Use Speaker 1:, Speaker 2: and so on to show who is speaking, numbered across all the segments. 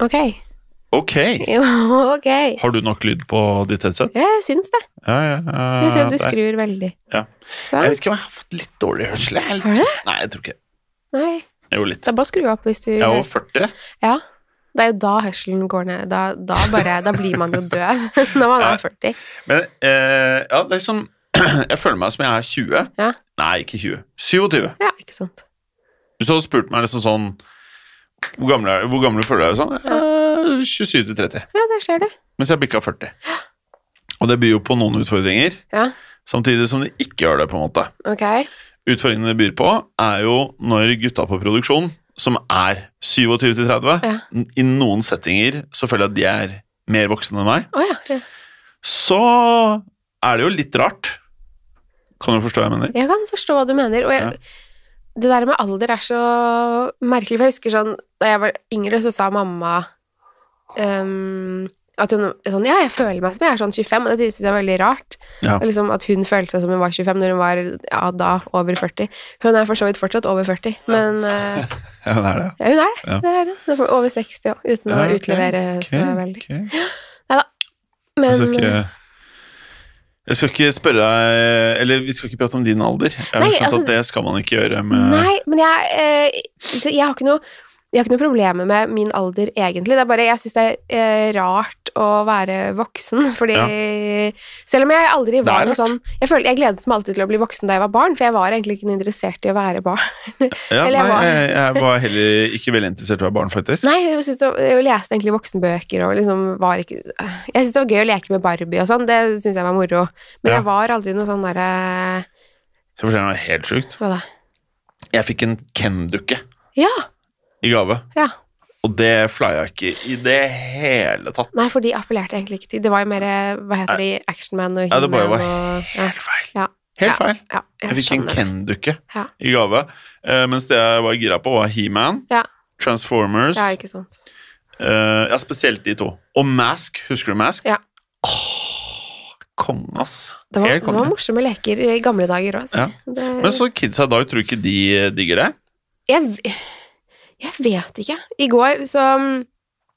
Speaker 1: Ok.
Speaker 2: Ok.
Speaker 1: Jo, ok.
Speaker 2: Har du nok lyd på ditt headset?
Speaker 1: Jeg syns det.
Speaker 2: Ja, ja. eh,
Speaker 1: Vi ser at du
Speaker 2: der.
Speaker 1: skrur veldig.
Speaker 2: Ja.
Speaker 1: Sånn.
Speaker 2: Jeg vet ikke om jeg har fått litt dårlig hørsel. Jeg er litt
Speaker 1: Har du det?
Speaker 2: tyst. Nei, jeg tror ikke det.
Speaker 1: Nei,
Speaker 2: Jo,
Speaker 1: det
Speaker 2: litt.
Speaker 1: er bare å skru opp hvis du
Speaker 2: Jeg er over 40.
Speaker 1: Ja. Det er jo da hørselen går ned. Da, da, bare, da blir man jo død når man
Speaker 2: Ja.
Speaker 1: er 40.
Speaker 2: Men eh, ja, det er sånn Jeg føler meg som jeg er 20.
Speaker 1: Ja.
Speaker 2: Nei, ikke 20. 27.
Speaker 1: Ja, ikke sant.
Speaker 2: Hvis du hadde spurt meg liksom sånn Hvor gammel, er, du? hvor gammel føler du deg? Sånn, eh, 27 til 30.
Speaker 1: Ja, der ser du.
Speaker 2: Mens jeg bikka 40. Og det byr jo på noen utfordringer,
Speaker 1: Ja,
Speaker 2: samtidig som det ikke gjør det, på en måte.
Speaker 1: ok.
Speaker 2: Utfordringene det byr på, er jo når gutta på produksjon, som er 27 til 30,
Speaker 1: Ja.
Speaker 2: n- i noen settinger så føler jeg at de er mer voksne enn meg,
Speaker 1: Å ja. ja.
Speaker 2: så er det jo litt rart. Kan du forstå hva jeg mener?
Speaker 1: Jeg kan forstå hva du mener. Og jeg, det der med alder er så merkelig. For jeg husker sånn Da jeg var yngre, så sa mamma ehm, at hun sånn Ja, jeg føler meg som jeg er sånn 25, og det synes jeg er veldig rart.
Speaker 2: Ja.
Speaker 1: Og Liksom At hun følte seg som hun var 25 når hun var ja, da over 40. Hun er for så vidt fortsatt over 40, men eh,
Speaker 2: Ja, det er det.
Speaker 1: ja, hun er det.
Speaker 2: Ja.
Speaker 1: Det er det. Hun er for- over 60 òg, uten
Speaker 2: Ja,
Speaker 1: å
Speaker 2: ok,
Speaker 1: utlevere seg
Speaker 2: Ok,
Speaker 1: veldig.
Speaker 2: ok.
Speaker 1: Men eh,
Speaker 2: Jeg skal Altså, ikke jeg skal ikke spørre deg Eller vi skal ikke prate om din alder. Jeg har
Speaker 1: Nei,
Speaker 2: skjønt
Speaker 1: altså-
Speaker 2: at det skal man ikke gjøre med
Speaker 1: Nei, men jeg, eh, så jeg har ikke noe jeg har ikke noe problemer med min alder, egentlig. Det er bare, Jeg syns det er eh, rart å være voksen, fordi Selv om jeg aldri
Speaker 2: Det
Speaker 1: var
Speaker 2: er
Speaker 1: noe
Speaker 2: rart.
Speaker 1: sånn jeg, føler, jeg gledet meg alltid til å bli voksen da jeg var barn, for jeg var egentlig ikke noe interessert i å være barn.
Speaker 2: Ja,
Speaker 1: Eller jeg
Speaker 2: nei,
Speaker 1: var-
Speaker 2: jeg, jeg var heller ikke veldig interessert i å være barn, faktisk.
Speaker 1: Nei, jeg, synes det var- jeg leste egentlig voksenbøker og liksom var ikke Jeg syntes det var gøy å leke med Barbie og sånn, det syns jeg var moro, men
Speaker 2: Ja.
Speaker 1: jeg var aldri noe sånn derre
Speaker 2: Så forteller jeg noe helt sjukt.
Speaker 1: Hva da?
Speaker 2: Jeg fikk en Ken-dukke
Speaker 1: Ja,
Speaker 2: i gave,
Speaker 1: ja.
Speaker 2: og det flya jeg ikke i det hele tatt.
Speaker 1: Nei, for de appellerte egentlig ikke til Det var jo mer eh, Hva heter de? Actionman og
Speaker 2: Ja, det bare
Speaker 1: He-Man
Speaker 2: var
Speaker 1: og ja.
Speaker 2: Helt feil.
Speaker 1: Ja.
Speaker 2: Helt feil.
Speaker 1: Ja,
Speaker 2: Jeg fikk en
Speaker 1: skjønner.
Speaker 2: Ken-dukke
Speaker 1: Ja.
Speaker 2: i gave, eh, mens det jeg var gira på, var He-Man,
Speaker 1: Ja.
Speaker 2: Transformers
Speaker 1: Ja,
Speaker 2: eh,
Speaker 1: ikke sant.
Speaker 2: Ja, spesielt de to. Og Mask. Husker du Mask?
Speaker 1: Ja.
Speaker 2: Åh, Konge, ass.
Speaker 1: Det var,
Speaker 2: Helt
Speaker 1: det var
Speaker 2: konge.
Speaker 1: morsomme leker i gamle dager òg.
Speaker 2: Ja. Men så kidsa i dag, tror du ikke de eh, digger det?
Speaker 1: jeg, v- jeg vet ikke. I går, så mm,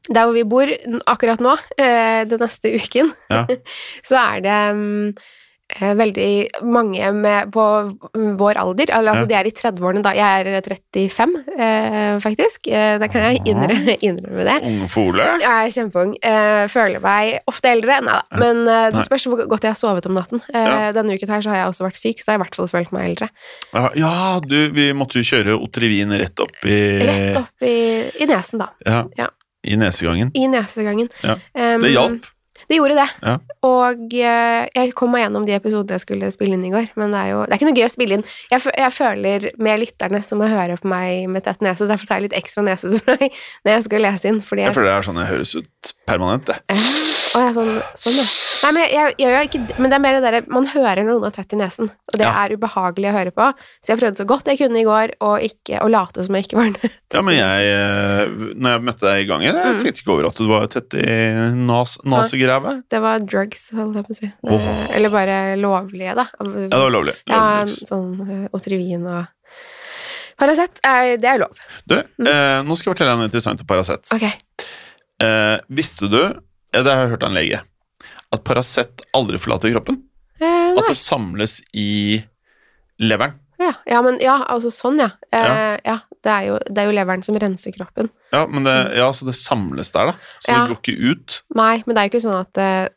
Speaker 1: Der hvor vi bor n- akkurat nå, eh, den neste uken,
Speaker 2: Ja.
Speaker 1: så er det mm, eh, veldig mange med, på vår alder. Al-
Speaker 2: Ja.
Speaker 1: Altså, de er i 30-årene da. Jeg er 35, eh, faktisk. Eh, da kan jeg innrømme, innrømme det.
Speaker 2: Unge fole?
Speaker 1: Jeg er kjempeung. Eh, føler meg ofte eldre. Nei da. Men eh, det
Speaker 2: Nei.
Speaker 1: spørs hvor godt jeg har sovet om natten. Eh,
Speaker 2: Ja.
Speaker 1: Denne uken her så har jeg også vært syk, så jeg har i hvert fall følt meg eldre.
Speaker 2: Ja, Ja, du, vi måtte jo kjøre Otrivin rett opp i
Speaker 1: Rett opp i, i nesen, da.
Speaker 2: Ja,
Speaker 1: Ja.
Speaker 2: I nesegangen.
Speaker 1: I nesegangen.
Speaker 2: Ja.
Speaker 1: Um,
Speaker 2: Det hjalp.
Speaker 1: Det gjorde det.
Speaker 2: Ja.
Speaker 1: Og eh, jeg kom meg gjennom de episodene jeg skulle spille inn i går. Men det er jo det er ikke noe gøy å spille inn. Jeg, fø- jeg føler med lytterne som hører på meg med tett nese, så derfor tar jeg litt ekstra nesespray når jeg skal lese inn. Fordi
Speaker 2: Jeg
Speaker 1: jeg
Speaker 2: føler det er sånn jeg høres ut permanent, det.
Speaker 1: Å ja, sånn, sånn ja. Nei, men, jeg, jeg, gjør jo ikke, det- men det er mer det derre Man hører når noen er tett i nesen, og det
Speaker 2: Ja.
Speaker 1: er ubehagelig å høre på. Så jeg prøvde så godt jeg kunne i går å ikke- å late som jeg ikke var det.
Speaker 2: Ja, men jeg eh, Når jeg møtte deg i gangen, jeg
Speaker 1: Mm.
Speaker 2: tenkte ikke over at du var tett i nas, nasegrevet.
Speaker 1: Det var drugs, holdt jeg på å si. Det-
Speaker 2: Åh.
Speaker 1: Eller bare lovlige, da. Av-
Speaker 2: Ja, det var lovlig.
Speaker 1: Ja,
Speaker 2: Lovlig.
Speaker 1: sånn eh, Otrivin og Paracet, eh, det er lov.
Speaker 2: Du, eh, nå skal jeg fortelle deg noe interessant om Paracet.
Speaker 1: Ok.
Speaker 2: Eh, visste du, ja, det har jeg hørt av en lege, at Paracet aldri forlater kroppen?
Speaker 1: Eh,
Speaker 2: At
Speaker 1: nei.
Speaker 2: det samles i leveren?
Speaker 1: Ja. ja, men ja, altså sånn, ja.
Speaker 2: Ja.
Speaker 1: Eh, ja det, er jo, det er jo leveren som renser kroppen.
Speaker 2: Ja, men det, ja, så det samles der, da. Så
Speaker 1: Mm. Ja.
Speaker 2: det går ikke ut.
Speaker 1: Nei, men det er jo ikke sånn at eh,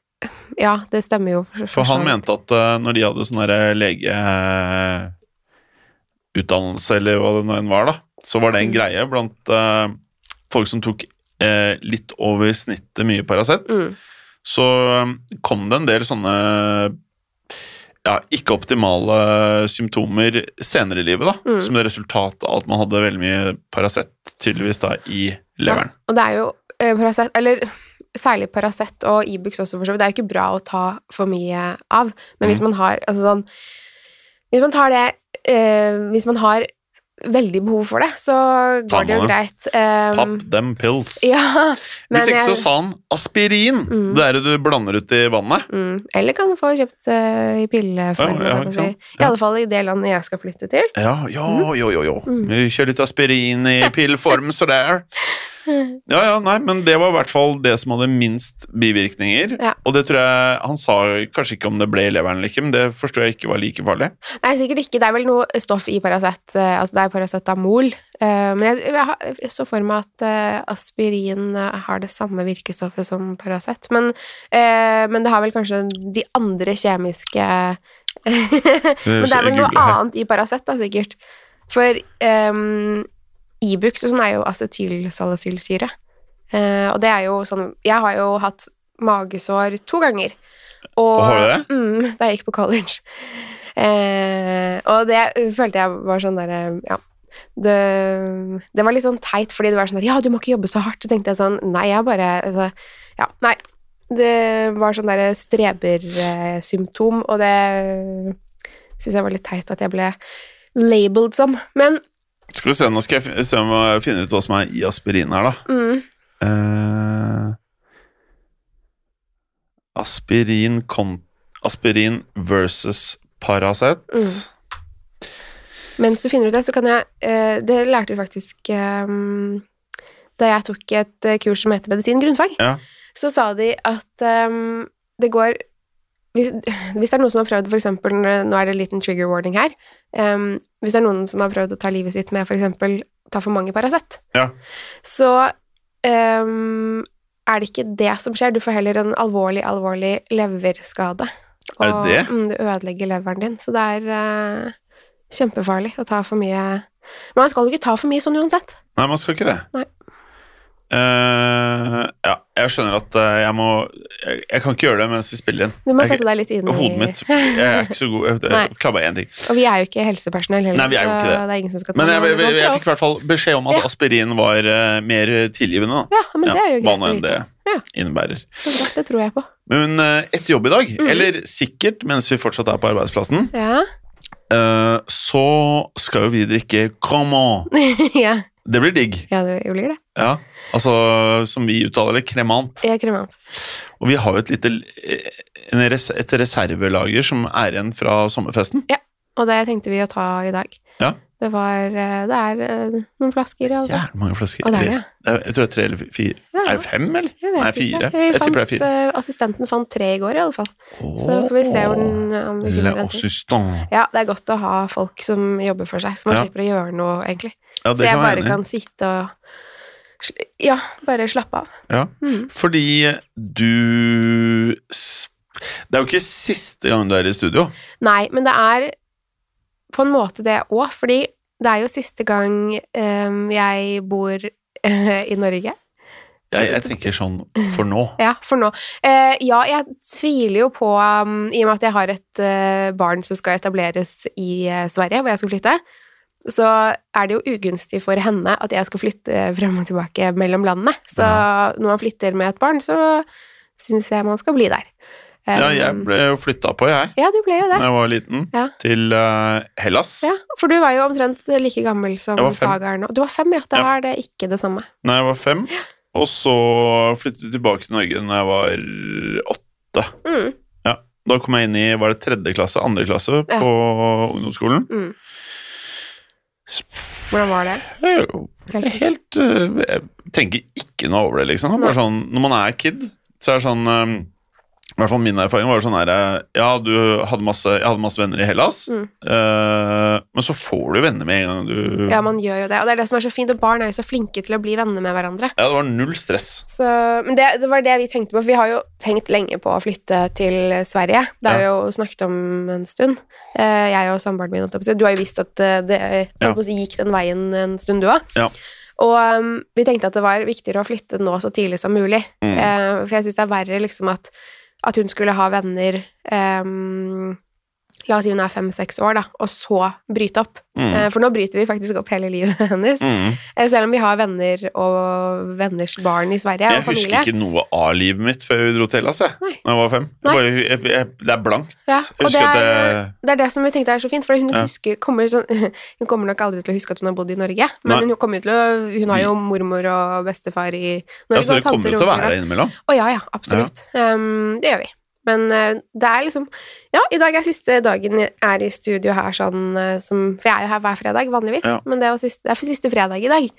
Speaker 1: Ja, det stemmer jo. for-
Speaker 2: For han
Speaker 1: så-
Speaker 2: mente at eh, når de hadde sånn der legeutdannelse, eller hva det nå enn var, da, så var det
Speaker 1: Mm.
Speaker 2: en greie blant eh, folk som tok eh, litt over snittet mye Paracet.
Speaker 1: Mm.
Speaker 2: Så eh, kom det en del sånne ja, ikke optimale symptomer senere i livet, da,
Speaker 1: Mm.
Speaker 2: som det resultat av at man hadde veldig mye Paracet, tydeligvis, da, i leveren.
Speaker 1: Og det er jo eh, Paracet Eller særlig Paracet og Ibux også, for så vidt. Det er jo ikke bra å ta for mye av. Men
Speaker 2: Mhm.
Speaker 1: hvis man har altså sånn Hvis man tar det eh, Hvis man har veldig behov for det, så
Speaker 2: Tar
Speaker 1: går det jo
Speaker 2: man det.
Speaker 1: greit. Eh,
Speaker 2: Pop them pills.
Speaker 1: Ja, men
Speaker 2: Hvis ikke så
Speaker 1: jeg-
Speaker 2: sa han aspirin!
Speaker 1: Mm.
Speaker 2: Det er det du blander ut i vannet.
Speaker 1: Mm, eller kan få kjøpt eh, i pilleform,
Speaker 2: Ja, ja,
Speaker 1: holdt jeg på å
Speaker 2: ikke
Speaker 1: si.
Speaker 2: sant.
Speaker 1: I
Speaker 2: Ja.
Speaker 1: alle fall i det landet jeg skal flytte til.
Speaker 2: Ja, jo, jo, jo, jo.
Speaker 1: Mm.
Speaker 2: Vi kjører litt aspirin i pillform, så det er Ja, ja, nei, men det var i hvert fall det som hadde minst bivirkninger.
Speaker 1: Ja.
Speaker 2: Og det tror jeg Han sa kanskje ikke om det ble i leveren eller ikke, men det forstår jeg ikke var like farlig.
Speaker 1: Nei, sikkert ikke. Det er vel noe stoff i Paracet, eh, altså det er paracetamol. Eh, Men jeg, jeg, har- jeg så for meg at eh, aspirin eh, har det samme virkestoffet som Paracet. Men, eh, men det har vel kanskje de andre kjemiske Men det er vel noe annet i Paracet, da, sikkert. For um, Ibux og sånn er jo acetylsalicylsyre. Eh, og det er jo sånn Jeg har jo hatt magesår to ganger. Og,
Speaker 2: Og har du det?
Speaker 1: Mm, da jeg gikk på college. Eh, og det følte jeg var sånn derre Ja. Det, det var litt sånn teit, fordi det var sånn der Ja, du må ikke jobbe så hardt. Så tenkte jeg sånn Nei, jeg bare altså, Ja, nei. Det var sånn derre strebersymptom, og det syns jeg var litt teit at jeg ble labeled som. Men
Speaker 2: Skal vi se, Nå skal jeg fin- se om jeg finner ut hva som er i aspirin her, da.
Speaker 1: mm,
Speaker 2: Eh, aspirin, kon aspirin versus Paracet.
Speaker 1: Mm. mens du finner ut det, så kan jeg eh, Det lærte vi faktisk eh, da jeg tok et eh, kurs som heter medisin grunnfag.
Speaker 2: Ja.
Speaker 1: Så sa de at eh, det går hvis, hvis det er noen som har prøvd for eksempel, Nå er det en liten trigger warning her. eh, hvis det er noen som har prøvd å ta livet sitt med f.eks. ta for mange Paracet,
Speaker 2: Ja.
Speaker 1: så ehm, er det ikke det som skjer. Du får heller en alvorlig, alvorlig leverskade.
Speaker 2: Er det det?
Speaker 1: Mm, det ødelegger leveren din, så det er eh, kjempefarlig å ta for mye Men man skal jo ikke ta for mye sånn uansett.
Speaker 2: Nei, man skal ikke det.
Speaker 1: Nei.
Speaker 2: Eh, ja, jeg skjønner at eh, jeg må jeg, jeg kan ikke gjøre det mens vi spiller inn.
Speaker 1: Du må
Speaker 2: Jeg-
Speaker 1: sette deg litt inn i
Speaker 2: Hodet mitt Jeg er ikke så god. Jeg,
Speaker 1: Nei.
Speaker 2: jeg klabba én ting.
Speaker 1: Og vi er jo ikke helsepersonell heller,
Speaker 2: Nei, vi er jo
Speaker 1: så
Speaker 2: ikke
Speaker 1: det.
Speaker 2: det.
Speaker 1: er ingen som skal ta
Speaker 2: Men jeg, jeg,
Speaker 1: noe
Speaker 2: jeg,
Speaker 1: fra
Speaker 2: fikk i hvert
Speaker 1: oss.
Speaker 2: fall beskjed om at
Speaker 1: Ja.
Speaker 2: aspirin var eh, mer tilgivende. Da.
Speaker 1: Ja, men det er jo
Speaker 2: hva
Speaker 1: greit
Speaker 2: nå
Speaker 1: å
Speaker 2: enn det
Speaker 1: vite. Ja.
Speaker 2: innebærer.
Speaker 1: Så greit, det tror jeg på.
Speaker 2: Men eh, etter jobb i dag,
Speaker 1: Mm.
Speaker 2: eller sikkert mens vi fortsatt er på arbeidsplassen,
Speaker 1: Ja.
Speaker 2: eh, så skal jo vi drikke cremant.
Speaker 1: ja.
Speaker 2: Det blir digg.
Speaker 1: ja, det jo blir det.
Speaker 2: Ja. Altså, som vi uttaler det, kremant.
Speaker 1: Jeg er kremant.
Speaker 2: Og vi har jo et lite en res et reservelager som er igjen fra sommerfesten.
Speaker 1: Og det tenkte vi å ta i dag.
Speaker 2: Ja.
Speaker 1: Det var eh, Det er eh, noen flasker i alle
Speaker 2: Jævlig mange flasker.
Speaker 1: Og det er
Speaker 2: Tre-
Speaker 1: det.
Speaker 2: Jeg jeg tror det er tre eller fire.
Speaker 1: Ja.
Speaker 2: Er det fem, eller?
Speaker 1: Jeg vet
Speaker 2: Nei,
Speaker 1: ikke.
Speaker 2: fire.
Speaker 1: Vi
Speaker 2: Jeg tipper det er
Speaker 1: fant,
Speaker 2: fire.
Speaker 1: eh, assistenten fant tre i går, i alle fall. Så får vi se hvor den, om vi
Speaker 2: Le
Speaker 1: finner den til.
Speaker 2: assistant.
Speaker 1: Ja, det er godt å ha folk som jobber for seg, så man
Speaker 2: Ja.
Speaker 1: slipper å gjøre noe, egentlig.
Speaker 2: Ja,
Speaker 1: Så
Speaker 2: det
Speaker 1: jeg
Speaker 2: kan være
Speaker 1: bare
Speaker 2: enig.
Speaker 1: kan sitte og sl- Ja, bare slappe av.
Speaker 2: Ja.
Speaker 1: Mm.
Speaker 2: Fordi du s- Det er jo ikke siste gang du er i studio.
Speaker 1: Nei, men det er på en måte det òg, fordi det er jo siste gang eh, jeg bor eh, i Norge.
Speaker 2: Jeg,
Speaker 1: Så-
Speaker 2: jeg tenker sånn for nå.
Speaker 1: Ja, for nå. Eh, ja, jeg tviler jo på um, I og med at jeg har et eh, barn som skal etableres i eh, Sverige, hvor jeg skal flytte, så er det jo ugunstig for henne at jeg skal flytte frem og tilbake mellom landene. Så når man flytter med et barn, så syns jeg man skal bli der.
Speaker 2: Ja,
Speaker 1: Um,
Speaker 2: jeg ble jo flytta på, jeg,
Speaker 1: ja, du ble jo
Speaker 2: da
Speaker 1: det.
Speaker 2: jeg var liten,
Speaker 1: Ja.
Speaker 2: til eh, Hellas.
Speaker 1: Ja, for du var jo omtrent like gammel som
Speaker 2: Jeg var fem.
Speaker 1: Saga er nå. Du var fem, ja. Da
Speaker 2: Ja.
Speaker 1: er det ikke det samme.
Speaker 2: Da jeg var fem. Og så flyttet jeg tilbake til Norge da jeg var åtte.
Speaker 1: Mm.
Speaker 2: Da kom jeg inn i var det tredje klasse, andre klasse
Speaker 1: Ja.
Speaker 2: på ungdomsskolen.
Speaker 1: Mm. Hvordan var det?
Speaker 2: Jeg er jo helt øh, Jeg tenker ikke noe over det, liksom. Bare
Speaker 1: Nei.
Speaker 2: sånn, når man er kid, så er det sånn øhm, I hvert fall min erfaring var jo sånn her øh, Ja, du hadde masse, jeg hadde masse venner i Hellas,
Speaker 1: Mm.
Speaker 2: øh, men så får du venner med en gang du
Speaker 1: Ja, man gjør jo det. Og det er det som er så fint, og barn er jo så flinke til å bli venner med hverandre.
Speaker 2: Ja, det var null stress.
Speaker 1: Så, men det, det var det vi tenkte på, for vi har jo tenkt lenge på å flytte til Sverige. Det har vi jo snakket om en stund, Eh, jeg og samboeren min. holdt jeg på å si. Du har jo visst at eh, det holdt
Speaker 2: Ja.
Speaker 1: på å si, gikk den veien en stund, du òg.
Speaker 2: Ja.
Speaker 1: Og um, vi tenkte at det var viktigere å flytte nå så tidlig som mulig.
Speaker 2: Mm.
Speaker 1: Eh, for jeg syns det er verre liksom at, at hun skulle ha venner ehm, La oss si hun er fem-seks år, da, og så bryte opp.
Speaker 2: Mm.
Speaker 1: Eh, for nå bryter vi faktisk opp hele livet hennes.
Speaker 2: Mm.
Speaker 1: Eh, Selv om vi har venner og venners barn i Sverige
Speaker 2: Jeg
Speaker 1: og
Speaker 2: husker
Speaker 1: familie.
Speaker 2: ikke noe av livet mitt før vi dro til Hellas, jeg.
Speaker 1: Nei.
Speaker 2: Da jeg var fem.
Speaker 1: Nei.
Speaker 2: Jeg bare, jeg, jeg, det er blankt.
Speaker 1: Ja,
Speaker 2: jeg
Speaker 1: og
Speaker 2: husker
Speaker 1: det
Speaker 2: at det
Speaker 1: er- Det er det som vi tenkte er så fint, for hun,
Speaker 2: Ja.
Speaker 1: husker, kommer sånn, hun kommer nok aldri til å huske at hun har bodd i Norge, men
Speaker 2: Nei. Mm.
Speaker 1: hun, kommer jo til å, hun har jo mormor og bestefar i Norge.
Speaker 2: ja, Så det kommer jo til å være her innimellom.
Speaker 1: Å ja, ja, absolutt. Um, det gjør vi. Men eh, det er liksom Ja, i dag er siste dagen jeg er i studio her sånn eh, som For jeg er jo her hver fredag, vanligvis,
Speaker 2: Ja.
Speaker 1: men det er, jo siste, det er siste fredag i dag.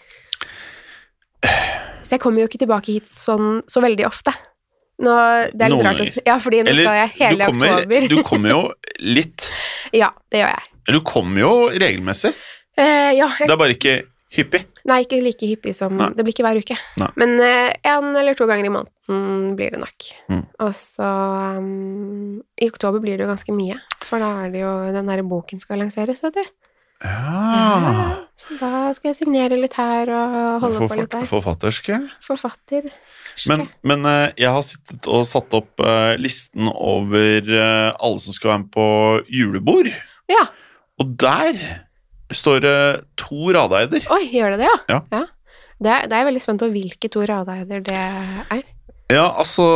Speaker 1: Så jeg kommer jo ikke tilbake hit sånn så veldig ofte. Nå, det er litt
Speaker 2: Noen
Speaker 1: rart å si. Ja, fordi nå
Speaker 2: Eller,
Speaker 1: skal jeg hele
Speaker 2: du kommer,
Speaker 1: oktober.
Speaker 2: du kommer jo litt.
Speaker 1: Ja, det gjør jeg.
Speaker 2: Eller du kommer jo regelmessig.
Speaker 1: Eh, ja, jeg,
Speaker 2: Det er bare ikke hyppig.
Speaker 1: nei, ikke like hyppig som
Speaker 2: Nei.
Speaker 1: Det blir ikke hver uke.
Speaker 2: Nei.
Speaker 1: Men eh, en eller to ganger i måneden blir det nok.
Speaker 2: Mm.
Speaker 1: Og så um, I oktober blir det jo ganske mye, for da er det jo den derre boken skal lanseres, vet du.
Speaker 2: Ja.
Speaker 1: Ja, Så da skal jeg signere litt her og holde på litt
Speaker 2: Forfatt-
Speaker 1: der.
Speaker 2: Forfatterske.
Speaker 1: Forfatter.
Speaker 2: Men, men eh, jeg har sittet og satt opp eh, listen over eh, alle som skal være med på julebord.
Speaker 1: Ja.
Speaker 2: Og der står det to radeider.
Speaker 1: Oi, gjør det det, ja?
Speaker 2: Ja.
Speaker 1: Det, er, det er jeg veldig spent på hvilke to radeider det er.
Speaker 2: Ja, altså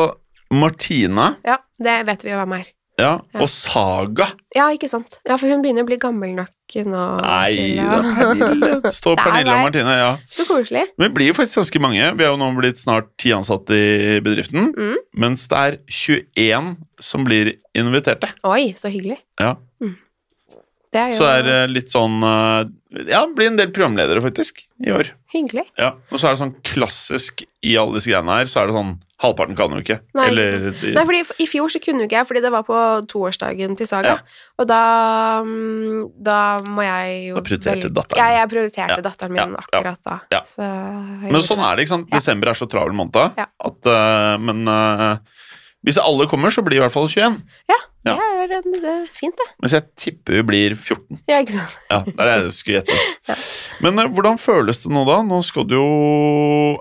Speaker 2: Martine
Speaker 1: Ja, det vet vi jo hvem er.
Speaker 2: ja,
Speaker 1: Ja.
Speaker 2: og Saga.
Speaker 1: Ja, ikke sant. Ja, for hun begynner å bli gammel nok nå.
Speaker 2: Nei,
Speaker 1: til
Speaker 2: det
Speaker 1: å-
Speaker 2: er Pernille. Det står
Speaker 1: Det er
Speaker 2: Pernille
Speaker 1: meg.
Speaker 2: og Martine, ja.
Speaker 1: Så koselig.
Speaker 2: Men vi blir jo faktisk ganske mange. Vi er jo nå blitt snart ti ansatte i bedriften.
Speaker 1: Mm.
Speaker 2: Mens det er 21 som blir inviterte.
Speaker 1: Oi, så hyggelig.
Speaker 2: Ja.
Speaker 1: Mm. Det er jo
Speaker 2: Så det er eh, litt sånn eh, Ja, det blir en del programledere faktisk i år.
Speaker 1: hyggelig.
Speaker 2: Ja. Og så er det sånn klassisk i alle disse greiene her, så er det sånn Halvparten kan jo ikke.
Speaker 1: Nei,
Speaker 2: Eller
Speaker 1: Nei, fordi f- I fjor så kunne jo ikke jeg, fordi det var på toårsdagen til Saga.
Speaker 2: Ja.
Speaker 1: Og da, mm, da må jeg jo
Speaker 2: Da prioriterte
Speaker 1: vel-
Speaker 2: datteren.
Speaker 1: Ja, jeg prioriterte
Speaker 2: Ja,
Speaker 1: datteren min
Speaker 2: ja, ja,
Speaker 1: akkurat da.
Speaker 2: ja.
Speaker 1: Så jeg
Speaker 2: Men
Speaker 1: gjorde
Speaker 2: sånn
Speaker 1: det.
Speaker 2: er det, ikke sant.
Speaker 1: Ja.
Speaker 2: Desember er så travel måned.
Speaker 1: Ja.
Speaker 2: At, eh, men eh, hvis alle kommer, så blir det i hvert fall 21.
Speaker 1: Det er en- det er fint, det.
Speaker 2: Mens jeg tipper vi blir 14.
Speaker 1: Ja, ikke sant.
Speaker 2: Ja, det er det jeg skulle gjette. Men eh, hvordan føles det nå, da? Nå skal du jo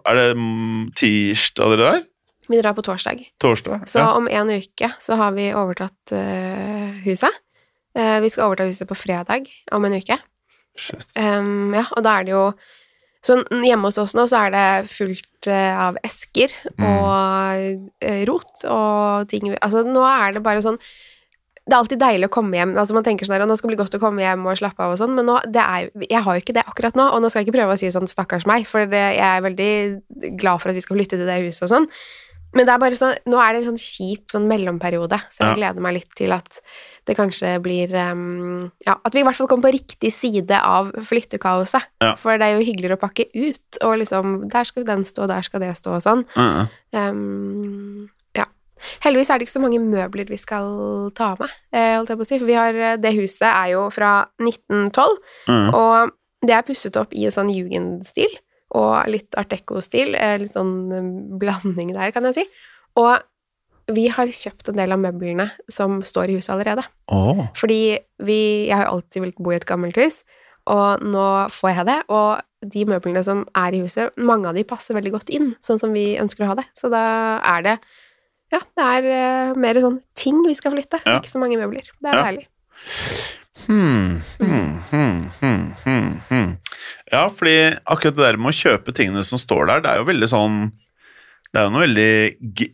Speaker 2: Er det mm, tirsdag dere der?
Speaker 1: Vi drar på torsdag.
Speaker 2: Torsdag?
Speaker 1: Så
Speaker 2: ja.
Speaker 1: om en uke så har vi overtatt eh, huset. Eh, vi skal overta huset på fredag om en uke.
Speaker 2: Shit.
Speaker 1: Ehm, ja, og da er det jo Så n- hjemme hos oss nå så er det fullt eh, av esker
Speaker 2: Mm.
Speaker 1: og eh, rot og ting vi- Altså nå er det bare sånn det er alltid deilig å komme hjem. altså Man tenker sånn her, «Å, nå skal det bli godt å komme hjem og slappe av, og sånn, men nå, det er, jo- jeg har jo ikke det akkurat nå. Og nå skal jeg ikke prøve å si sånn 'stakkars meg', for det, jeg er veldig glad for at vi skal flytte til det huset og sånn. Men det er bare sånn, nå er det en sånn kjip sånn mellomperiode, så jeg gleder meg litt til at det kanskje blir ehm, Ja, at vi i hvert fall kommer på riktig side av flyttekaoset.
Speaker 2: Ja.
Speaker 1: For det er jo hyggeligere å pakke ut, og liksom Der skal den stå, der skal det stå, og sånn.
Speaker 2: Ja, ja.
Speaker 1: Ehm, ja. Heldigvis er det ikke så mange møbler vi skal ta med, eh, holdt jeg på å si. For vi har eh, Det huset er jo fra 1912,
Speaker 2: Ja, ja.
Speaker 1: og det er pusset opp i en sånn jugendstil og litt art deco-stil. eh, Litt sånn eh, blanding der, kan jeg si. Og vi har kjøpt en del av møblene som står i huset allerede.
Speaker 2: Åh.
Speaker 1: Fordi vi, jeg har jo alltid villet bo i et gammelt hus, og nå får jeg det. Og de møblene som er i huset, mange av de passer veldig godt inn, sånn som vi ønsker å ha det. Så da er det Ja, det er eh, mer sånn ting vi skal flytte,
Speaker 2: Ja.
Speaker 1: ikke så mange møbler. Det er
Speaker 2: Ja.
Speaker 1: deilig.
Speaker 2: Hmm, hmm, hmm, hmm, hmm, hmm. Ja, fordi akkurat det der med å kjøpe tingene som står der, det er jo veldig sånn Det er jo noe veldig g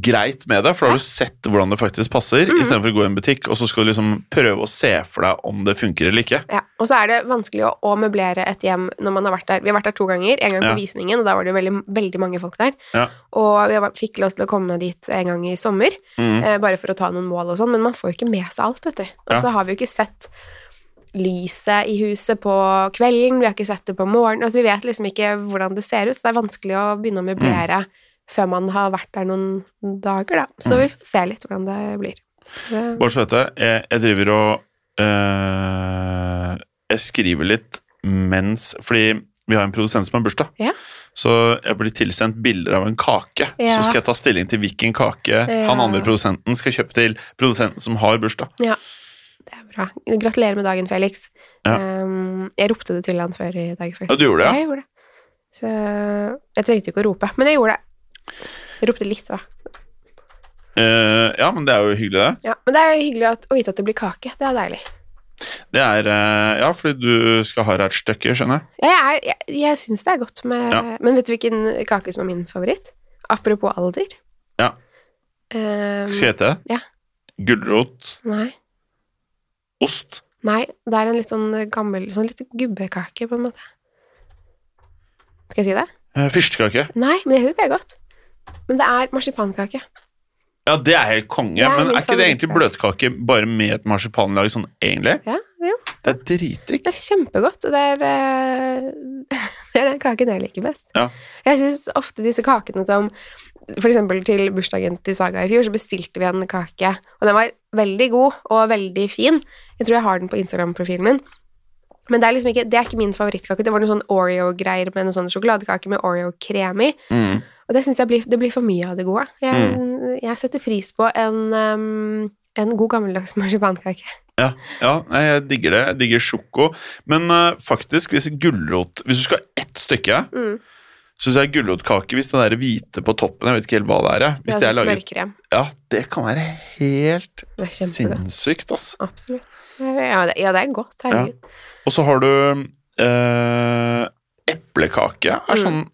Speaker 2: greit med det, for da har du sett hvordan det faktisk passer,
Speaker 1: Mhm.
Speaker 2: istedenfor å gå i en butikk og så skal du liksom prøve å se for deg om det funker eller ikke.
Speaker 1: Ja, og så er det vanskelig å, å møblere et hjem når man har vært der. Vi har vært der to ganger, en gang på
Speaker 2: Ja.
Speaker 1: visningen, og da var det jo veldig, veldig mange folk der.
Speaker 2: Ja.
Speaker 1: Og vi var- fikk lov til å komme dit en gang i sommer,
Speaker 2: Mhm.
Speaker 1: eh, bare for å ta noen mål og sånn, men man får jo ikke med seg alt, vet du. Og
Speaker 2: Ja.
Speaker 1: så har vi jo ikke sett lyset i huset på kvelden, vi har ikke sett det på morgenen, altså vi vet liksom ikke hvordan det ser ut, så det er vanskelig å begynne å møblere før man har vært der noen dager, da. Så
Speaker 2: Mm.
Speaker 1: vi får se litt hvordan det blir. Det-
Speaker 2: Bare så vet jeg, jeg, jeg driver og eh, Jeg skriver litt mens Fordi vi har en produsent som har bursdag.
Speaker 1: Ja.
Speaker 2: Så jeg blir tilsendt bilder av en kake.
Speaker 1: Ja.
Speaker 2: Så skal jeg ta stilling til hvilken kake
Speaker 1: Ja.
Speaker 2: han andre produsenten skal kjøpe til produsenten som har bursdag.
Speaker 1: Det er bra. Gratulerer med dagen, Felix.
Speaker 2: Ja.
Speaker 1: Ehm, jeg ropte det til han før i dag. faktisk.
Speaker 2: Ja, du gjorde det, ja?
Speaker 1: Jeg gjorde det. Så jeg trengte jo ikke å rope, men jeg gjorde det. Jeg ropte litt, hva.
Speaker 2: Eh, ja, men det er jo hyggelig, det.
Speaker 1: Ja, men det er jo hyggelig at, å vite at det blir kake. Det er deilig.
Speaker 2: Det er eh, Ja, fordi du skal ha deg et stykke, skjønner jeg.
Speaker 1: Jeg, er, jeg, jeg syns det er godt med
Speaker 2: Ja.
Speaker 1: Men vet du hvilken kake som er min favoritt? Apropos alder.
Speaker 2: Ja.
Speaker 1: Ehm,
Speaker 2: Skal jeg hete det?
Speaker 1: Ja.
Speaker 2: Gulrot,
Speaker 1: nei,
Speaker 2: ost
Speaker 1: nei, det er en litt sånn gammel Sånn litt gubbekake, på en måte. Skal jeg si det?
Speaker 2: eh, Fyrstekake.
Speaker 1: Nei, men jeg syns det er godt. Men det er marsipankake.
Speaker 2: Ja, det er helt konge.
Speaker 1: Det er
Speaker 2: men
Speaker 1: min
Speaker 2: er ikke det egentlig
Speaker 1: favorittkake.
Speaker 2: bløtkake bare med et marsipanlag sånn, egentlig?
Speaker 1: Ja, Jo.
Speaker 2: Det er dritdigg.
Speaker 1: Det er kjempegodt, og det er, eh, det er den kaken jeg liker best.
Speaker 2: Ja.
Speaker 1: Jeg syns ofte disse kakene som For eksempel til bursdagen til Saga i fjor, så bestilte vi en kake, og den var veldig god og veldig fin. Jeg tror jeg har den på Instagram-profilen min. Men det er liksom ikke, det er ikke min favorittkake. Det var noen sånn Oreo-greier med noen sånne sjokoladekake med Oreo-krem i.
Speaker 2: Mm.
Speaker 1: Og det syns jeg blir, det blir for mye av det gode. Jeg, jeg setter pris på en, ehm, en god gammeldags marsipankake.
Speaker 2: Ja, ja nei, jeg digger det. Jeg digger sjoko. Men eh, faktisk, hvis gulrot Hvis du skal ha ett stykke,
Speaker 1: Mm.
Speaker 2: syns jeg gulrotkake Hvis det der hvite på toppen Jeg vet ikke helt hva det er. jeg. Hvis det er
Speaker 1: altså
Speaker 2: laget,
Speaker 1: smørkrem.
Speaker 2: ja, det kan være helt
Speaker 1: Det er kjempegodt.
Speaker 2: sinnssykt, ass.
Speaker 1: Absolutt. Det er- Ja, det, ja, det er godt. Herregud.
Speaker 2: Og så har du eh, eplekake. Er sånn,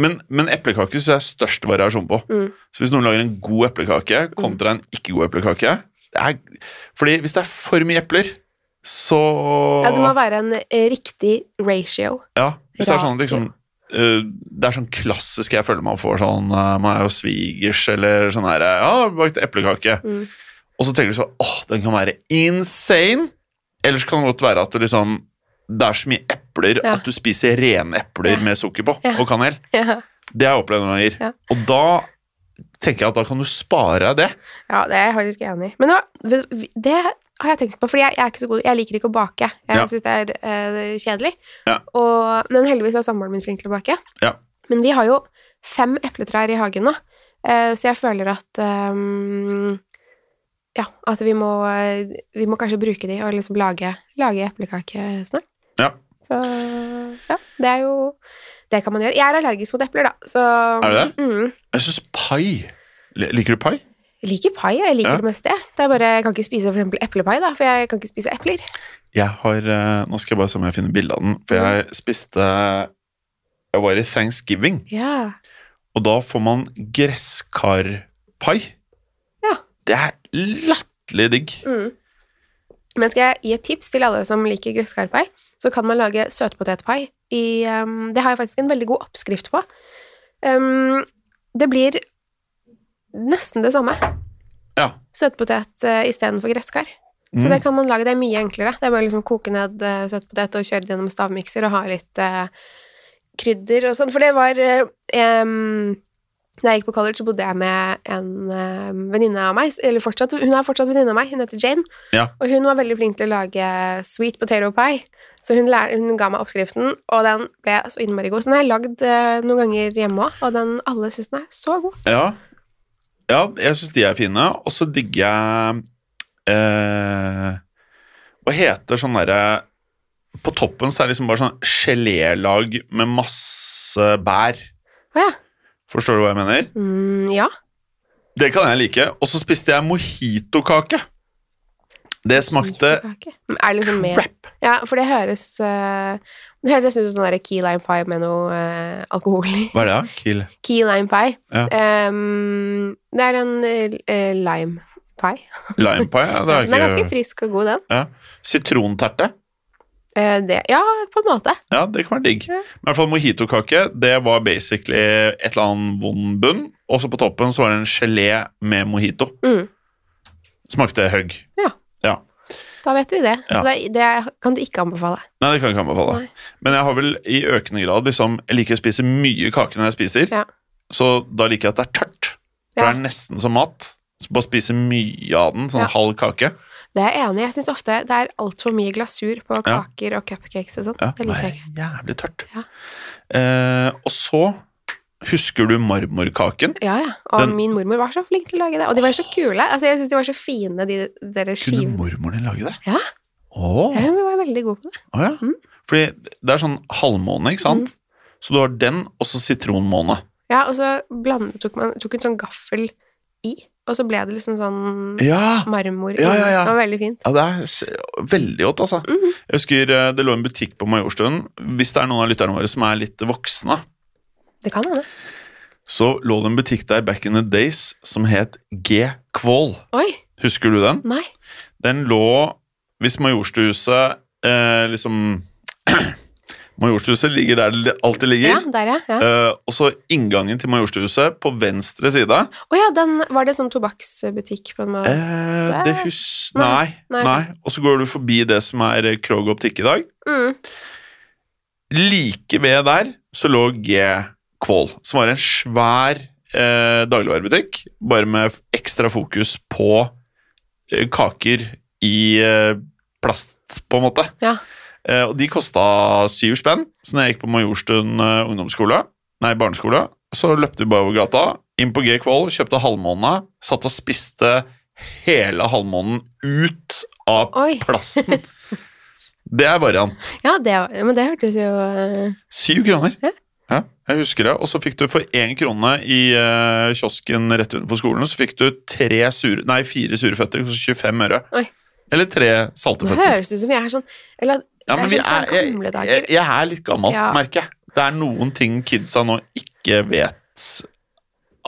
Speaker 2: men, men eplekake syns jeg er størst variasjon på.
Speaker 1: Mm.
Speaker 2: Så hvis noen lager en god eplekake kontra en ikke god eplekake det er, Fordi hvis det er for mye epler, så
Speaker 1: Ja, det må være en eh, riktig ratio.
Speaker 2: Ja, hvis det er sånn
Speaker 1: Ratio.
Speaker 2: liksom eh, det er sånn klassisk jeg føler man får sånn eh, Man er jo svigers eller sånn her eh, Ja, bakt eplekake.
Speaker 1: Mm.
Speaker 2: Og så tenker du sånn Åh, den kan være insane! Ellers kan det godt være at du liksom Det er så mye epler
Speaker 1: Ja.
Speaker 2: at du spiser rene epler
Speaker 1: Ja.
Speaker 2: med sukker på
Speaker 1: Ja.
Speaker 2: og kanel.
Speaker 1: Ja,
Speaker 2: Det har jeg opplevd noen ganger.
Speaker 1: Ja.
Speaker 2: Og da tenker jeg at da kan du spare deg det.
Speaker 1: ja det er jeg faktisk enig i. Men det, var- det har jeg tenkt på, fordi jeg, jeg er ikke så god Jeg liker ikke å bake. Jeg
Speaker 2: Ja.
Speaker 1: syns det er eh, kjedelig.
Speaker 2: Ja.
Speaker 1: Og, men heldigvis er samboeren min flink til å bake.
Speaker 2: Ja.
Speaker 1: Men vi har jo fem epletrær i hagen nå, eh, så jeg føler at ehm, ja, at vi må, eh, vi må kanskje bruke de og liksom lage, lage eplekake snart.
Speaker 2: Ja.
Speaker 1: Så, ja, det er jo Det kan man gjøre. Jeg er allergisk mot epler, da, så
Speaker 2: Er du det?
Speaker 1: Mm.
Speaker 2: Jeg syns pai Li- Liker du pai?
Speaker 1: Jeg liker pai, jeg liker
Speaker 2: Ja.
Speaker 1: det meste. jeg. Det er bare, Jeg kan ikke spise for eksempel eplepai, da, for jeg kan ikke spise epler.
Speaker 2: Jeg har eh, Nå skal jeg bare se om jeg finner bilde av den,
Speaker 1: Mm.
Speaker 2: for jeg spiste Jeg var i thanksgiving,
Speaker 1: Ja,
Speaker 2: og da får man gresskarpai.
Speaker 1: Ja.
Speaker 2: Det er latterlig digg.
Speaker 1: mm. Men skal jeg gi et tips til alle som liker gresskarpai, så kan man lage søtpotetpai i um, Det har jeg faktisk en veldig god oppskrift på. Um, det blir nesten det samme.
Speaker 2: Ja.
Speaker 1: Søtpotet uh, istedenfor gresskar. Så
Speaker 2: Mm.
Speaker 1: det kan man lage, det er mye enklere. Det er bare å liksom koke ned uh, søtpotet og kjøre det gjennom stavmikser og ha litt eh, krydder og sånn. For det var eh, em, Da jeg gikk på college, så bodde jeg med en eh, venninne av meg, eller fortsatt, hun er fortsatt venninne av meg, hun heter Jane,
Speaker 2: Ja.
Speaker 1: og hun var veldig flink til å lage sweet potato pie. Så hun, lær, hun ga meg oppskriften, og den ble så innmari god. Så den har jeg lagd eh, noen ganger hjemme òg, og den alle syns den er så god.
Speaker 2: Ja, ja jeg syns de er fine. Og så digger jeg eh, Hva heter sånn derre På toppen så er det liksom bare sånn gelélag med masse bær.
Speaker 1: Å ja.
Speaker 2: Forstår du hva jeg mener?
Speaker 1: Mm, ja.
Speaker 2: Det kan jeg like. Og så spiste jeg mojitokake. Det smakte
Speaker 1: Smakekake. Er det liksom mer
Speaker 2: crap.
Speaker 1: Ja, for det høres eh, Det høres nesten ut som sånn der key lime pie med noe eh, alkohol i.
Speaker 2: Hva er det, da? Kiel?
Speaker 1: Key lime pie.
Speaker 2: Ja.
Speaker 1: Ehm, det er en eh, lime pie.
Speaker 2: Lime pie? Ja, det
Speaker 1: Den er
Speaker 2: er
Speaker 1: ganske
Speaker 2: ikke
Speaker 1: frisk og god, den.
Speaker 2: Sitronterte?
Speaker 1: Eh, det, ja, på en måte.
Speaker 2: Ja, det kan være digg.
Speaker 1: Ja.
Speaker 2: Men i hvert fall mojitokake, det var basically et eller annet vond bunn, og så på toppen så var det en gelé med mojito.
Speaker 1: Mm,
Speaker 2: Smakte hugg.
Speaker 1: da vet vi det.
Speaker 2: Ja.
Speaker 1: Så det, det kan du ikke anbefale.
Speaker 2: Nei, det kan jeg ikke anbefale.
Speaker 1: Nei.
Speaker 2: Men jeg har vel i økende grad liksom Jeg liker å spise mye kake når jeg spiser,
Speaker 1: Ja.
Speaker 2: så da liker jeg at det er tørt. For
Speaker 1: Ja.
Speaker 2: det er nesten som mat. Så bare spise mye av den, sånn
Speaker 1: Ja.
Speaker 2: halv kake.
Speaker 1: Det er jeg enig i. Jeg syns ofte det er altfor mye glasur på
Speaker 2: Ja.
Speaker 1: kaker og cupcakes og sånn.
Speaker 2: Ja,
Speaker 1: Det liker jeg ikke.
Speaker 2: nei, Jævlig tørt.
Speaker 1: Ja.
Speaker 2: Eh, og så Husker du marmorkaken?
Speaker 1: Ja, ja. Og
Speaker 2: Den-
Speaker 1: min mormor var så flink til å lage det. Og de var så kule. Altså, jeg syns de var så fine, de der
Speaker 2: Kunne
Speaker 1: skivene.
Speaker 2: mormoren din lage det?
Speaker 1: Ja.
Speaker 2: Åh.
Speaker 1: Ja, Hun var veldig god på det.
Speaker 2: Å ja.
Speaker 1: Mm.
Speaker 2: Fordi det er sånn halvmåne, ikke sant? Så du har den, og så sitronmåne.
Speaker 1: Ja, og så blandet, tok, man, tok en sånn gaffel i, og så ble det liksom sånn
Speaker 2: Ja!
Speaker 1: marmor.
Speaker 2: Ja,
Speaker 1: i.
Speaker 2: ja, ja.
Speaker 1: Det var veldig fint.
Speaker 2: det er s- veldig godt, altså.
Speaker 1: Mhm.
Speaker 2: Jeg husker eh, det lå en butikk på Majorstuen. Hvis det er noen av lytterne våre som er litt voksne,
Speaker 1: Det kan hende.
Speaker 2: så lå det en butikk der back in the days som het G. Kvål.
Speaker 1: Oi,
Speaker 2: Husker du den?
Speaker 1: nei.
Speaker 2: Den lå Hvis Majorstuhuset eh, liksom Majorstuhuset ligger der det alltid ligger.
Speaker 1: Ja, der, ja. ja.
Speaker 2: Eh, og så inngangen til Majorstuhuset på venstre side
Speaker 1: Å ja, den, var det sånn tobakksbutikk på en måte?
Speaker 2: eh,
Speaker 1: Der.
Speaker 2: Det hus... Nei,
Speaker 1: Nei,
Speaker 2: nei.
Speaker 1: nei.
Speaker 2: Og så går du forbi det som er Krog Optikk i dag.
Speaker 1: Mm.
Speaker 2: Like ved der så lå G Kvål, som var en svær eh, dagligvarebutikk, bare med f- ekstra fokus på eh, kaker i eh, plast, på en måte.
Speaker 1: Ja.
Speaker 2: Eh, og de kosta syv spenn, så når jeg gikk på Majorstuen eh, ungdomsskole, nei, barneskole, så løpte vi bare over gata, inn på G Kvål, kjøpte halvmåne, satt og spiste hele halvmånen ut av
Speaker 1: Oi.
Speaker 2: plasten. Det er variant.
Speaker 1: Ja, det, var- men det hørtes jo eh,
Speaker 2: Syv kroner.
Speaker 1: Ja.
Speaker 2: Ja, jeg husker det. Og så fikk du for én krone i eh, kiosken rett utenfor skolen, så fikk du tre sure, nei, fire sure føtter, altså 25 øre.
Speaker 1: Oi.
Speaker 2: Eller tre salte
Speaker 1: Det
Speaker 2: føtter.
Speaker 1: høres ut som vi er sånn Eller at
Speaker 2: Ja, men
Speaker 1: det
Speaker 2: vi
Speaker 1: er sånn
Speaker 2: er,
Speaker 1: fra
Speaker 2: jeg,
Speaker 1: gamle dager.
Speaker 2: jeg, jeg er litt gammel,
Speaker 1: Ja.
Speaker 2: merker jeg. Det er noen ting kidsa nå ikke vet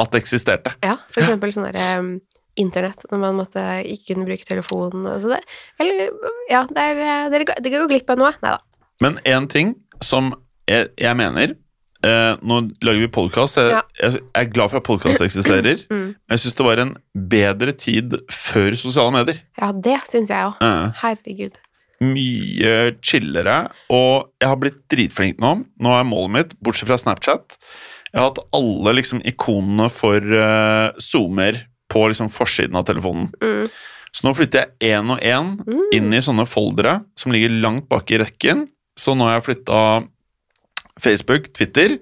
Speaker 2: at eksisterte.
Speaker 1: Ja, for eksempel sånn der um, internett, når man måtte ikke kunne bruke telefonen. Altså det, eller, ja, det er, eh, dere, går- dere går glipp av noe. Nei da.
Speaker 2: Men én ting som jeg, jeg mener eh, Nå lager vi podkast. Jeg,
Speaker 1: Ja.
Speaker 2: jeg er glad for at podkast eksisterer.
Speaker 1: Mm.
Speaker 2: Jeg syns det var en bedre tid før sosiale medier.
Speaker 1: Ja, det syns jeg òg.
Speaker 2: Eh.
Speaker 1: Herregud.
Speaker 2: mye chillere, og jeg har blitt dritflink nå. Nå er målet mitt, bortsett fra Snapchat Jeg har hatt alle liksom ikonene for eh, zoomer på liksom forsiden av telefonen.
Speaker 1: Mm.
Speaker 2: Så nå flytter jeg én og én
Speaker 1: Mm.
Speaker 2: inn i sånne foldere som ligger langt bak i rekken. Så nå har jeg flytta Facebook, Twitter,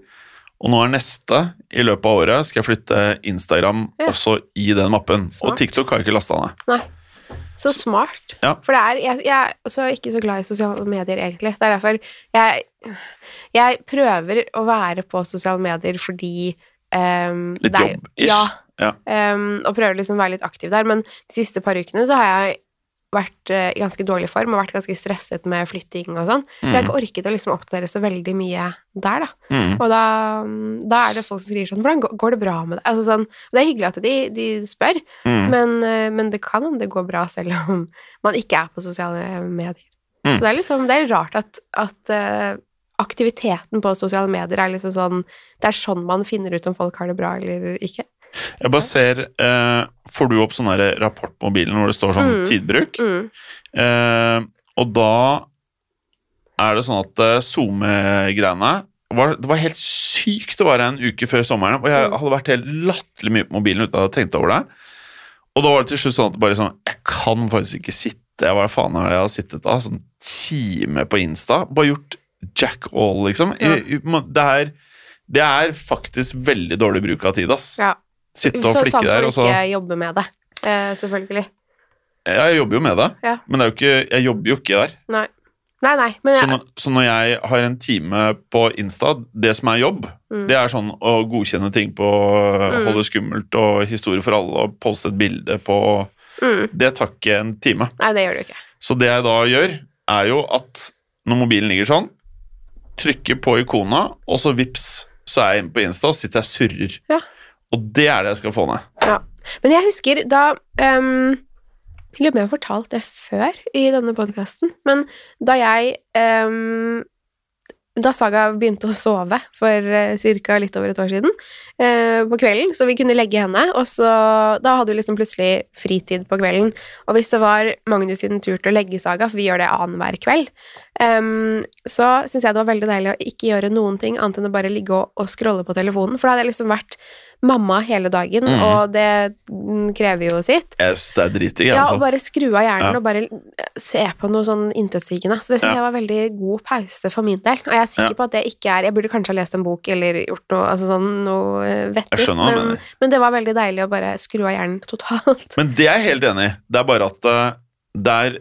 Speaker 2: og nå er neste i løpet av året skal jeg flytte Instagram
Speaker 1: Ja.
Speaker 2: også i den mappen.
Speaker 1: Smart.
Speaker 2: Og TikTok har jeg ikke lasta ned.
Speaker 1: Så smart.
Speaker 2: Ja.
Speaker 1: For det er, jeg, jeg er også ikke så glad i sosiale medier, egentlig. Det er derfor jeg, jeg prøver å være på sosiale medier fordi um,
Speaker 2: Litt
Speaker 1: det er-
Speaker 2: jobb-ish.
Speaker 1: Ja,
Speaker 2: Ja.
Speaker 1: um, og prøver liksom å være litt aktiv der. Men de siste par ukene så har jeg vært eh, i ganske dårlig form og vært ganske stresset med flytting og sånn. Så jeg har ikke orket å liksom oppdatere så veldig mye der, da.
Speaker 2: Mm.
Speaker 1: Og da, mm, da er det folk som sier sånn Hvordan går- går det bra med deg? Altså sånn, og det er hyggelig at de, de spør,
Speaker 2: Mm.
Speaker 1: men, eh, men det kan hende det går bra selv om man ikke er på sosiale medier.
Speaker 2: Mm.
Speaker 1: Så det er liksom Det er rart at, at eh, aktiviteten på sosiale medier er liksom sånn Det er sånn man finner ut om folk har det bra eller ikke.
Speaker 2: Jeg bare ser eh, Får du opp sånn her rapport på mobilen hvor det står sånn
Speaker 1: Mm.
Speaker 2: tidbruk?
Speaker 1: Mm.
Speaker 2: Eh, og da er det sånn at eh, SoMe-greiene var, Det var helt sykt å være en uke før sommeren, og jeg
Speaker 1: Mm.
Speaker 2: hadde vært helt latterlig mye på mobilen uten at jeg hadde tenkt over det. Og da var det til slutt sånn at det bare sånn Jeg kan faktisk ikke sitte Hva faen er det jeg har sittet av? Sånn time på Insta. Bare gjort jack all, liksom.
Speaker 1: Ja.
Speaker 2: I- i- må- Det, er, det er faktisk veldig dårlig bruk av tid, ass.
Speaker 1: Ja.
Speaker 2: Sitte og
Speaker 1: Så sant
Speaker 2: flikke der, altså.
Speaker 1: man
Speaker 2: og så
Speaker 1: ikke jobber med det, eh, selvfølgelig.
Speaker 2: Jeg jobber jo med det,
Speaker 1: Ja.
Speaker 2: men det er jo ikke, jeg jobber jo ikke der.
Speaker 1: Nei. Nei, nei, men
Speaker 2: Så, når, så når jeg har en time på Insta, det som er jobb,
Speaker 1: Mm.
Speaker 2: det er sånn å godkjenne ting på
Speaker 1: Mm.
Speaker 2: Holde skummelt og Historie for alle og poste et bilde på
Speaker 1: mm.
Speaker 2: Det tar ikke en time.
Speaker 1: Nei, det gjør du ikke.
Speaker 2: Så det jeg da gjør, er jo at når mobilen ligger sånn, trykker på ikona, og så vips, så er jeg inne på Insta og sitter jeg og surrer.
Speaker 1: Ja.
Speaker 2: Og det er det jeg skal få ned.
Speaker 1: Men jeg husker da um, Jeg lurer på om jeg har fortalt det før i denne podkasten, men da jeg ehm, Da Saga begynte å sove for ca. litt over et år siden, eh, på kvelden, så vi kunne legge henne, og så Da hadde vi liksom plutselig fritid på kvelden. Og hvis det var Magnus sin tur til å legge Saga, for vi gjør det annenhver kveld, ehm, så syns jeg det var veldig deilig å ikke gjøre noen ting annet enn å bare ligge og, og scrolle på telefonen, for da hadde jeg liksom vært mamma hele dagen,
Speaker 2: Mhm.
Speaker 1: og det mm, krever jo sitt.
Speaker 2: Jeg syns det er dritdigg.
Speaker 1: Ja, og
Speaker 2: altså.
Speaker 1: bare skru av hjernen
Speaker 2: Ja.
Speaker 1: og bare se på noe sånn intetsigende. Så det syns
Speaker 2: Ja.
Speaker 1: jeg var veldig god pause for min del. Og jeg er sikker
Speaker 2: Ja.
Speaker 1: på at det ikke er Jeg burde kanskje ha lest en bok eller gjort noe, altså sånn, noe eh, vettig.
Speaker 2: Jeg skjønner hva du
Speaker 1: men,
Speaker 2: mener.
Speaker 1: men det var veldig deilig å bare skru av hjernen totalt.
Speaker 2: Men det er jeg helt enig i. Det er bare at eh, der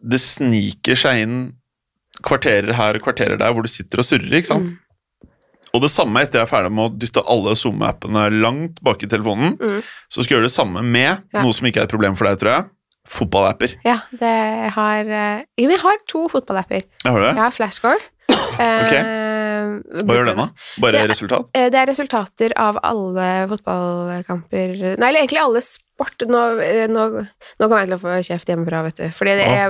Speaker 2: det sniker seg inn kvarterer her og kvarterer der hvor du sitter og surrer, ikke sant?
Speaker 1: Mm.
Speaker 2: Og det samme etter jeg er ferdig med å dytte alle SoMe-appene langt bak i telefonen,
Speaker 1: Mm.
Speaker 2: så skal jeg gjøre det samme med
Speaker 1: Ja.
Speaker 2: noe som ikke er et problem for deg, tror jeg. Fotballapper.
Speaker 1: Ja, det har eh, Jo, men jeg har to fotballapper.
Speaker 2: Jeg hører
Speaker 1: Jeg
Speaker 2: det.
Speaker 1: har eh, Flashscore.
Speaker 2: Hva gjør den, da? Bare
Speaker 1: Det er-
Speaker 2: resultat?
Speaker 1: Eh, Det er resultater av alle fotballkamper Nei, eller egentlig alle sp- bort Nå, eh, nå, nå kommer jeg til å få kjeft hjemmefra, vet du. Fordi det er,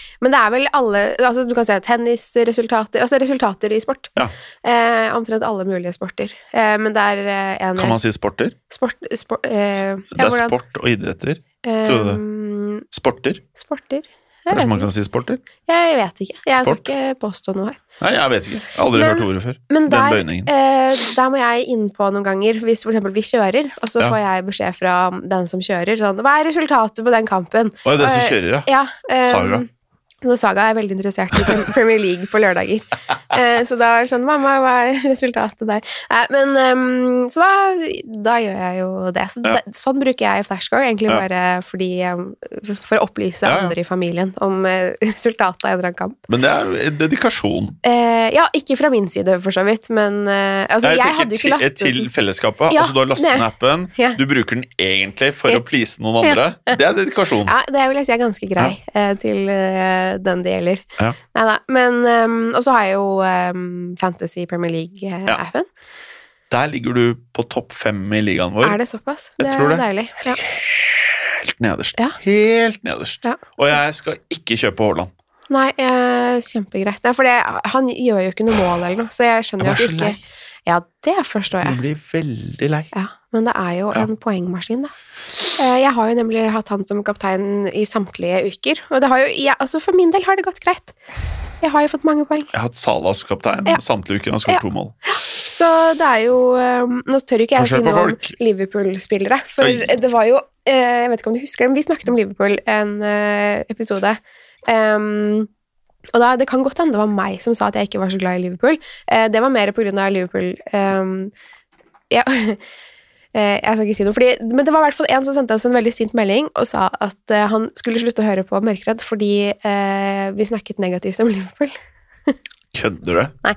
Speaker 1: men det er vel alle altså Du kan se tennisresultater Altså resultater i sport.
Speaker 2: Ja.
Speaker 1: Eh, omtrent alle mulige sporter. Eh, men det er eh, en
Speaker 2: Kan man si sporter?
Speaker 1: Sport, sport eh,
Speaker 2: Det er sport og idretter. tror du det?
Speaker 1: Um,
Speaker 2: Sporter.
Speaker 1: sporter? Jeg vet,
Speaker 2: Kanskje man
Speaker 1: ikke.
Speaker 2: kan si sporter?
Speaker 1: jeg vet ikke. Jeg skal
Speaker 2: Sport?
Speaker 1: ikke påstå noe her.
Speaker 2: Nei, jeg vet ikke. Jeg har aldri
Speaker 1: Men-
Speaker 2: hørt ordet før.
Speaker 1: Men
Speaker 2: Den
Speaker 1: der,
Speaker 2: bøyningen.
Speaker 1: eh, der må jeg inn på noen ganger, hvis for eksempel vi kjører, og så
Speaker 2: Ja.
Speaker 1: får jeg beskjed fra den som kjører, sånn, hva er resultatet på den kampen?
Speaker 2: Å, det er som
Speaker 1: eh,
Speaker 2: kjører, ja.
Speaker 1: Ja, eh,
Speaker 2: Saga.
Speaker 1: så Saga er veldig interessert i Prem- Premier League på lørdager. Eh, så da er det sånn, mamma, hva er resultatet der? Nei, men, ehm, så da, da gjør jeg jo det. Så
Speaker 2: Ja.
Speaker 1: det- sånn bruker jeg flashcore, egentlig
Speaker 2: Ja.
Speaker 1: bare fordi, ehm, for å opplyse
Speaker 2: Ja, ja.
Speaker 1: andre i familien om eh, resultatet av en eller annen kamp.
Speaker 2: Men det er jo dedikasjon.
Speaker 1: Eh, ja, ikke fra min side, for så vidt, men eh, altså,
Speaker 2: Nei,
Speaker 1: jeg,
Speaker 2: tenker
Speaker 1: hadde jo ikke
Speaker 2: til-
Speaker 1: lastet
Speaker 2: Til fellesskapet.
Speaker 1: Ja,
Speaker 2: altså, du har lastet
Speaker 1: det.
Speaker 2: ned appen,
Speaker 1: Ja.
Speaker 2: du bruker den egentlig for
Speaker 1: Ja.
Speaker 2: å please noen andre. Det er dedikasjon.
Speaker 1: Ja, det vil jeg si er ganske grei eh, til eh, den det gjelder.
Speaker 2: Ja.
Speaker 1: Neida, men ehm, Og så har jeg jo ehm, Fantasy Premier
Speaker 2: Ja.
Speaker 1: League-appen.
Speaker 2: Der ligger du på topp fem i ligaen vår.
Speaker 1: Er det såpass?
Speaker 2: Jeg
Speaker 1: det
Speaker 2: tror
Speaker 1: er
Speaker 2: det.
Speaker 1: deilig. Ja.
Speaker 2: Helt nederst.
Speaker 1: Ja.
Speaker 2: Helt nederst.
Speaker 1: Ja.
Speaker 2: Og jeg skal ikke kjøpe Haaland.
Speaker 1: Nei, eh, kjempegreit. Nei, for det, han gjør jo ikke noe mål eller noe, så jeg
Speaker 2: Jeg
Speaker 1: skjønner
Speaker 2: var
Speaker 1: jo
Speaker 2: så
Speaker 1: at
Speaker 2: lei.
Speaker 1: ikke Ja, det forstår
Speaker 2: Jeg
Speaker 1: jeg.
Speaker 2: blir veldig lei.
Speaker 1: Ja, men det er jo
Speaker 2: Ja.
Speaker 1: en poengmaskin, da. Eh, Jeg har jo nemlig hatt han som kaptein i samtlige uker, og det har jo ja, Altså, for min del har det gått greit. Jeg har jo fått mange poeng.
Speaker 2: Jeg har hatt Salah som kaptein
Speaker 1: Ja.
Speaker 2: samtlige uker. Han har skåret
Speaker 1: Ja.
Speaker 2: to mål.
Speaker 1: Så det er jo ehm, Nå tør jo ikke jeg
Speaker 2: Forskjell
Speaker 1: si
Speaker 2: på
Speaker 1: noe om
Speaker 2: folk.
Speaker 1: Liverpool-spillere, for
Speaker 2: Oi.
Speaker 1: det var jo eh, Jeg vet ikke om du husker det, men vi snakket om Liverpool en eh, episode. Ehm, og da, Det kan godt hende det var meg som sa at jeg ikke var så glad i Liverpool. Eh, det var mer på grunn av Liverpool ehm, jeg, eh, jeg skal ikke si noe, fordi, men det var i hvert fall en som sendte oss en veldig sint melding og sa at eh, han skulle slutte å høre på Mørkeredd fordi eh, vi snakket negativt om Liverpool.
Speaker 2: Kødder du?
Speaker 1: Nei.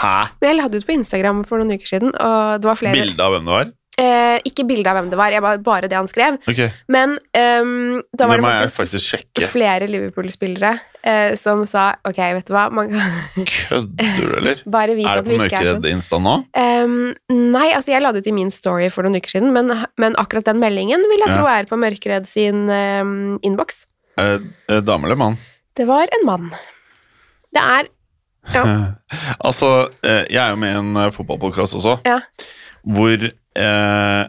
Speaker 2: Hæ?
Speaker 1: Men jeg la det ut på Instagram for noen uker siden, og det var flere
Speaker 2: Bilde av hvem det var?
Speaker 1: Eh, ikke bilde av hvem det var, jeg bare, bare det han skrev.
Speaker 2: Ok,
Speaker 1: Men ehm, da
Speaker 2: Det
Speaker 1: var det
Speaker 2: må jeg
Speaker 1: faktisk
Speaker 2: faktisk sjekke.
Speaker 1: flere Liverpool-spillere eh, som sa ok, vet du hva, man kan
Speaker 2: Kødder du, eller?
Speaker 1: bare vite
Speaker 2: Er
Speaker 1: at
Speaker 2: det på
Speaker 1: vi ikke er sånn.
Speaker 2: Mørkeredd-insta nå?
Speaker 1: Ehm, nei, altså jeg la det ut i min story for noen uker siden, men, men akkurat den meldingen vil jeg
Speaker 2: Ja.
Speaker 1: tro er på Mørkeredd sin um, innboks.
Speaker 2: Er det Eh, dame eller mann?
Speaker 1: Det var en mann. Det er
Speaker 2: Altså, eh, jeg er jo med i en eh, fotballpodkast også,
Speaker 1: Ja.
Speaker 2: hvor eh,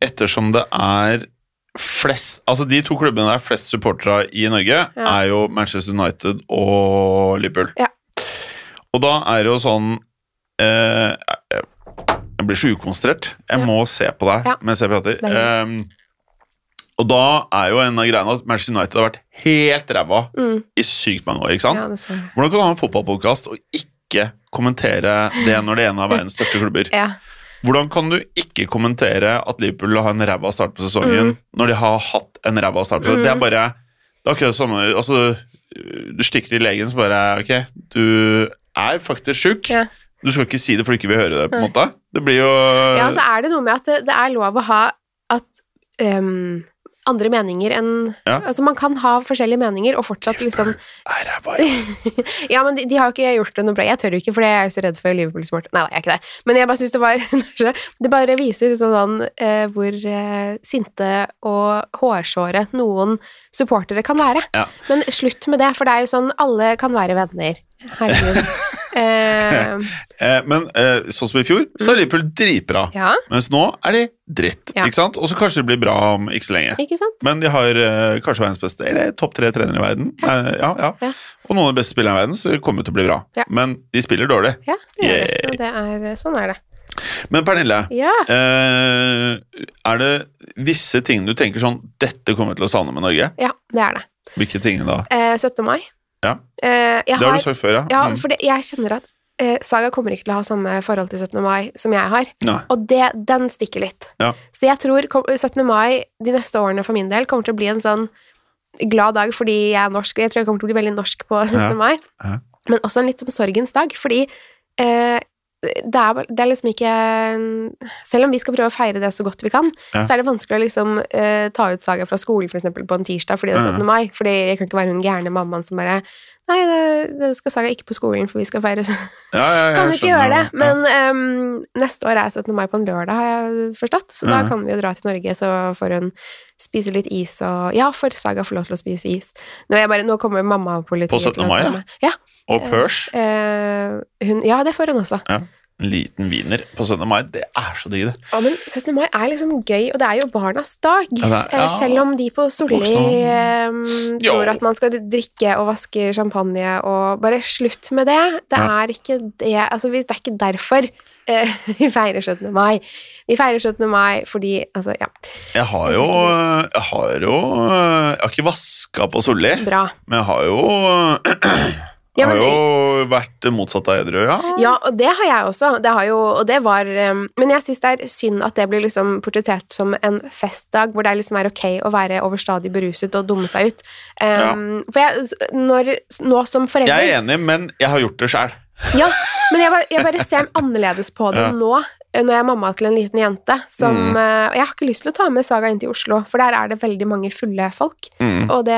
Speaker 2: ettersom det er flest Altså, de to klubbene det er flest supportere i Norge,
Speaker 1: Ja.
Speaker 2: er jo Manchester United og Liverpool.
Speaker 1: Ja.
Speaker 2: Og da er det jo sånn eh, Jeg jeg blir så ukonsentrert. Jeg
Speaker 1: Ja.
Speaker 2: må se på deg
Speaker 1: Ja.
Speaker 2: mens jeg prater.
Speaker 1: Det er greit.
Speaker 2: Ehm, og da er jo en av greiene at Manchester United har vært helt ræva
Speaker 1: mm,
Speaker 2: i sykt mange år. ikke sant?
Speaker 1: Ja, det så jeg.
Speaker 2: Hvordan kan du ha en fotballpodkast og ikke kommentere det når det er en av verdens største klubber?
Speaker 1: Ja.
Speaker 2: Hvordan kan du ikke kommentere at Liverpool har en ræva start på sesongen
Speaker 1: Mm.
Speaker 2: når de har hatt en ræva start? på sesongen? Det er bare Det er akkurat det samme altså, Du stikker til legen, så bare Ok, du er faktisk sjuk.
Speaker 1: Ja.
Speaker 2: Du skal ikke si det, for du ikke vil høre det. på en
Speaker 1: Nei.
Speaker 2: måte Det blir jo
Speaker 1: Ja, altså, så er det noe med at det, det er lov å ha at ehm, andre meninger enn
Speaker 2: Ja.
Speaker 1: Altså, man kan ha forskjellige meninger og fortsatt liksom
Speaker 2: Er ræva, ja.
Speaker 1: Ja, men de, de har jo ikke gjort det noe bra. Jeg tør jo ikke, for jeg er jo så redd for Liverpool-sport. Nei da, jeg er ikke det. Men jeg bare syns det var Det bare viser liksom sånn eh, hvor eh, sinte og hårsåre noen supportere kan være.
Speaker 2: Ja.
Speaker 1: Men slutt med det, for det er jo sånn alle kan være venner. Herregud. Eh,
Speaker 2: Eh, Men eh, sånn som i fjor, så er Liverpool dritbra.
Speaker 1: Mm. ja,
Speaker 2: Mens nå er de dritt.
Speaker 1: Ja.
Speaker 2: ikke sant? Og så kanskje det blir bra om ikke så lenge.
Speaker 1: ikke sant?
Speaker 2: Men de har eh, kanskje verdens beste, eller topp tre trenere i verden. Eh, ja, ja.
Speaker 1: Ja.
Speaker 2: Og noen av de beste spillerne i verden, så det kommer jo til å bli bra.
Speaker 1: Ja.
Speaker 2: Men de spiller dårlig.
Speaker 1: Ja, det er det.
Speaker 2: Yay.
Speaker 1: Og det er, sånn er det.
Speaker 2: Men Pernille,
Speaker 1: Ja.
Speaker 2: eh, er det visse ting du tenker sånn Dette kommer jeg til å savne med Norge?
Speaker 1: Ja, det er det.
Speaker 2: Hvilke ting da?
Speaker 1: Eh, 17. mai.
Speaker 2: Ja.
Speaker 1: Eh, jeg
Speaker 2: Det har
Speaker 1: har,
Speaker 2: du sagt før, ja.
Speaker 1: ja,
Speaker 2: Mm.
Speaker 1: for det, jeg kjenner at eh, Saga kommer ikke til å ha samme forhold til 17. mai som jeg har,
Speaker 2: Nei.
Speaker 1: og det, den stikker litt.
Speaker 2: Ja.
Speaker 1: Så jeg tror kom- 17. mai de neste årene for min del kommer til å bli en sånn glad dag fordi jeg er norsk, og jeg tror jeg kommer til å bli veldig norsk på 17.
Speaker 2: Ja.
Speaker 1: mai,
Speaker 2: Ja.
Speaker 1: men også en litt sånn sorgens dag, fordi eh, det er, vel- det er liksom ikke Selv om vi skal prøve å feire det så godt vi kan,
Speaker 2: Ja.
Speaker 1: så er det vanskelig å liksom eh, ta ut Saga fra skolen for eksempel på en tirsdag fordi det er
Speaker 2: Ja, ja.
Speaker 1: 17. mai. Fordi jeg kan ikke være hun gærne mammaen som bare Nei, det, det skal Saga ikke på skolen, for vi skal feire. Så
Speaker 2: Ja, ja, jeg
Speaker 1: kan jo ikke
Speaker 2: skjønner
Speaker 1: gjøre det.
Speaker 2: Ja.
Speaker 1: Men ehm, neste år er 17. mai på en lørdag, har jeg forstått. Så da
Speaker 2: Ja.
Speaker 1: kan vi jo dra til Norge, så får hun spise litt is og Ja, for Saga får lov til å spise is. Nå, er jeg bare, nå kommer mamma og politiet
Speaker 2: På 17. mai, ja?
Speaker 1: ja? Ja,
Speaker 2: Og pørs.
Speaker 1: eh, hun, ja, det får hun også.
Speaker 2: En liten wiener på 17. mai, det er så digg, det.
Speaker 1: Ja, men 17. mai er liksom gøy, og det er jo barnas dag.
Speaker 2: Ja, det er-
Speaker 1: Eh,
Speaker 2: ja.
Speaker 1: Selv om de på Solli
Speaker 2: Voksne. Mm.
Speaker 1: ehm,
Speaker 2: Ja.
Speaker 1: tror at man skal drikke og vaske champagne og Bare slutt med det. Det
Speaker 2: Ja.
Speaker 1: er ikke det Altså, vi- det er ikke derfor eh, vi feirer 17. mai. Vi feirer 17. mai fordi Altså, ja,
Speaker 2: Jeg har jo eh, Jeg har jo eh, Jeg har ikke vaska på Solli,
Speaker 1: bra.
Speaker 2: men jeg har jo Jeg
Speaker 1: Ja,
Speaker 2: har
Speaker 1: men-
Speaker 2: jo vært motsatt av edru, ja.
Speaker 1: Ja, og det har jeg også. Det har jo, og det var ehm, Men jeg syns det er synd at det blir liksom portrettert som en festdag hvor det liksom er ok å være overstadig beruset og dumme seg ut. Ehm, For jeg, når, nå som forelder
Speaker 2: Jeg er enig, men jeg har gjort det sjæl.
Speaker 1: Ja, men jeg bare, jeg bare ser annerledes på det
Speaker 2: Ja.
Speaker 1: nå, eh, når jeg er mamma til en liten jente. Som,
Speaker 2: Mm.
Speaker 1: eh, og jeg har ikke lyst til å ta med Saga inn til Oslo, for der er det veldig mange fulle folk.
Speaker 2: Mm.
Speaker 1: Og det,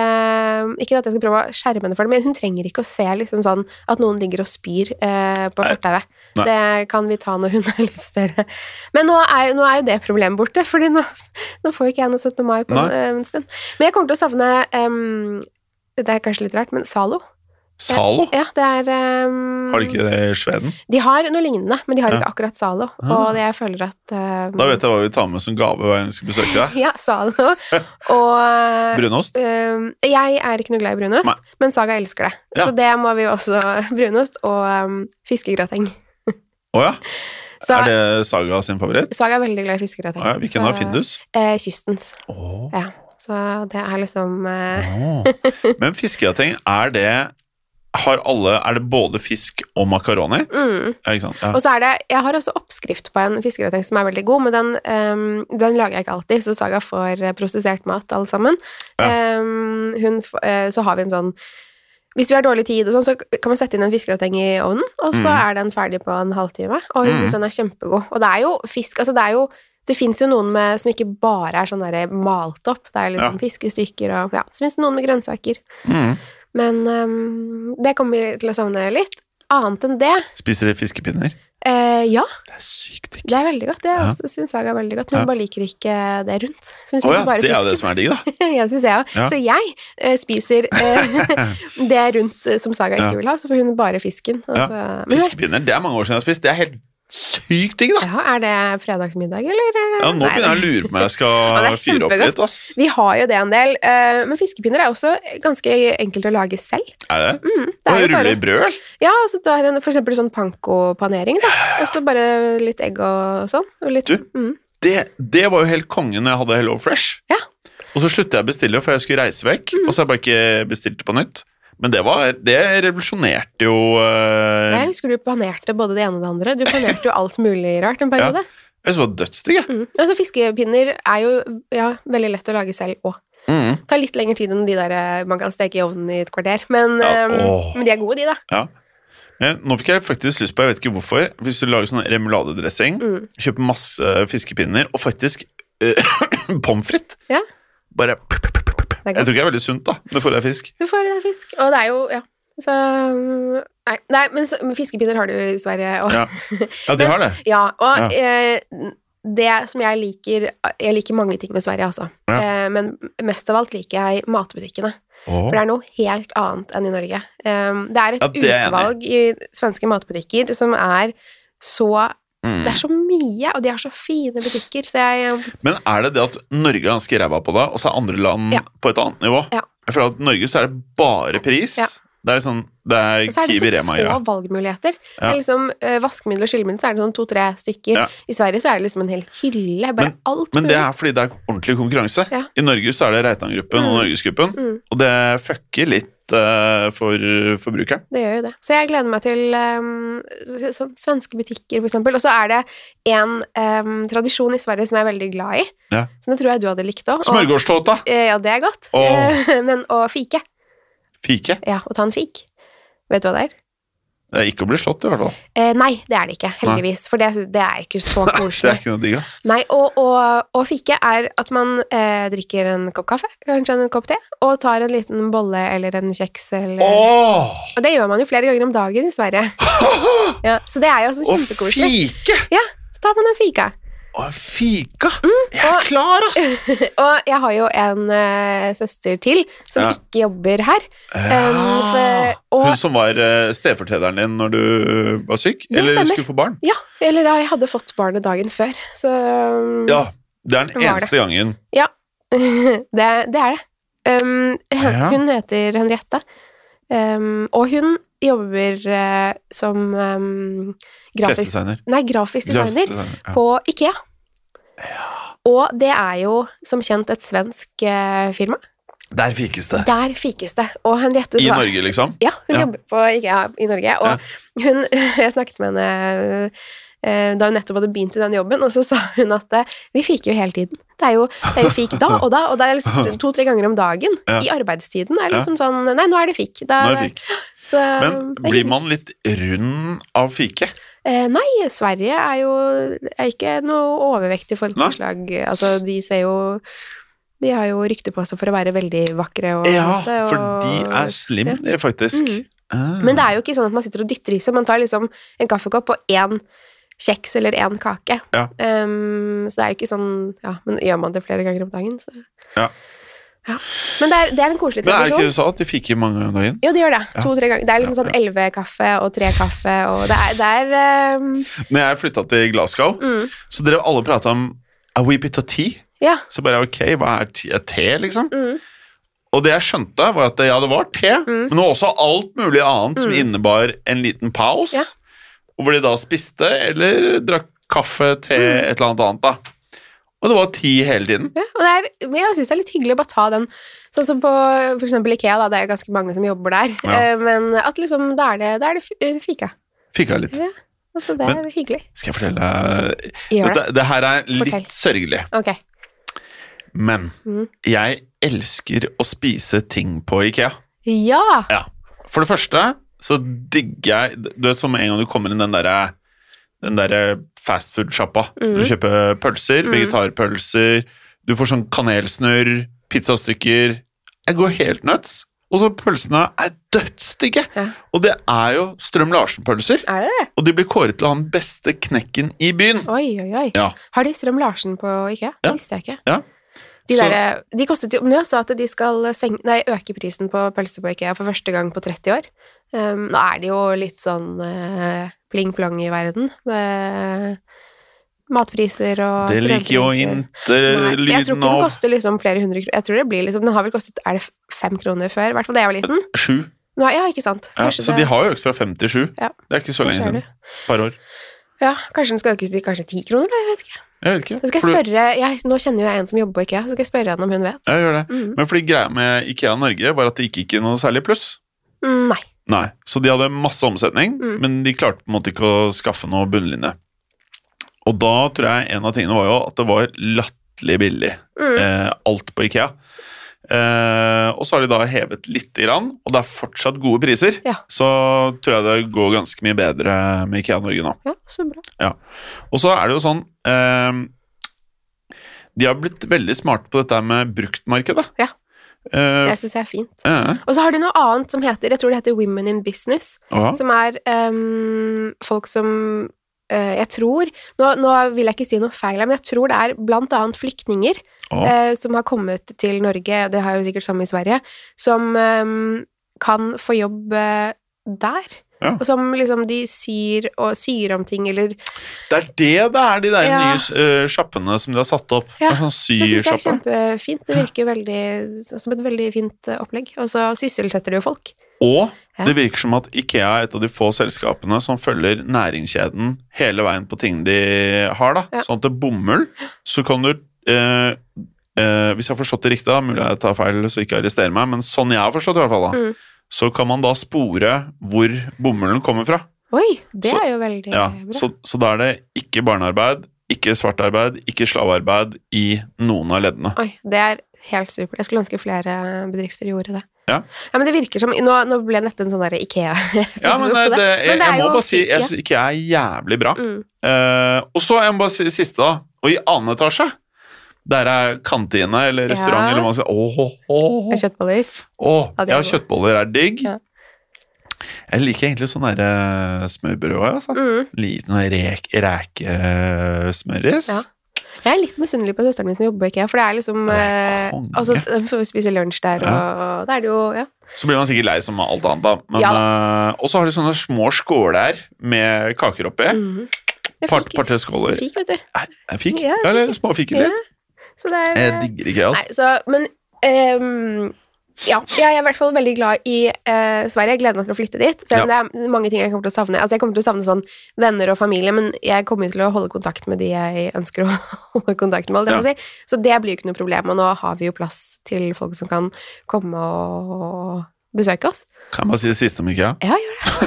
Speaker 1: ikke at jeg skal prøve å skjerme henne for det, men hun trenger ikke å se liksom sånn at noen ligger og spyr eh, på
Speaker 2: Nei.
Speaker 1: fortauet.
Speaker 2: Nei.
Speaker 1: Det kan vi ta når hun er litt større. Men nå er, jo- nå er jo det problemet borte, Fordi nå, nå får jo ikke jeg noe 17. mai på
Speaker 2: Nei.
Speaker 1: eh, en stund. Men jeg kommer til å savne em, Det er kanskje litt rart, men Zalo.
Speaker 2: Zalo?
Speaker 1: Ja, det er em,
Speaker 2: Har de ikke det i Sveden?
Speaker 1: de har noe lignende, men de har
Speaker 2: Ja.
Speaker 1: ikke akkurat Zalo.
Speaker 2: Ah.
Speaker 1: Og det jeg føler at eh,
Speaker 2: Da vet jeg hva vi tar med som gave hver gang vi skal besøke deg.
Speaker 1: Ja, Zalo. Og
Speaker 2: Brunost.
Speaker 1: eh, jeg er ikke noe glad i brunost,
Speaker 2: Nei.
Speaker 1: men Saga elsker det.
Speaker 2: Ja.
Speaker 1: Så det må vi jo også Brunost og eh, fiskegrateng.
Speaker 2: Å ja.
Speaker 1: Så
Speaker 2: Er det Saga sin favoritt?
Speaker 1: Saga er veldig glad i fiskegrateng.
Speaker 2: Å ja. Hvilken
Speaker 1: Så-
Speaker 2: av Findus?
Speaker 1: Eh, kystens.
Speaker 2: Åh.
Speaker 1: Ja. Så det er liksom eh,
Speaker 2: Åh. Men fiskegrateng, er det har alle, Er det både fisk og makaroni?
Speaker 1: mm.
Speaker 2: Ja, ikke sant?
Speaker 1: Og
Speaker 2: Ja.
Speaker 1: så er det, Jeg har også oppskrift på en fiskegrateng som er veldig god, men den, ehm, den lager jeg ikke alltid, så Saga får eh, prosessert mat, alle sammen.
Speaker 2: Ja.
Speaker 1: Ehm, hun, f- eh, så har vi en sånn Hvis vi har dårlig tid, og sånn, så kan man sette inn en fiskegrateng i ovnen, og så
Speaker 2: Mhm.
Speaker 1: er den ferdig på en halvtime. Og hun
Speaker 2: Mhm.
Speaker 1: syns den er kjempegod. Og det er jo fisk altså Det er jo det fins jo noen med, som ikke bare er sånn der malt opp. Det er liksom
Speaker 2: Ja.
Speaker 1: fiskestykker og ja. Så fins det noen med grønnsaker.
Speaker 2: Mm.
Speaker 1: Men ehm, det kommer vi til å savne litt. Annet enn det
Speaker 2: Spiser de fiskepinner?
Speaker 1: eh, Ja,
Speaker 2: Det er sykt digg.
Speaker 1: det er veldig godt. Det
Speaker 2: Ja.
Speaker 1: også syns jeg er veldig godt, men
Speaker 2: Ja.
Speaker 1: hun bare liker ikke det rundt. Så hun
Speaker 2: Å
Speaker 1: spiser
Speaker 2: ja,
Speaker 1: bare
Speaker 2: det er jo det
Speaker 1: fisk.
Speaker 2: som er digg, da.
Speaker 1: Ja, det syns jeg også.
Speaker 2: Ja.
Speaker 1: Så jeg eh, spiser eh, det rundt eh, som Saga
Speaker 2: Ja.
Speaker 1: ikke vil ha, så får hun bare fisken.
Speaker 2: Ja.
Speaker 1: Altså, men,
Speaker 2: Fiskepinner, det er mange år siden jeg har spist. Det er helt sykt digg, da.
Speaker 1: ja, er det fredagsmiddag, eller?
Speaker 2: Ja, nå
Speaker 1: Nei,
Speaker 2: begynner jeg å lure på om jeg skal
Speaker 1: Ja, det er
Speaker 2: fyre opp
Speaker 1: kjempegodt.
Speaker 2: litt, ass.
Speaker 1: Vi har jo det en del, eh, men fiskepinner er også ganske enkelt å lage selv.
Speaker 2: Er det?
Speaker 1: Mm, det er
Speaker 2: Må vi
Speaker 1: jo
Speaker 2: rulle
Speaker 1: bare,
Speaker 2: i brød, eller?
Speaker 1: ja, så du har en, for eksempel sånn panko-panering, da. Og så bare litt egg og sånn. Og litt,
Speaker 2: Du.
Speaker 1: Mm.
Speaker 2: Det, det var jo helt kongen når jeg hadde Hello Fresh.
Speaker 1: Ja. Mm.
Speaker 2: Og så sluttet jeg å bestille, for jeg skulle reise vekk, og så har jeg bare ikke bestilt det på nytt. Men det, var, det revolusjonerte jo eh,
Speaker 1: Jeg husker du panerte både det ene og det andre. Du panerte jo alt mulig rart en periode.
Speaker 2: Jeg synes det var dødsdigg, jeg.
Speaker 1: Mm. Altså, fiskepinner er jo ja, veldig lett å lage selv òg.
Speaker 2: Mm.
Speaker 1: Tar litt lengre tid enn de der eh, man kan steke i ovnen i et kvarter. Men,
Speaker 2: Ja,
Speaker 1: ehm,
Speaker 2: åh.
Speaker 1: men de er gode, de, da.
Speaker 2: Eh, Nå fikk jeg faktisk lyst på, jeg vet ikke hvorfor, hvis du lager sånn remuladedressing,
Speaker 1: Mm.
Speaker 2: kjøper masse eh, fiskepinner, og faktisk eh, pommes frites.
Speaker 1: Ja.
Speaker 2: Bare
Speaker 1: Det er
Speaker 2: Jeg
Speaker 1: godt.
Speaker 2: tror ikke det er veldig sunt, da, når du får deg fisk.
Speaker 1: Du får eh, fisk. Og det er jo Ja. Så mm, Nei, nei men så- men fiskepinner har du i Sverige òg.
Speaker 2: Ja. Ja, de har det.
Speaker 1: Ja, og
Speaker 2: Ja.
Speaker 1: Eh, det som jeg liker Jeg liker mange ting med Sverige, altså.
Speaker 2: Ja.
Speaker 1: Eh, men mest av alt liker jeg matbutikkene. For det er noe helt annet enn i Norge. Um, det er et
Speaker 2: Ja, det er jeg enig i.
Speaker 1: utvalg i svenske matbutikker som er så
Speaker 2: Mm.
Speaker 1: Det er så mye, og de har så fine butikker, så jeg
Speaker 2: Men er det det at Norge er ganske ræva på det, og så er andre land
Speaker 1: Ja.
Speaker 2: på et annet nivå?
Speaker 1: Ja.
Speaker 2: Jeg føler at i Norge så er det bare pris.
Speaker 1: Ja.
Speaker 2: Det er sånn, det er
Speaker 1: Og så er det så
Speaker 2: Kiwi
Speaker 1: få
Speaker 2: Rema-greia.
Speaker 1: valgmuligheter.
Speaker 2: Ja.
Speaker 1: Det er liksom eh, Vaskemiddel og skyllemiddel, så er det sånn to-tre stykker.
Speaker 2: Ja.
Speaker 1: I Sverige så er det liksom en hel hylle. Bare alt
Speaker 2: Men det er fordi det er ordentlig konkurranse.
Speaker 1: Ja.
Speaker 2: I Norge så er det Reitan-gruppen og
Speaker 1: Mm.
Speaker 2: Norgesgruppen,
Speaker 1: Mm.
Speaker 2: og det fucker litt eh, for forbrukeren.
Speaker 1: Det gjør jo det. Så jeg gleder meg til ehm, s- sånn svenske butikker, for eksempel. Og så er det en ehm, tradisjon i Sverige som jeg er veldig glad i,
Speaker 2: Ja.
Speaker 1: så det tror jeg du hadde likt òg.
Speaker 2: Smørgårdståta!
Speaker 1: Ja, det er godt. Eh,
Speaker 2: Åh.
Speaker 1: Men å fike.
Speaker 2: Fike.
Speaker 1: Ja, å ta en fik. Vet du hva det er?
Speaker 2: Det er ikke å bli slått, i hvert fall.
Speaker 1: Eh, nei, det er det ikke, heldigvis. For det, det er ikke så
Speaker 2: Det er
Speaker 1: koselig.
Speaker 2: ikke noe digg, ass.
Speaker 1: Nei, og, og, og fikke er at man eh, drikker en kopp kaffe, kanskje en kopp te, og tar en liten bolle eller en kjeks eller
Speaker 2: Åh!
Speaker 1: Og det gjør man jo flere ganger om dagen i Sverige. Ja, så det er jo sånn
Speaker 2: Og
Speaker 1: kjempekoselig.
Speaker 2: fike!
Speaker 1: Så tar man en fika.
Speaker 2: Og fika!
Speaker 1: Mm,
Speaker 2: Jeg er klar, ass!
Speaker 1: Og jeg har jo en eh, søster til som
Speaker 2: Ja.
Speaker 1: ikke jobber her.
Speaker 2: Ja.
Speaker 1: for- og-
Speaker 2: Hun som var eh, stedfortrederen din når du eh, var syk?
Speaker 1: Det
Speaker 2: eller
Speaker 1: stemmer.
Speaker 2: skulle få barn?
Speaker 1: Ja, eller da jeg hadde fått barnet dagen før, så
Speaker 2: Ja. Det er den
Speaker 1: Mm. Var det.
Speaker 2: eneste gangen.
Speaker 1: det, det er det. Um,
Speaker 2: Ah, Ja.
Speaker 1: Hun heter Henriette, um, og hun jobber eh, som um, grafisk,
Speaker 2: Klesdesigner.
Speaker 1: nei, grafisk designer
Speaker 2: Klesdesigner, ja.
Speaker 1: på Ikea. Og det er jo som kjent et svensk eh, firma.
Speaker 2: Der fikes det.
Speaker 1: Der fikes det. Og Henriette
Speaker 2: I
Speaker 1: sa-
Speaker 2: Norge, liksom.
Speaker 1: Ja, hun
Speaker 2: Ja.
Speaker 1: jobber på IKEA i Norge. Og hun, jeg snakket med henne eh, da hun nettopp hadde begynt i den jobben, og så sa hun at eh, vi fiker jo hele tiden. Det er jo, det er jo fik da og da, og det er liksom to-tre ganger om dagen.
Speaker 2: Ja.
Speaker 1: I arbeidstiden er det liksom sånn Nei, nå er det fik. Da,
Speaker 2: Når fikk.
Speaker 1: Så,
Speaker 2: Men
Speaker 1: det er
Speaker 2: blir
Speaker 1: hyggelig.
Speaker 2: man litt rund av fike?
Speaker 1: Eh, Nei, Sverige er jo er ikke noe overvektig folkeslag. Altså, de ser jo De har jo rykte på seg for å være veldig vakre og
Speaker 2: Ja,
Speaker 1: flotte,
Speaker 2: for
Speaker 1: og-
Speaker 2: de er slim, de, faktisk.
Speaker 1: Mhm.
Speaker 2: Ah.
Speaker 1: Men det er jo ikke sånn at man sitter og dytter i seg. Man tar liksom en kaffekopp og én kjeks eller én kake.
Speaker 2: Ja.
Speaker 1: Ehm, så det er jo ikke sånn Ja, men gjør man det flere ganger om dagen, så
Speaker 2: Ja.
Speaker 1: Ja. Men det er, det er en koselig
Speaker 2: Men er det ikke
Speaker 1: tradisjon.
Speaker 2: du sa at de fikk i mange ganger om dagen?
Speaker 1: Jo, det gjør det.
Speaker 2: Ja.
Speaker 1: To-tre ganger. Det er liksom
Speaker 2: Ja,
Speaker 1: sånn elleve kaffe og tre kaffe, og det er, det er ehm,
Speaker 2: Når jeg flytta til Glasgow,
Speaker 1: mm,
Speaker 2: så drev alle og prata om A wee bit of tea.
Speaker 1: Ja.
Speaker 2: Så bare ok, hva er te, er te liksom?
Speaker 1: Mm.
Speaker 2: Og det jeg skjønte, var at ja, det var te,
Speaker 1: Mm.
Speaker 2: men det var også alt mulig annet som
Speaker 1: Mm.
Speaker 2: innebar en liten pause.
Speaker 1: Ja.
Speaker 2: Og hvor de da spiste eller drakk kaffe, te,
Speaker 1: Mm.
Speaker 2: et eller annet annet. da. Og det var ti hele tiden.
Speaker 1: Ja, og det er, men jeg syns det er litt hyggelig å bare ta den Sånn som på for eksempel Ikea, da. Det er jo ganske mange som jobber der.
Speaker 2: Ja.
Speaker 1: Eh, men at liksom Da er det, da er det fi- eh, fika.
Speaker 2: Fikk av litt.
Speaker 1: Ja. Altså, det er
Speaker 2: Men-
Speaker 1: hyggelig.
Speaker 2: Skal jeg fortelle
Speaker 1: Gjør det.
Speaker 2: Dette, det her er litt
Speaker 1: Fortell.
Speaker 2: sørgelig,
Speaker 1: Ok.
Speaker 2: men
Speaker 1: Mm.
Speaker 2: jeg elsker å spise ting på Ikea.
Speaker 1: Ja!
Speaker 2: Ja. For det første så digger jeg Du vet som en gang du kommer inn den derre den der fastfood-sjappa.
Speaker 1: Mm.
Speaker 2: Du kjøper pølser,
Speaker 1: Mm.
Speaker 2: vegetarpølser, du får sånn kanelsnurr, pizzastykker Jeg går helt nuts. Og så pølsene er dødsdigge!
Speaker 1: Ja.
Speaker 2: Og det er jo Strøm-Larsen-pølser.
Speaker 1: Er det det?
Speaker 2: Og de blir kåret til å ha den beste knekken i byen.
Speaker 1: Oi, oi, oi.
Speaker 2: Ja.
Speaker 1: Har de Strøm-Larsen på IKEA?
Speaker 2: Ja.
Speaker 1: Det visste jeg ikke.
Speaker 2: Ja.
Speaker 1: De,
Speaker 2: Så-
Speaker 1: der, de kostet jo Nå sa at de skal senke, nei, øke prisen på pølse på IKEA for første gang på 30 år. Um, nå er det jo litt sånn eh, pling-plong i verden med matpriser og
Speaker 2: Det liker jo
Speaker 1: strømpriser.
Speaker 2: inte
Speaker 1: Nei, jeg tror
Speaker 2: lyden
Speaker 1: ikke den
Speaker 2: av
Speaker 1: koster liksom flere hundre kroner. Jeg tror det blir liksom, Den har vel kostet er det f- fem kroner før? I hvert fall da jeg var liten.
Speaker 2: sju.
Speaker 1: Nå, ja, ikke sant.
Speaker 2: Ja,
Speaker 1: Kanskje
Speaker 2: så de
Speaker 1: det-
Speaker 2: har jo økt fra fem til sju.
Speaker 1: Ja.
Speaker 2: Det er ikke så
Speaker 1: Kanskje
Speaker 2: lenge
Speaker 1: er
Speaker 2: siden.
Speaker 1: det.
Speaker 2: Par år.
Speaker 1: ja, Kanskje den skal økes til kanskje ti kroner? Da, jeg vet ikke.
Speaker 2: Jeg vet ikke.
Speaker 1: Så skal
Speaker 2: For du-
Speaker 1: jeg spørre, jeg, Nå kjenner jo jeg en som jobber på IKEA, så skal jeg spørre henne om hun vet.
Speaker 2: Ja, gjør det.
Speaker 1: Mm.
Speaker 2: Men fordi greia med Ikea Norge var at det gikk ikke noe særlig pluss.
Speaker 1: Mm, Nei.
Speaker 2: Nei, Så de hadde masse omsetning,
Speaker 1: Mm.
Speaker 2: men de klarte på en måte ikke å skaffe noe bunnlinje. Og da tror jeg en av tingene var jo at det var latterlig billig,
Speaker 1: Mm.
Speaker 2: eh, alt på Ikea. Eh, og så har de da hevet lite grann, og det er fortsatt gode priser.
Speaker 1: Ja.
Speaker 2: Så tror jeg det går ganske mye bedre med Ikea Norge nå.
Speaker 1: Ja, så bra.
Speaker 2: Og så er det jo sånn eh, De har blitt veldig smarte på dette med bruktmarkedet.
Speaker 1: Ja.
Speaker 2: Eh,
Speaker 1: Det syns jeg er fint.
Speaker 2: ja.
Speaker 1: Og så har de noe annet som heter jeg tror det heter Women in Business,
Speaker 2: Ja.
Speaker 1: som er ehm, folk som eh, jeg tror nå, nå vil jeg ikke si noe feil, her, men jeg tror det er blant annet flyktninger
Speaker 2: Å.
Speaker 1: eh, som har kommet til Norge, og det har jo sikkert samme i Sverige, som ehm, kan få jobb eh, der.
Speaker 2: Ja.
Speaker 1: Og som liksom de syr og syr om ting, eller
Speaker 2: Det er det det er, de der
Speaker 1: Ja.
Speaker 2: nye eh, sjappene som de har satt opp.
Speaker 1: Ja,
Speaker 2: Det er sånn
Speaker 1: Det syns jeg er
Speaker 2: Sysjappe.
Speaker 1: kjempefint. Det virker veldig, som et veldig fint eh, opplegg. Og så sysselsetter det jo folk.
Speaker 2: Og
Speaker 1: Ja.
Speaker 2: det virker som at Ikea er et av de få selskapene som følger næringskjeden hele veien på ting de har. da.
Speaker 1: Ja.
Speaker 2: Sånn at det er bomull, så kan du eh, eh, Hvis jeg har forstått det riktig, da, mulig jeg tar feil så ikke arrester meg, men sånn jeg har forstått det, i hvert fall, da,
Speaker 1: Mm.
Speaker 2: så kan man da spore hvor bomullen kommer fra.
Speaker 1: Oi, det
Speaker 2: Så-
Speaker 1: er jo veldig
Speaker 2: Ja,
Speaker 1: bra.
Speaker 2: så, så da er det ikke barnearbeid, ikke svartarbeid, ikke slavearbeid i noen av leddene.
Speaker 1: Oi, det er helt supert. Jeg skulle ønske flere eh, bedrifter gjorde det.
Speaker 2: Ja.
Speaker 1: men det virker som Nå, nå ble dette en sånn der Ikea.
Speaker 2: Ja, men
Speaker 1: episode.
Speaker 2: eh, det, jeg,
Speaker 1: Men det er
Speaker 2: jeg må
Speaker 1: jo
Speaker 2: bare si
Speaker 1: fint,
Speaker 2: jeg
Speaker 1: ja.
Speaker 2: syns ikke jeg er jævlig bra.
Speaker 1: Mm.
Speaker 2: Eh, og så jeg må bare si det siste, da. Og i annen etasje, der er kantine eller restaurant
Speaker 1: Ja.
Speaker 2: eller hva man sier. Åh, åh, åh.
Speaker 1: Kjøttboller.
Speaker 2: Åh,
Speaker 1: Ja, det er
Speaker 2: ja,
Speaker 1: godt.
Speaker 2: kjøttboller er digg.
Speaker 1: Ja.
Speaker 2: Jeg liker egentlig sånn der eh, smørbrød òg, altså.
Speaker 1: Mm.
Speaker 2: Liten rek, eh, rekesmørris.
Speaker 1: Ja. Jeg er litt misunnelig på søsteren min som jobber på IKEA, for det er liksom
Speaker 2: Det er
Speaker 1: eh,
Speaker 2: konge.
Speaker 1: Altså, de får spise lunsj der, og, og da er det jo Ja.
Speaker 2: Så blir man sikkert lei som med alt annet, da. Men, eh, og så har de sånne små skåler med kaker oppi.
Speaker 1: Mhm. Det
Speaker 2: Par-
Speaker 1: fikk,
Speaker 2: Par-tre skåler.
Speaker 1: fikk, vet du.
Speaker 2: Jeg fikk.
Speaker 1: Ja,
Speaker 2: Ja, eller småfikker
Speaker 1: Ja.
Speaker 2: litt.
Speaker 1: Så det er eh,
Speaker 2: Jeg digger ikke, altså.
Speaker 1: Nei, så Men ehm, ja, jeg er i hvert fall veldig glad i eh, Sverige. Jeg gleder meg til å flytte dit. Selv om det er mange ting jeg kommer til å savne. Altså, jeg kommer til å savne sånn venner og familie, men jeg kommer jo til å holde kontakt med de jeg ønsker å holde kontakt med. holdt jeg på å Si. Så det blir jo ikke noe problem. Og nå har vi jo plass til folk som kan komme og besøke oss.
Speaker 2: Kan jeg bare si det siste om Ikea?
Speaker 1: Ja, gjør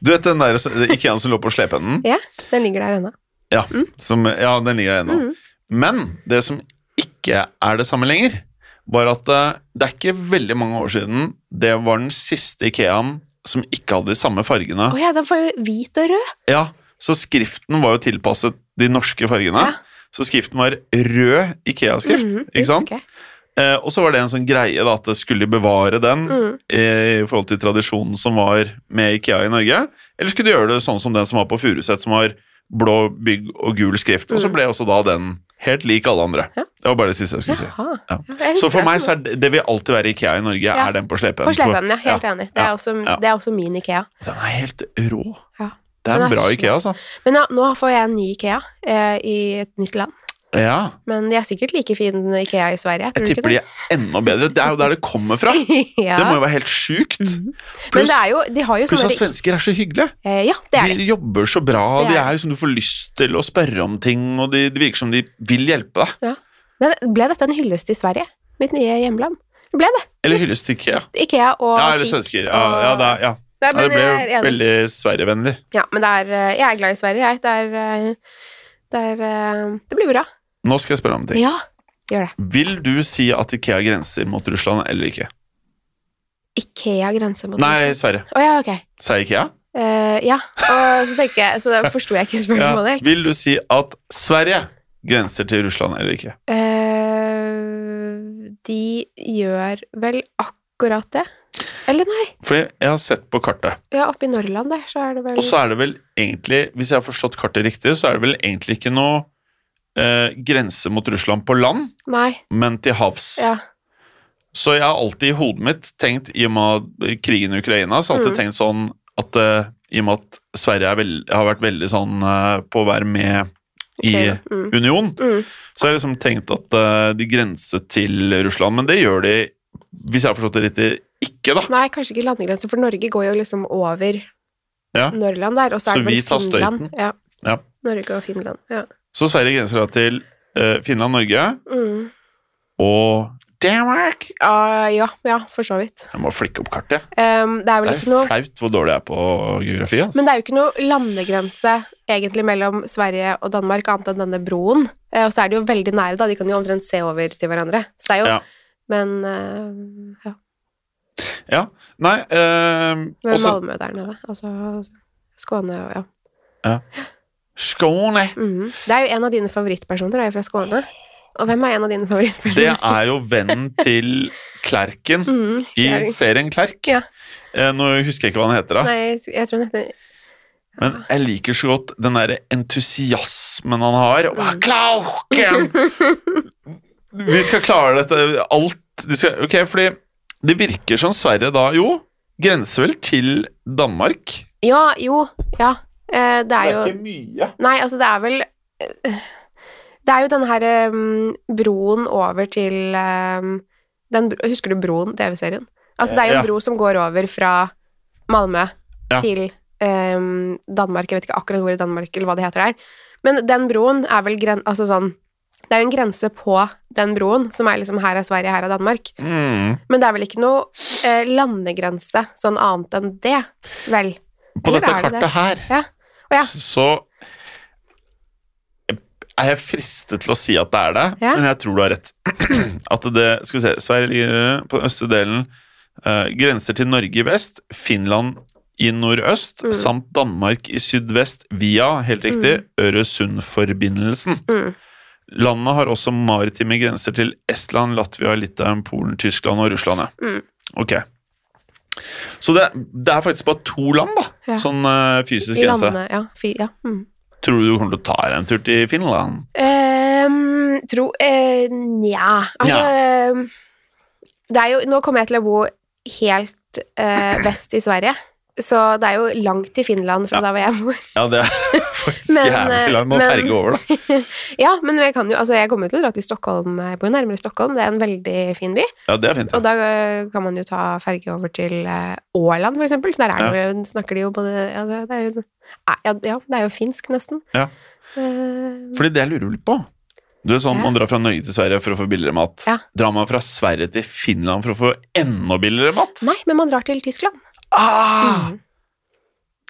Speaker 2: Du vet den der som- Ikeaen som lå på slepeenden?
Speaker 1: det. Ja, den ligger der ennå.
Speaker 2: Ja, som, ja den ligger der ennå.
Speaker 1: Mm.
Speaker 2: Men det som ikke er det samme lenger, var at eh, det er ikke veldig mange år siden det var den siste Ikeaen som ikke hadde de samme fargene.
Speaker 1: Å ja, den får jo hvit og rød.
Speaker 2: Ja, Så skriften var jo tilpasset de norske fargene.
Speaker 1: Ja.
Speaker 2: Så skriften var rød Ikea-skrift.
Speaker 1: Mhm,
Speaker 2: ikke sant?
Speaker 1: husker jeg.
Speaker 2: Eh, og så var det en sånn greie da, at det skulle bevare den
Speaker 1: Mhm.
Speaker 2: eh, i forhold til tradisjonen som var med Ikea i Norge. Eller skulle de gjøre det sånn som den som var på Furuset, som var blå bygg og gul skrift. Og så
Speaker 1: Mhm.
Speaker 2: ble også da den helt lik alle andre.
Speaker 1: Ja.
Speaker 2: Det var bare det siste jeg skulle si.
Speaker 1: Jaha.
Speaker 2: Ja.
Speaker 1: Ja, jeg
Speaker 2: Så
Speaker 1: husker
Speaker 2: for
Speaker 1: at
Speaker 2: meg
Speaker 1: den-
Speaker 2: så er det, det vil alltid være Ikea i Norge,
Speaker 1: Ja.
Speaker 2: er den på slepen.
Speaker 1: På slepeenden, ja. Helt enig. Det er,
Speaker 2: ja,
Speaker 1: også,
Speaker 2: ja.
Speaker 1: det er også min Ikea.
Speaker 2: Den er helt rå.
Speaker 1: Ja.
Speaker 2: Det
Speaker 1: Den
Speaker 2: er
Speaker 1: er
Speaker 2: en bra
Speaker 1: så-
Speaker 2: Ikea, altså.
Speaker 1: Men ja, nå får jeg en ny Ikea eh, i et nytt land.
Speaker 2: Ja.
Speaker 1: Men de er sikkert like fin Ikea i Sverige, tror
Speaker 2: Jeg
Speaker 1: du ikke
Speaker 2: tipper de er enda bedre. Det er jo der det kommer fra.
Speaker 1: det? ja.
Speaker 2: Det må jo være helt sjukt.
Speaker 1: Mhm. Men
Speaker 2: Pluss
Speaker 1: det er jo, de har jo
Speaker 2: pluss
Speaker 1: sånne
Speaker 2: at svensker er så hyggelige.
Speaker 1: eh, Ja, det er de.
Speaker 2: De jobber så bra,
Speaker 1: Det er
Speaker 2: de
Speaker 1: de.
Speaker 2: er liksom, du får lyst til å spørre om ting, og de, det virker som de vil hjelpe deg.
Speaker 1: Nei, det- Ble dette en hyllest til Sverige? Mitt nye hjemland?
Speaker 2: Eller hylles til Ikea.
Speaker 1: Ikea og
Speaker 2: Ja, eller
Speaker 1: Fik
Speaker 2: svensker. Ja, ja, det, er- ja.
Speaker 1: Nei,
Speaker 2: ja, det
Speaker 1: men
Speaker 2: ble
Speaker 1: jeg er
Speaker 2: jo
Speaker 1: enig.
Speaker 2: veldig Sverigevennlig.
Speaker 1: Ja, men det er, eh, jeg er glad i Sverige, jeg. Det er, eh, det, er eh, det blir bra.
Speaker 2: Nå skal jeg spørre om en ting.
Speaker 1: Ja. Gjør det.
Speaker 2: Vil du si at Ikea grenser mot Russland eller ikke?
Speaker 1: Ikea grense mot
Speaker 2: Nei,
Speaker 1: Russland.
Speaker 2: Sverige.
Speaker 1: Å ja, ok.
Speaker 2: Sa jeg Ikea?
Speaker 1: Eh, ja, og så tenker jeg Så da forsto jeg ikke spørsmålet
Speaker 2: Ja.
Speaker 1: helt.
Speaker 2: Vil du si at Sverige grenser til Russland eller ikke?
Speaker 1: Eh, de gjør vel akkurat det. Eller nei,
Speaker 2: Fordi jeg har sett på kartet,
Speaker 1: ja, oppe i Norrland der, så er det vel
Speaker 2: og så er det vel egentlig, hvis jeg har forstått kartet riktig, så er det vel egentlig ikke noe eh, grense mot Russland på land,
Speaker 1: Nei,
Speaker 2: men til havs.
Speaker 1: ja.
Speaker 2: Så jeg har alltid i hodet mitt tenkt, i og med krigen i Ukraina, så har jeg alltid
Speaker 1: Mm.
Speaker 2: tenkt sånn at eh, i og med at Sverige er veld, har vært veldig sånn eh, på å være med i
Speaker 1: Ukraina. Mm.
Speaker 2: union,
Speaker 1: Mm.
Speaker 2: så har jeg liksom tenkt at eh, de grenser til Russland, men det gjør de, hvis jeg har forstått det riktig, ikke da.
Speaker 1: Nei, kanskje ikke landegrense, for Norge går jo liksom over
Speaker 2: Ja.
Speaker 1: Norrland der, og så
Speaker 2: Så
Speaker 1: er det
Speaker 2: vi
Speaker 1: vel
Speaker 2: tar
Speaker 1: Finland. Ja.
Speaker 2: Ja.
Speaker 1: Norge og Finland. Ja.
Speaker 2: Så Sverige grenser da til eh, Finland, Norge
Speaker 1: Mm.
Speaker 2: og Danmark.
Speaker 1: Ah, ja, ja, for så vidt.
Speaker 2: Jeg må flikke opp kartet.
Speaker 1: Ehm, det er vel
Speaker 2: Det er
Speaker 1: ikke noe
Speaker 2: flaut hvor dårlig jeg er på geografi. Altså.
Speaker 1: Men det er jo ikke noe landegrense egentlig mellom Sverige og Danmark, annet enn denne broen. Eh, og så er de jo veldig nære, da. De kan jo omtrent se over til hverandre. Så det er jo
Speaker 2: Ja.
Speaker 1: Men eh, ja.
Speaker 2: Nei, eh,
Speaker 1: Men
Speaker 2: også
Speaker 1: Malmö der nede. Altså Skåne og ja.
Speaker 2: Skåne.
Speaker 1: Mhm. Det er jo en av dine favorittpersoner, er jo fra Skåne. Og hvem er en av dine
Speaker 2: Det
Speaker 1: favorittpersoner?
Speaker 2: er jo vennen til Klerken
Speaker 1: Mhm.
Speaker 2: i
Speaker 1: Klerken.
Speaker 2: serien Klerk.
Speaker 1: Ja.
Speaker 2: Eh, nå husker jeg ikke hva han heter, da.
Speaker 1: Nei, jeg- jeg tror den heter
Speaker 2: men jeg liker så godt den derre entusiasmen han har. Hva,
Speaker 1: Mm.
Speaker 2: Klerken! Vi skal klare dette. Alt de skal, Ok, fordi det virker som Sverige da Jo, grenser vel til Danmark?
Speaker 1: Ja, jo. Ja. Eh, det er jo
Speaker 2: ikke mye.
Speaker 1: Nei, altså det er vel eh, Det er jo denne her eh, broen over til eh, den, bro- Husker du Broen, TV-serien? Altså det er jo
Speaker 2: Ja.
Speaker 1: en bro som går over fra Malmö
Speaker 2: Ja.
Speaker 1: til eh, Danmark. Jeg vet ikke akkurat hvor i Danmark, eller hva det heter der. Men den broen er vel gren... Altså sånn Det er jo en grense på den broen, som er liksom her er Sverige, her er Danmark.
Speaker 2: Mm.
Speaker 1: Men det er vel ikke noe eh, landegrense sånn annet enn det, vel?
Speaker 2: På
Speaker 1: Eller
Speaker 2: dette
Speaker 1: er det det?
Speaker 2: kartet her
Speaker 1: Ja. Å ja.
Speaker 2: så er jeg fristet til å si at det er det,
Speaker 1: Ja.
Speaker 2: men jeg tror du har rett. At det, skal vi se, Sverige ligger på den østre delen, eh, grenser til Norge i vest, Finland i nordøst,
Speaker 1: Mm.
Speaker 2: samt Danmark i sydvest via, helt riktig, Øresundforbindelsen.
Speaker 1: Mm.
Speaker 2: Landet har også maritime grenser til Estland, Latvia, Litauen, Polen, Tyskland og Russland. ja.
Speaker 1: Mm.
Speaker 2: Ok. Så det, det er faktisk bare to land, da.
Speaker 1: Ja.
Speaker 2: Sånn eh, fysisk
Speaker 1: I
Speaker 2: grense.
Speaker 1: landene, ja. Fy, ja. Mm.
Speaker 2: Tror du du kommer til å ta deg en tur til Finland?
Speaker 1: Ehm, tro eh, Nja. Altså ehm, Det er jo Nå kommer jeg til å bo helt eh, vest i Sverige, så det er jo langt til Finland fra
Speaker 2: Ja.
Speaker 1: der hvor jeg bor.
Speaker 2: Ja, det er faktisk
Speaker 1: Men, eh,
Speaker 2: jævlig langt. Må
Speaker 1: men-
Speaker 2: ferge over, da.
Speaker 1: Ja, men jeg kan jo Altså, jeg kommer jo til å dra til Stockholm. Jeg bor jo nærmere Stockholm. Det er en veldig fin by.
Speaker 2: Ja, det er fint.
Speaker 1: Og da eh, kan man jo ta ferge over til eh, Åland, for eksempel. Så der er det jo, snakker de jo både ja det, det er jo, ja, ja, det er jo finsk, nesten.
Speaker 2: Ja.
Speaker 1: Eh,
Speaker 2: Fordi det jeg lurer litt på Du er sånn,
Speaker 1: Ja.
Speaker 2: Man drar fra Norge til Sverige for å få billigere mat.
Speaker 1: Ja.
Speaker 2: Drar man fra Sverige til Finland for å få enda billigere mat?
Speaker 1: nei, men man drar til Tyskland.
Speaker 2: Ah!
Speaker 1: Mm.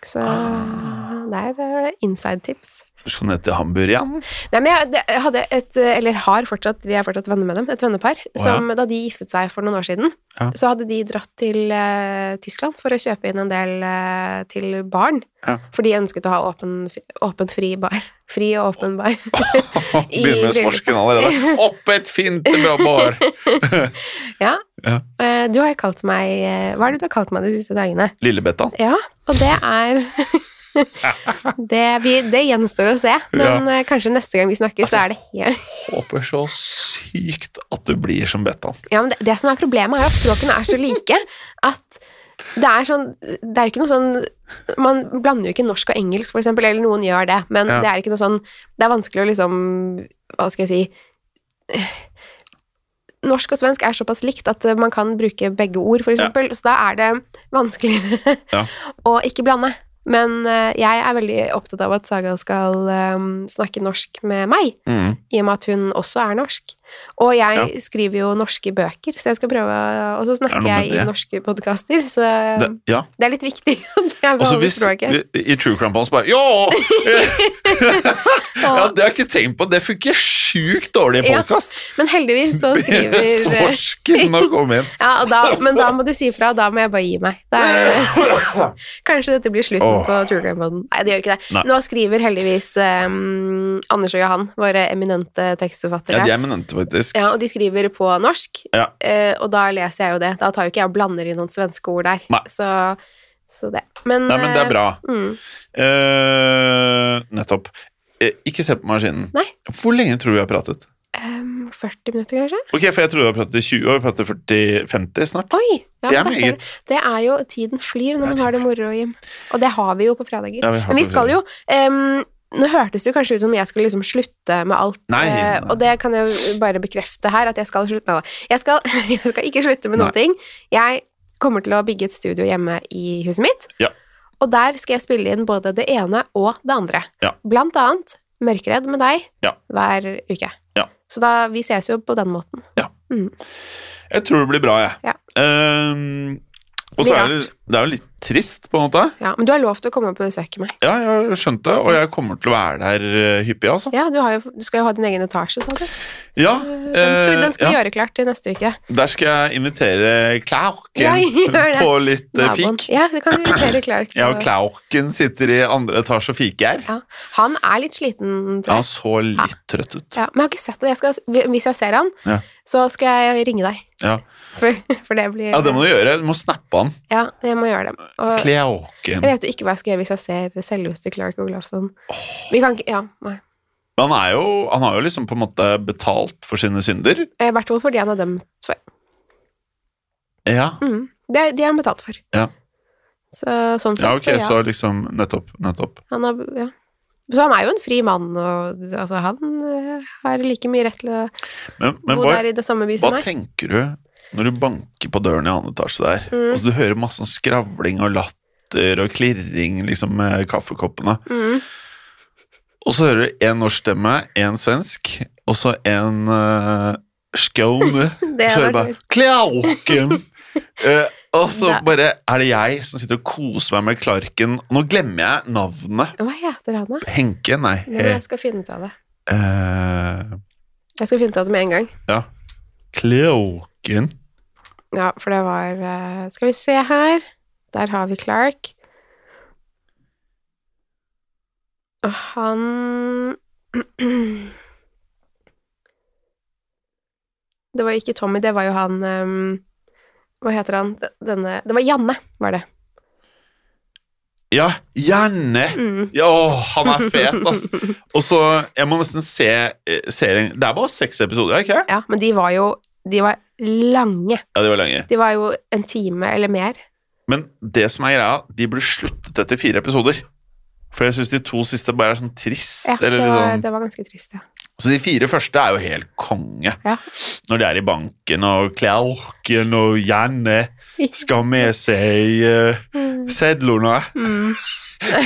Speaker 1: Så
Speaker 2: Ah.
Speaker 1: der er det inside tips.
Speaker 2: Du skal ned til Hamburg igjen?
Speaker 1: Nei, men jeg, det- jeg hadde et, eh, eller har fortsatt, vi er fortsatt venner med dem, et vennepar,
Speaker 2: ja.
Speaker 1: som da de giftet seg for noen år siden,
Speaker 2: Ja.
Speaker 1: så hadde de dratt til eh, Tyskland for å kjøpe inn en del eh, til barn,
Speaker 2: Ja.
Speaker 1: for de ønsket å ha åpen, åpent fri bar. Fri og åpen bar.
Speaker 2: Begynner med
Speaker 1: bryllupet.
Speaker 2: sporsken allerede. Opp et fint bra bår!
Speaker 1: Ja.
Speaker 2: Ja.
Speaker 1: Eh, Du har jo kalt meg, eh, hva er det du har kalt meg de siste dagene?
Speaker 2: Lillebetta.
Speaker 1: Ja, og det er det, vi, det gjenstår å se, men eh, kanskje neste gang vi snakkes, så er det helt
Speaker 2: Håper så sykt at du blir som Bettan.
Speaker 1: Ja, men det, det som er problemet, er at språkene er så like at det er sånn Det er jo ikke noe sånn Man blander jo ikke norsk og engelsk, for eksempel, eller noen gjør det, men
Speaker 2: Ja.
Speaker 1: det er ikke noe sånn Det er vanskelig å liksom Hva skal jeg si Norsk og svensk er såpass likt at man kan bruke begge ord, for
Speaker 2: Ja.
Speaker 1: eksempel, så da er det vanskeligere
Speaker 2: Ja.
Speaker 1: å ikke blande. Men eh, jeg er veldig opptatt av at Saga skal eh, snakke norsk med meg
Speaker 2: Mm.
Speaker 1: i og med at hun også er norsk. Og jeg
Speaker 2: Ja.
Speaker 1: skriver jo norske bøker, så jeg skal prøve å- Og så
Speaker 2: Er det
Speaker 1: snakker
Speaker 2: noe med
Speaker 1: jeg i
Speaker 2: det?
Speaker 1: norske podkaster, så
Speaker 2: Det,
Speaker 1: det,
Speaker 2: ja.
Speaker 1: er litt viktig at jeg
Speaker 2: Og så
Speaker 1: beholder
Speaker 2: Altså, hvis
Speaker 1: språket.
Speaker 2: i True Crime Palace bare Ja! ja,
Speaker 1: Og,
Speaker 2: det har jeg ikke tenkt på. Det funker sjukt dårlig i
Speaker 1: Ja.
Speaker 2: podkast.
Speaker 1: men heldigvis så skriver
Speaker 2: Svorsken å komme inn.
Speaker 1: ja, og da, Men da må du si ifra, da må jeg bare gi meg. Da er, kanskje dette blir slutten
Speaker 2: Åh.
Speaker 1: på True Crime Poden. Nei, det gjør ikke det.
Speaker 2: Nei.
Speaker 1: Nå skriver heldigvis um, Anders og Johan, våre eminente tekstforfattere.
Speaker 2: Ja, de er eminente, faktisk.
Speaker 1: Ja, og de skriver på norsk,
Speaker 2: Ja.
Speaker 1: eh, og da leser jeg jo det. Da tar jo ikke jeg og blander inn noen svenske ord der.
Speaker 2: Nei.
Speaker 1: Så, så det. Men,
Speaker 2: Nei, men det er bra.
Speaker 1: eh, Mm,
Speaker 2: Eh, nettopp. Eh, ikke se på maskinen.
Speaker 1: Nei.
Speaker 2: Hvor lenge tror du vi har pratet?
Speaker 1: Ehm, 40 minutter, kanskje?
Speaker 2: Ok, for jeg tror vi har pratet i 20 år, vi har pratet 40-50 snart.
Speaker 1: Oi! Ja,
Speaker 2: Det er
Speaker 1: der ser
Speaker 2: meget.
Speaker 1: du. det er jo Tiden flyr
Speaker 2: Ja,
Speaker 1: når man har det moro, Jim. Og det har vi jo på fredager.
Speaker 2: Ja, vi har
Speaker 1: men vi
Speaker 2: det
Speaker 1: skal jo ehm, Nå hørtes det jo kanskje ut som jeg skulle liksom slutte med alt,
Speaker 2: Nei,
Speaker 1: eh,
Speaker 2: nei.
Speaker 1: og det kan jeg bare bekrefte her, at jeg skal slutte Nei da. Jeg skal, jeg skal ikke slutte med
Speaker 2: Nei.
Speaker 1: noen ting. Jeg kommer til å bygge et studio hjemme i huset mitt,
Speaker 2: Ja.
Speaker 1: og der skal jeg spille inn både det ene og det andre.
Speaker 2: Ja.
Speaker 1: Blant annet Mørkeredd med deg
Speaker 2: Ja.
Speaker 1: hver uke.
Speaker 2: Ja.
Speaker 1: Så da, vi ses jo på den måten.
Speaker 2: Jeg tror det blir bra, jeg.
Speaker 1: Ja.
Speaker 2: Eh, og så
Speaker 1: Blir
Speaker 2: er det, det er jo litt trist, på en måte.
Speaker 1: Ja, men du har lov til å komme og besøke meg.
Speaker 2: Ja, jeg har skjønt det, og jeg kommer til å være der eh, hyppig, altså.
Speaker 1: Ja, du, har jo, du skal jo ha din egen etasje, sa du.
Speaker 2: Ja,
Speaker 1: Den skal vi, den skal vi
Speaker 2: eh, ja.
Speaker 1: gjøre klart til neste uke.
Speaker 2: der skal jeg invitere
Speaker 1: Ja,
Speaker 2: Klauken
Speaker 1: gjør det.
Speaker 2: på litt eh,
Speaker 1: Naboen.
Speaker 2: fikk.
Speaker 1: Ja, det kan vi gjøre klart.
Speaker 2: Ja, og Klauken sitter i andre etasje og fiker.
Speaker 1: Ja, Han er litt sliten,
Speaker 2: Ja,
Speaker 1: tror jeg.
Speaker 2: han så litt trøtt ut.
Speaker 1: Ja, men jeg har ikke sett det. Jeg skal, hvis jeg ser han,
Speaker 2: Ja.
Speaker 1: så skal jeg ringe deg.
Speaker 2: Ja.
Speaker 1: For, for det blir
Speaker 2: Ja, det må du gjøre. Du må snappe han.
Speaker 1: Ja, jeg må gjøre det. Og
Speaker 2: Klauken.
Speaker 1: jeg vet jo ikke hva jeg skal gjøre hvis jeg ser selveste Clark Olafsson. Vi kan ikke Ja, nei.
Speaker 2: Men han, er jo, han har jo liksom på en måte betalt for sine synder.
Speaker 1: I Eh, hvert fall fordi han er dømt for
Speaker 2: Ja,
Speaker 1: mm. Det er- De har han betalt for.
Speaker 2: Ja.
Speaker 1: Så sånn sett,
Speaker 2: ja ok,
Speaker 1: så ja.
Speaker 2: så liksom Nettopp. nettopp.
Speaker 1: Han har, ja. Så han er jo en fri mann, og altså, han eh, har like mye rett til å
Speaker 2: Men, men
Speaker 1: bo
Speaker 2: hva,
Speaker 1: der i det samme by som
Speaker 2: hva
Speaker 1: meg.
Speaker 2: tenker du når du banker på døren i annen etasje der?
Speaker 1: Mm.
Speaker 2: Altså, du hører masse sånn skravling og latter og klirring liksom med kaffekoppene.
Speaker 1: Mm.
Speaker 2: Og så hører du én norsk stemme, én svensk, og så en uh, skåne.
Speaker 1: Det
Speaker 2: Og så
Speaker 1: er
Speaker 2: hører du bare
Speaker 1: nok-
Speaker 2: 'Klauken'! Eh, og så
Speaker 1: Nei.
Speaker 2: bare er det jeg som sitter og koser meg med Clarken. Nå glemmer jeg navnet.
Speaker 1: Hva heter han, da?
Speaker 2: Henke, nei.
Speaker 1: Nå må
Speaker 2: He.
Speaker 1: jeg skal finne ut av det.
Speaker 2: eh,
Speaker 1: Jeg skal finne ut av det med en gang.
Speaker 2: Ja. Kloken.
Speaker 1: Ja, for det var eh, Skal vi se her. Der har vi Clark. Og han Det var ikke Tommy, det var jo han ehm, Hva heter han? D- Denne Det var Janne, var det.
Speaker 2: Ja, gjerne!
Speaker 1: Mm.
Speaker 2: Ja, åh, han er fet, ass. Og så, jeg må nesten se eh, serien. Det er bare seks episoder, er det ikke?
Speaker 1: Ja, men de var jo De var lange.
Speaker 2: Ja, de var lenge.
Speaker 1: De var jo en time eller mer.
Speaker 2: Men det som er greia, de burde sluttet etter fire episoder. For jeg syns de to siste bare er sånn trist.
Speaker 1: Ja, det
Speaker 2: eller
Speaker 1: var,
Speaker 2: litt
Speaker 1: det var ganske trist, ja.
Speaker 2: sånn. Så de fire første er jo helt konge.
Speaker 1: Ja.
Speaker 2: Når de er i banken, og Klauken og Janne skal ha med seg eh, sedlene.
Speaker 1: Mm.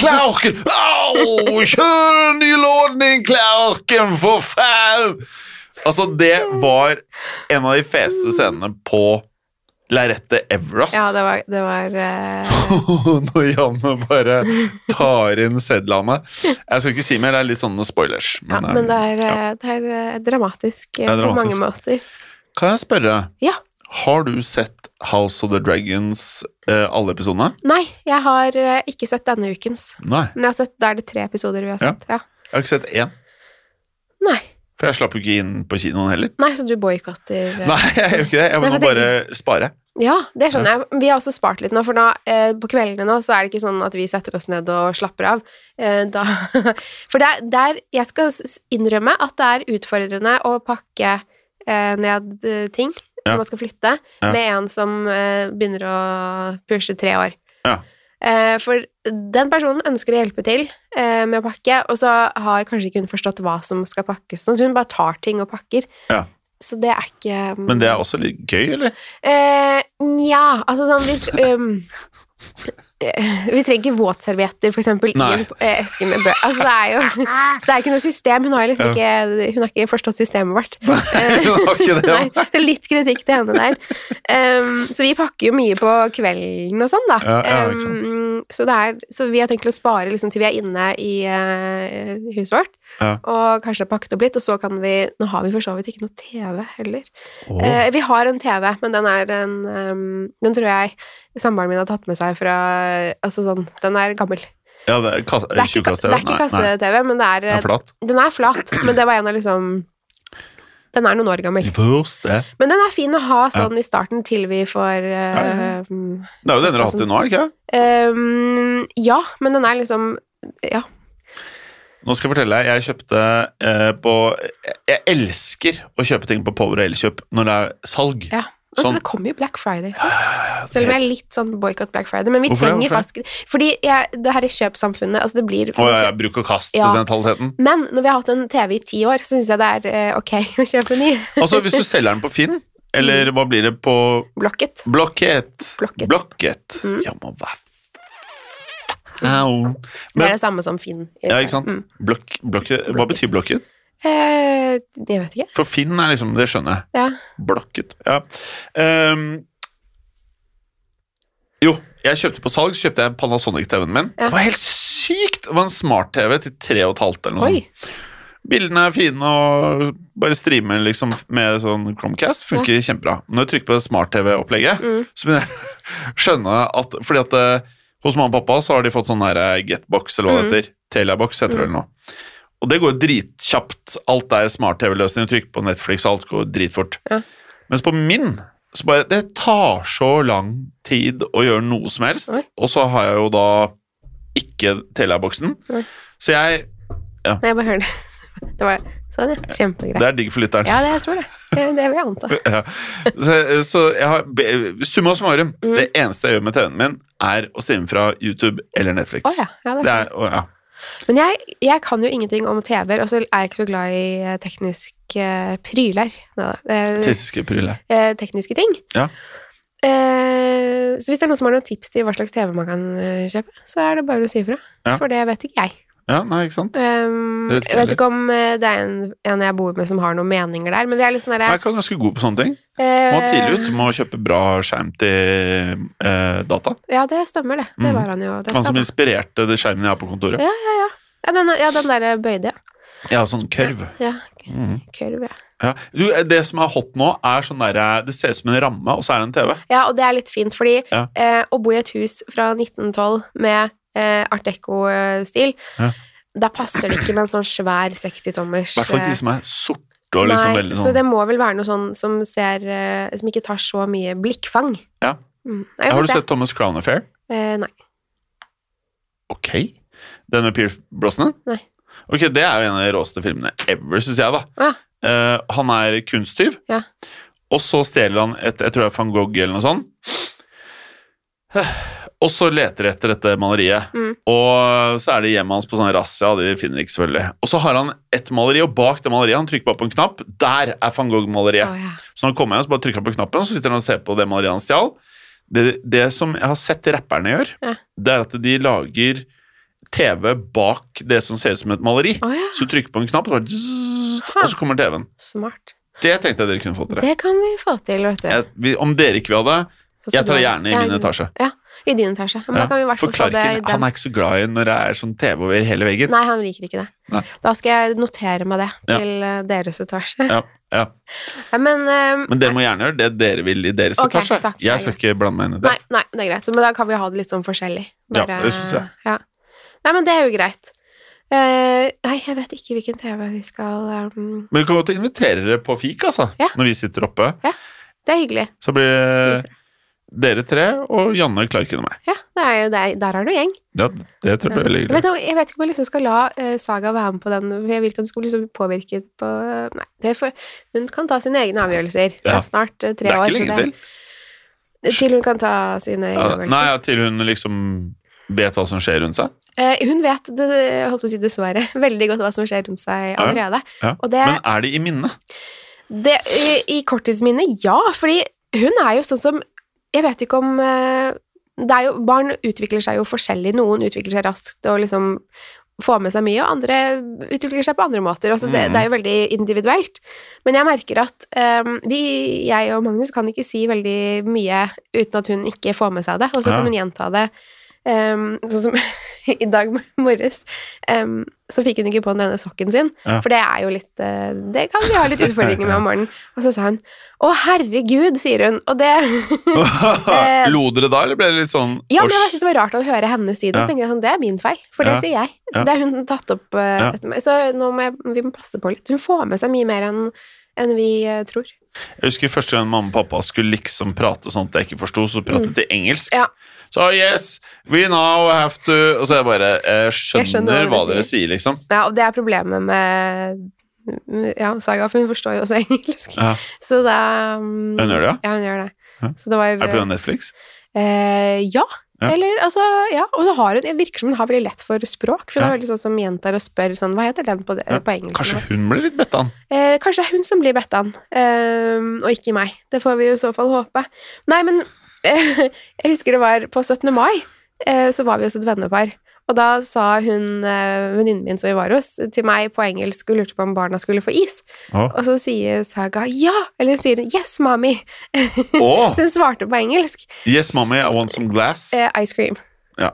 Speaker 2: Klauken! Au! Kjør en ny lådning, Klauken, for faen! Altså, det var en av de feteste scenene på lerretet ever, ass.
Speaker 1: Ja, det var, det var eh,
Speaker 2: Når Janne bare tar inn sedlene. Jeg skal ikke si mer, det er litt sånne spoilers.
Speaker 1: Ja,
Speaker 2: eh,
Speaker 1: men det er,
Speaker 2: ja.
Speaker 1: eh, det er eh, dramatisk eh,
Speaker 2: Det er
Speaker 1: på mange
Speaker 2: dramatisk.
Speaker 1: måter.
Speaker 2: Kan jeg spørre?
Speaker 1: Ja.
Speaker 2: Har du sett House of the Dragons eh, alle episodene?
Speaker 1: Nei, jeg har eh, ikke sett denne ukens.
Speaker 2: Nei,
Speaker 1: Men jeg har sett, da er det tre episoder vi har
Speaker 2: Ja.
Speaker 1: sett. Ja.
Speaker 2: jeg har ikke sett én.
Speaker 1: Nei.
Speaker 2: For jeg slapp jo ikke inn på kinoen heller.
Speaker 1: Nei, så du boikotter eh.
Speaker 2: Nei, jeg gjør ikke det. Jeg
Speaker 1: Nei,
Speaker 2: må
Speaker 1: for
Speaker 2: bare spare.
Speaker 1: Ja, det skjønner jeg. Vi har også spart litt nå, for nå, eh, på kveldene nå så er det ikke sånn at vi setter oss ned og slapper av. Eh, da, for det er, det er Jeg skal s- innrømme at det er utfordrende å pakke eh, ned eh, ting
Speaker 2: Ja.
Speaker 1: når man skal flytte,
Speaker 2: Ja.
Speaker 1: med en som eh, begynner å pushe tre år.
Speaker 2: Ja.
Speaker 1: Eh, for den personen ønsker å hjelpe til eh, med å pakke, og så har kanskje ikke hun forstått hva som skal pakkes. Sånn, så hun bare tar ting og pakker.
Speaker 2: Ja.
Speaker 1: Så det er ikke
Speaker 2: Men det er også litt gøy, eller?
Speaker 1: Eh, Nja, altså sånn hvis ehm, eh, Vi trenger ikke våtservietter, for eksempel, i
Speaker 2: Nei.
Speaker 1: en eh, eske med bø. Altså, det er jo så det er ikke noe system. Hun har liksom ikke, hun har ikke forstått systemet vårt.
Speaker 2: Det var ikke det.
Speaker 1: Eh, Nei, det er litt kritikk til henne der. Ehm, så vi pakker jo mye på kvelden og sånn, da.
Speaker 2: Ja, ja, ikke sant.
Speaker 1: Ehm, så, det er, så vi har tenkt å spare liksom, til vi er inne i eh, huset vårt,
Speaker 2: Ja.
Speaker 1: og kanskje har pakket opp litt, og så kan vi Nå har vi for så vidt ikke noe TV heller.
Speaker 2: Åh.
Speaker 1: Eh, vi har en TV, men den er en ehm, Den tror jeg samboeren min har tatt med seg fra Altså sånn Den er gammel.
Speaker 2: Ja, det er kasse...
Speaker 1: Det er ikke, ka- det er ikke kasse-TV, men det er,
Speaker 2: Det er flatt.
Speaker 1: Den er flat, men det var en av liksom Den er noen år gammel.
Speaker 2: Første.
Speaker 1: Men den er fin å ha sånn i starten til vi får eh, mm,
Speaker 2: Det er jo den dere har hatt til nå, er det ikke?
Speaker 1: ehm, Ja, men den er liksom Ja.
Speaker 2: Nå skal jeg fortelle deg, jeg kjøpte eh, på jeg, jeg elsker å kjøpe ting på Power og Elkjøp når det er salg.
Speaker 1: Ja, Altså,
Speaker 2: Sånn.
Speaker 1: Det kommer jo Black Friday snart.
Speaker 2: Ja,
Speaker 1: Selv om jeg er litt sånn boikott Black Friday. Men vi
Speaker 2: Hvorfor det?
Speaker 1: trenger
Speaker 2: Hvorfor
Speaker 1: faktisk Fordi jeg, det her i kjøpsamfunnet Altså, det blir
Speaker 2: Og jeg bruk og kast
Speaker 1: Ja.
Speaker 2: mentaliteten.
Speaker 1: Men når vi har hatt en TV i ti år, så syns jeg det er eh, ok å kjøpe en ny.
Speaker 2: Altså, hvis du selger den på Finn, eller hva blir det på
Speaker 1: Blokket.
Speaker 2: Blokkett?
Speaker 1: Mm. Blocket.
Speaker 2: Blokkett.
Speaker 1: Mm.
Speaker 2: Ja, men hva f- Au.
Speaker 1: det
Speaker 2: Men-
Speaker 1: er det samme som Finn.
Speaker 2: Ja, ikke sant?
Speaker 1: Mm.
Speaker 2: Blokk, blokket, hva
Speaker 1: Blocket.
Speaker 2: betyr blokket?
Speaker 1: Eh, det vet jeg ikke.
Speaker 2: For Finn er liksom Det skjønner jeg.
Speaker 1: Ja.
Speaker 2: Blokket. Ja. Ehm, jo, jeg kjøpte på salg så kjøpte jeg Panasonic-TV-en min.
Speaker 1: Ja.
Speaker 2: Det var helt sykt! Det var en smart-TV til 3,5 eller noe
Speaker 1: Oi.
Speaker 2: sånt. Bildene er fine, og bare streame liksom med sånn Chromecast funker kjempebra. Når jeg trykker på smart-TV-opplegget,
Speaker 1: Mm.
Speaker 2: så begynner jeg å skjønne at Fordi at eh, hos mamma og pappa så har de fått sånn der eh, Getbox, eller hva det
Speaker 1: Mm.
Speaker 2: heter. Teliabox heter det eller noe. Og det går dritkjapt. Alt er smart-TV-løsning. Du trykker på Netflix, og alt går dritfort.
Speaker 1: Ja.
Speaker 2: Mens på min så bare Det tar så lang tid å gjøre noe som helst.
Speaker 1: Oi.
Speaker 2: Og så har jeg jo da ikke Teliaboksen.
Speaker 1: Nei.
Speaker 2: Så jeg
Speaker 1: Nei, jeg bare hører det. Det var sånn, ja. Kjempegreit.
Speaker 2: Det er digg for lytteren.
Speaker 1: Ja, det jeg tror det. Det, det vil jeg anta.
Speaker 2: Ja. Så, så jeg har be- Summa summarum,
Speaker 1: Mm.
Speaker 2: det eneste jeg gjør med TV-en min, er å streame fra YouTube eller Netflix.
Speaker 1: Å ja. ja det
Speaker 2: Det
Speaker 1: er sånn.
Speaker 2: er, å, ja.
Speaker 1: Men jeg, jeg kan jo ingenting om TV-er, og så er jeg ikke så glad i eh, teknisk eh, pryler. Neida. Det-
Speaker 2: Tekniske pryler.
Speaker 1: eh, tekniske ting.
Speaker 2: Ja.
Speaker 1: Eh, så hvis det er noen som har noen tips til hva slags TV man kan eh, kjøpe, så er det bare å si ifra.
Speaker 2: Ja.
Speaker 1: For det vet ikke jeg.
Speaker 2: Ja, nei, ikke sant?
Speaker 1: Um,
Speaker 2: Det vet ikke
Speaker 1: jeg vet ikke om eh, det er en, en jeg bor med som har noen meninger der, men vi er litt sånn
Speaker 2: Jeg
Speaker 1: derre
Speaker 2: er ikke ganske god på sånne ting.
Speaker 1: eh,
Speaker 2: Må ha tidlig ut, må kjøpe bra skjerm til eh, data.
Speaker 1: Ja, det stemmer, det. Det
Speaker 2: Mm.
Speaker 1: var han jo. Det
Speaker 2: Han som
Speaker 1: stemmer.
Speaker 2: inspirerte det skjermen jeg har på kontoret.
Speaker 1: Ja, den, ja, den der eh, bøyde, ja.
Speaker 2: Ja, sånn kørv.
Speaker 1: Ja,
Speaker 2: Mhm.
Speaker 1: kørv, ja.
Speaker 2: Ja. Du, det som er hot nå, er sånn derre Det ser ut som en ramme, og så er det en TV.
Speaker 1: Ja, og det er litt fint, fordi
Speaker 2: Ja.
Speaker 1: eh, å bo i et hus fra 1912 med eh, art deco-stil,
Speaker 2: Ja.
Speaker 1: da passer det ikke med en sånn svær 60-tommers
Speaker 2: I hvert fall ikke de som er sorte og liksom
Speaker 1: Nei,
Speaker 2: veldig
Speaker 1: så
Speaker 2: sånn
Speaker 1: det må vel være noe sånn som ser eh, Som ikke tar så mye blikkfang.
Speaker 2: Ja.
Speaker 1: Mm. Nei, vi
Speaker 2: Ja, Har
Speaker 1: får
Speaker 2: du
Speaker 1: se.
Speaker 2: sett Thomas Crown Affair?
Speaker 1: Eh, nei.
Speaker 2: Ok. Den med Pierce Brosnan?
Speaker 1: Nei.
Speaker 2: Ok, Det er jo en av de råeste filmene ever, syns jeg. da.
Speaker 1: Ja.
Speaker 2: Eh, han er kunsttyv,
Speaker 1: Ja.
Speaker 2: og så stjeler han et jeg tror det er van Gogh eller noe sånt. Og så leter de etter dette maleriet,
Speaker 1: Mm.
Speaker 2: og så er det hjemmet hans på sånn razzia. og De finner det ikke selvfølgelig. Og så har han et maleri, og bak det maleriet han trykker bare på en knapp. Der er van Gogh-maleriet.
Speaker 1: Å, ja.
Speaker 2: Så når han kommer hjem, så bare trykker han på knappen, og så sitter han og ser på det maleriet han stjal. Det, det som jeg har sett rapperne gjør,
Speaker 1: Ja.
Speaker 2: det er at de lager TV bak det som ser ut som et maleri.
Speaker 1: Å, ja.
Speaker 2: Så du trykker på en knapp, og, så bare zzz,
Speaker 1: Ha.
Speaker 2: og så kommer TV-en.
Speaker 1: Smart.
Speaker 2: Det tenkte jeg dere kunne fått dere.
Speaker 1: Det kan vi få til, vet du.
Speaker 2: Jeg, vi- om dere ikke vil ha det,
Speaker 1: Så skal
Speaker 2: jeg tar det
Speaker 1: du ha-
Speaker 2: gjerne i
Speaker 1: Ja,
Speaker 2: min etasje.
Speaker 1: I din etasje. Men
Speaker 2: Ja,
Speaker 1: da kan vi i hvert fall
Speaker 2: For
Speaker 1: få det i
Speaker 2: Clarken
Speaker 1: den.
Speaker 2: han er ikke så glad i når det er sånn TV over hele veggen.
Speaker 1: Nei, han liker ikke det.
Speaker 2: Nei.
Speaker 1: Da skal jeg notere meg det
Speaker 2: Ja.
Speaker 1: til eh, deres etasje.
Speaker 2: Ja, ja.
Speaker 1: Ja, men eh,
Speaker 2: Men dere må gjerne gjøre det dere vil i deres
Speaker 1: Ok,
Speaker 2: etasje.
Speaker 1: takk, det er
Speaker 2: jeg skal ikke blande meg inn i det.
Speaker 1: Nei, nei, det er greit. Så, men da kan vi ha det litt sånn forskjellig.
Speaker 2: Ja, det synes jeg.
Speaker 1: Ja. Nei, men det er jo greit. Eh, nei, jeg vet ikke hvilken TV vi skal um,
Speaker 2: Men vi kan godt invitere dere på fik, altså,
Speaker 1: Ja.
Speaker 2: når vi sitter oppe.
Speaker 1: Det er hyggelig.
Speaker 2: Så blir
Speaker 1: Si
Speaker 2: det
Speaker 1: ifra.
Speaker 2: Dere tre og Janne Klarken og meg.
Speaker 1: Ja, det er jo det, der er du gjeng.
Speaker 2: Ja, det tror jeg blir veldig
Speaker 1: Eh, Jeg
Speaker 2: hyggelig.
Speaker 1: vet, jeg vet ikke om jeg liksom skal la eh, Saga være med på den. for Jeg vil ikke at hun skal bli så påvirket på Nei, det får- hun kan ta sine egne avgjørelser. Det
Speaker 2: Ja.
Speaker 1: er snart eh,
Speaker 2: Det
Speaker 1: tre
Speaker 2: er
Speaker 1: år.
Speaker 2: ikke lenge
Speaker 1: så
Speaker 2: til.
Speaker 1: det- Eh, Til hun kan ta sine egne
Speaker 2: Ja,
Speaker 1: avgjørelser.
Speaker 2: nei, ja, til hun liksom vet hva som skjer rundt seg.
Speaker 1: Eh, hun vet, det, jeg holdt på å si dessverre, veldig godt hva som skjer rundt seg
Speaker 2: Ja.
Speaker 1: allerede.
Speaker 2: Ja.
Speaker 1: Og det,
Speaker 2: Men er det i minnet?
Speaker 1: det i- I korttidsminnet, ja. Fordi hun er jo sånn som Jeg vet ikke om eh, det er jo, Barn utvikler seg jo forskjellig. Noen utvikler seg raskt og liksom får med seg mye, og andre utvikler seg på andre måter. Altså det,
Speaker 2: Mm.
Speaker 1: det er jo veldig individuelt. Men jeg merker at eh, vi, jeg og Magnus kan ikke si veldig mye uten at hun ikke får med seg det, og så
Speaker 2: Ja.
Speaker 1: kan hun gjenta det. eh, sånn som i dag morges, eh, så fikk hun ikke på denne sokken sin.
Speaker 2: Ja.
Speaker 1: For det er jo litt eh, Det kan vi ha litt utfordringer med om morgenen. Og så sa hun 'Å, herregud', sier hun. Og det
Speaker 2: Lo dere da, eller ble det litt sånn
Speaker 1: Eh, Ja, men
Speaker 2: «Åsj»,
Speaker 1: jeg bare synes det var rart å høre hennes side.
Speaker 2: Ja.
Speaker 1: Så tenkte jeg sånn, det er min feil, for det
Speaker 2: Ja.
Speaker 1: sier jeg. Så
Speaker 2: Ja.
Speaker 1: det har hun tatt opp eh,
Speaker 2: Ja.
Speaker 1: etter meg. Så nå må jeg, vi må passe på litt. Hun får med seg mye mer enn enn vi eh, tror.
Speaker 2: Jeg husker første gang mamma og pappa skulle liksom prate sånn at jeg ikke forsto, så pratet de engelsk.
Speaker 1: Mm. Ja.
Speaker 2: Så yes, we now have to Og så er jeg bare Jeg skjønner,
Speaker 1: Jeg skjønner
Speaker 2: hva
Speaker 1: hva dere
Speaker 2: dere sier, liksom.
Speaker 1: Ja, og det er problemet med ja, Saga, for hun forstår jo også engelsk.
Speaker 2: Ja.
Speaker 1: Så da mm,
Speaker 2: Hun gjør det, ja?
Speaker 1: Ja, hun gjør det.
Speaker 2: Ja.
Speaker 1: Så det var
Speaker 2: Er det på Netflix?
Speaker 1: Eh, ja.
Speaker 2: Ja.
Speaker 1: Eller, altså, ja. Og så har hun, det virker som hun har veldig lett for språk, for hun
Speaker 2: Ja.
Speaker 1: er veldig sånn som gjentar og spør sånn, hva heter den på,
Speaker 2: Ja.
Speaker 1: på engelsk?
Speaker 2: Kanskje hun ble litt Bettan?
Speaker 1: Eh, kanskje det er hun som blir Bettan, ehm, og ikke meg. Det får vi jo i så fall håpe. Nei, men eh, jeg husker det var på 17. mai, eh, så var vi hos et vennepar. Og da sa hun eh, venninnen min som vi var hos, til meg på engelsk og lurte på om barna skulle få is.
Speaker 2: Å,
Speaker 1: Og så sier Saga ja, eller hun sier yes, mommy.
Speaker 2: Å,
Speaker 1: Så hun svarte på engelsk
Speaker 2: Yes, mommy, I want some glass.
Speaker 1: eh, ice cream.
Speaker 2: Ja.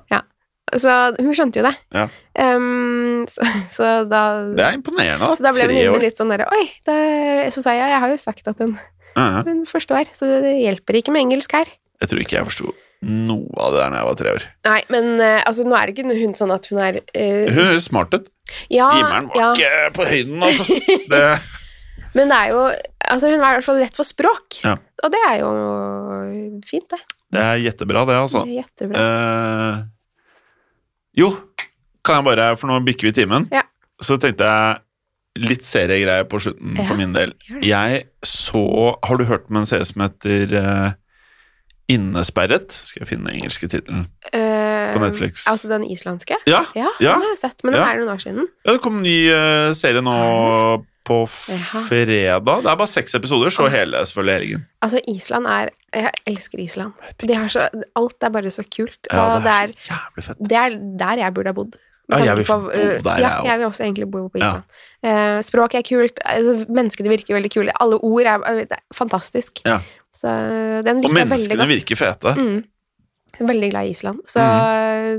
Speaker 1: Så hun skjønte jo det.
Speaker 2: Ja.
Speaker 1: Ehm, så, så da
Speaker 2: Det er imponerende.
Speaker 1: så da ble
Speaker 2: Tre
Speaker 1: venninnen min
Speaker 2: år.
Speaker 1: litt sånn derre Oi! Det, så sa jeg jeg har jo sagt at hun
Speaker 2: Ja, ja.
Speaker 1: Hun forstår, så det hjelper ikke med engelsk her.
Speaker 2: Jeg tror ikke jeg forsto noe av det der da jeg var tre år.
Speaker 1: Nei, men eh, altså, nå er det ikke hun sånn at hun er eh,
Speaker 2: Hun høres smart ut.
Speaker 1: ja,
Speaker 2: Himmelen var
Speaker 1: Ah, ja,
Speaker 2: ikke på høyden, altså. Det,
Speaker 1: Men det er jo altså, Hun er i hvert fall lett for språk.
Speaker 2: Ja.
Speaker 1: Og det er jo fint, det.
Speaker 2: det er jettebra, det,
Speaker 1: det
Speaker 2: altså.
Speaker 1: er Jettebra.
Speaker 2: Eh, jo, kan jeg bare For nå bikker vi timen.
Speaker 1: Ja.
Speaker 2: Så tenkte jeg litt seriegreier på slutten
Speaker 1: Ja,
Speaker 2: for min del.
Speaker 1: gjør det.
Speaker 2: Jeg så Har du hørt om en serie som heter eh, Innesperret? Skal jeg finne den engelske tittelen
Speaker 1: Eh,
Speaker 2: på Netflix?
Speaker 1: Altså den islandske?
Speaker 2: ja,
Speaker 1: Ja,
Speaker 2: Ja.
Speaker 1: den har jeg sett, men den
Speaker 2: Ja.
Speaker 1: er noen år siden.
Speaker 2: Ja, det kom en ny eh, serie nå på
Speaker 1: Jaha.
Speaker 2: fredag. Det er bare seks episoder, så
Speaker 1: Ah.
Speaker 2: hele selvfølgelig helgen.
Speaker 1: Altså, Island er Jeg elsker Island.
Speaker 2: Vet ikke.
Speaker 1: De har så, alt er bare så kult.
Speaker 2: Ja,
Speaker 1: og det er,
Speaker 2: så jævlig fett.
Speaker 1: det er der jeg burde ha bodd. Med
Speaker 2: Ja,
Speaker 1: tanke
Speaker 2: jeg vil
Speaker 1: på,
Speaker 2: bo
Speaker 1: øh,
Speaker 2: der,
Speaker 1: ja,
Speaker 2: jeg også.
Speaker 1: jeg vil også egentlig bo på
Speaker 2: Ja.
Speaker 1: Island. Eh, språk er kult, altså, menneskene virker veldig kule, alle ord er, det er fantastisk.
Speaker 2: Ja.
Speaker 1: Så den
Speaker 2: Og
Speaker 1: virker veldig
Speaker 2: menneskene
Speaker 1: godt.
Speaker 2: virker fete.
Speaker 1: Mm. Veldig glad i Island. Så eh,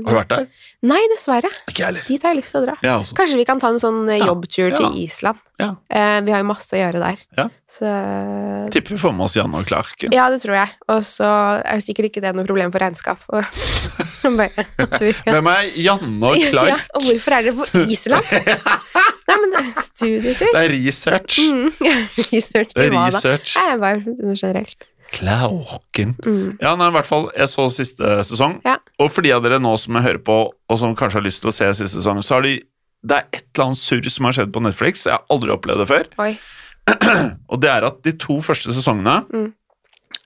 Speaker 2: Har du vært der?
Speaker 1: Nei, dessverre.
Speaker 2: Ikke jeg heller.
Speaker 1: Dit har jeg lyst til å dra.
Speaker 2: Jeg også.
Speaker 1: Kanskje vi kan ta en sånn eh,
Speaker 2: Ja.
Speaker 1: jobbtur
Speaker 2: Ja.
Speaker 1: til Island.
Speaker 2: Ja.
Speaker 1: Eh, vi har jo masse å gjøre der.
Speaker 2: Ja.
Speaker 1: Så eh,
Speaker 2: Tipper vi får med oss Janne og Clark.
Speaker 1: Ja, det tror jeg. Og så er sikkert ikke det noe problem for regnskap. Og bare at vi kan
Speaker 2: Hvem er Janne og Clark?
Speaker 1: Ja, og hvorfor er dere på Island? Nei, men det er studietur.
Speaker 2: Det er research.
Speaker 1: Mm. Research
Speaker 2: Det
Speaker 1: til
Speaker 2: er
Speaker 1: hva da?
Speaker 2: research.
Speaker 1: Nei, jeg bare noe generelt.
Speaker 2: Clarken.
Speaker 1: Mm.
Speaker 2: Ja, nei, i hvert fall, jeg så siste sesong.
Speaker 1: Ja.
Speaker 2: Og for de av dere nå som hører på, og som kanskje har lyst til å se siste sesong, så har de det er et eller annet surr som har skjedd på Netflix. Jeg har aldri opplevd det før.
Speaker 1: Oi.
Speaker 2: Og det er at de to første sesongene
Speaker 1: Mm.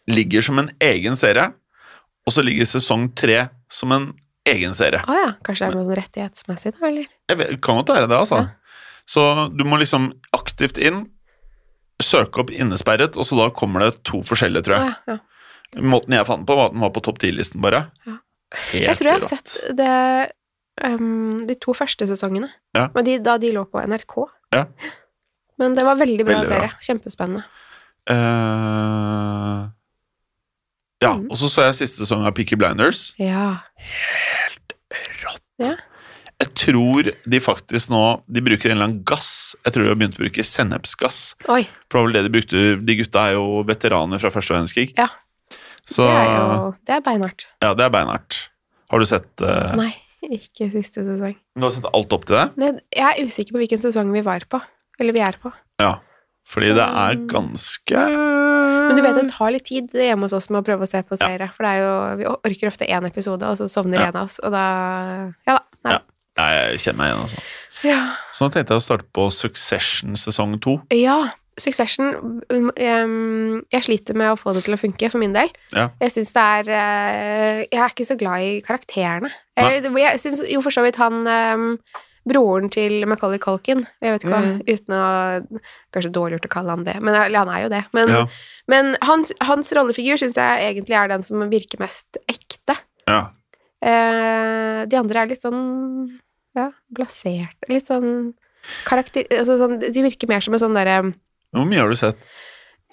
Speaker 2: ligger som en egen serie, og så ligger sesong tre som en egen serie.
Speaker 1: Å ja. Kanskje det er noe rettighetsmessig, da, eller?
Speaker 2: Jeg vet, kan godt være det, altså.
Speaker 1: Ja.
Speaker 2: Så du må liksom aktivt inn, søke opp innesperret, og så da kommer det to forskjellige, tror
Speaker 1: Å
Speaker 2: jeg.
Speaker 1: ja, ja.
Speaker 2: Måten jeg fant den på, var at den var på topp 10-listen, bare.
Speaker 1: Ja.
Speaker 2: Helt
Speaker 1: Jeg tror jeg har
Speaker 2: rått.
Speaker 1: sett det, um, de to første sesongene,
Speaker 2: Ja.
Speaker 1: men de, da de lå på NRK.
Speaker 2: Ja.
Speaker 1: Men det var veldig bra
Speaker 2: Veldig
Speaker 1: serie.
Speaker 2: bra.
Speaker 1: Kjempespennende.
Speaker 2: Eh, ja,
Speaker 1: Mm.
Speaker 2: og så så jeg siste sesong av Peaky Blinders.
Speaker 1: Ja.
Speaker 2: Rått!
Speaker 1: Ja.
Speaker 2: Jeg tror de faktisk nå De bruker en eller annen gass. Jeg tror de har begynt å bruke sennepsgass.
Speaker 1: Oi.
Speaker 2: For det var vel det de brukte De gutta er jo veteraner fra første verdenskrig.
Speaker 1: Ja.
Speaker 2: Så
Speaker 1: Det er jo Det er beinhardt.
Speaker 2: Ja, det er beinhardt. Har du sett eh,
Speaker 1: Nei, ikke siste sesong.
Speaker 2: Du har sett alt opp til det?
Speaker 1: Men jeg er usikker på hvilken sesong vi var på. Eller vi er på.
Speaker 2: Ja. Fordi
Speaker 1: Så-
Speaker 2: det er ganske
Speaker 1: Men du vet
Speaker 2: Mm.
Speaker 1: det tar litt tid det hjemme hos oss med å prøve å se på seere. For det er jo, vi orker ofte én episode, og så sovner
Speaker 2: Ja.
Speaker 1: en av oss, og da Ja da. Nei.
Speaker 2: Nei, jeg kjenner meg igjen, altså.
Speaker 1: Ja.
Speaker 2: Så nå tenkte jeg å starte på Succession sesong to.
Speaker 1: ja. Succession um, em, Jeg sliter med å få det til å funke, for min del.
Speaker 2: Ja.
Speaker 1: Jeg syns det er eh, Jeg er ikke så glad i karakterene. Eller, jeg syns jo for så vidt han em, Broren til Macauley Culkin, jeg vet ikke hva,
Speaker 2: Mhm.
Speaker 1: uten å Kanskje dårlig gjort å kalle han det, men eller han er jo det. Men,
Speaker 2: Ja.
Speaker 1: men hans, hans rollefigur syns jeg egentlig er den som virker mest ekte.
Speaker 2: ja.
Speaker 1: Eh, de andre er litt sånn ja, blasert. Litt sånn karakter... Altså sånn, de virker mer som en sånn derre
Speaker 2: Hvor mye har du sett?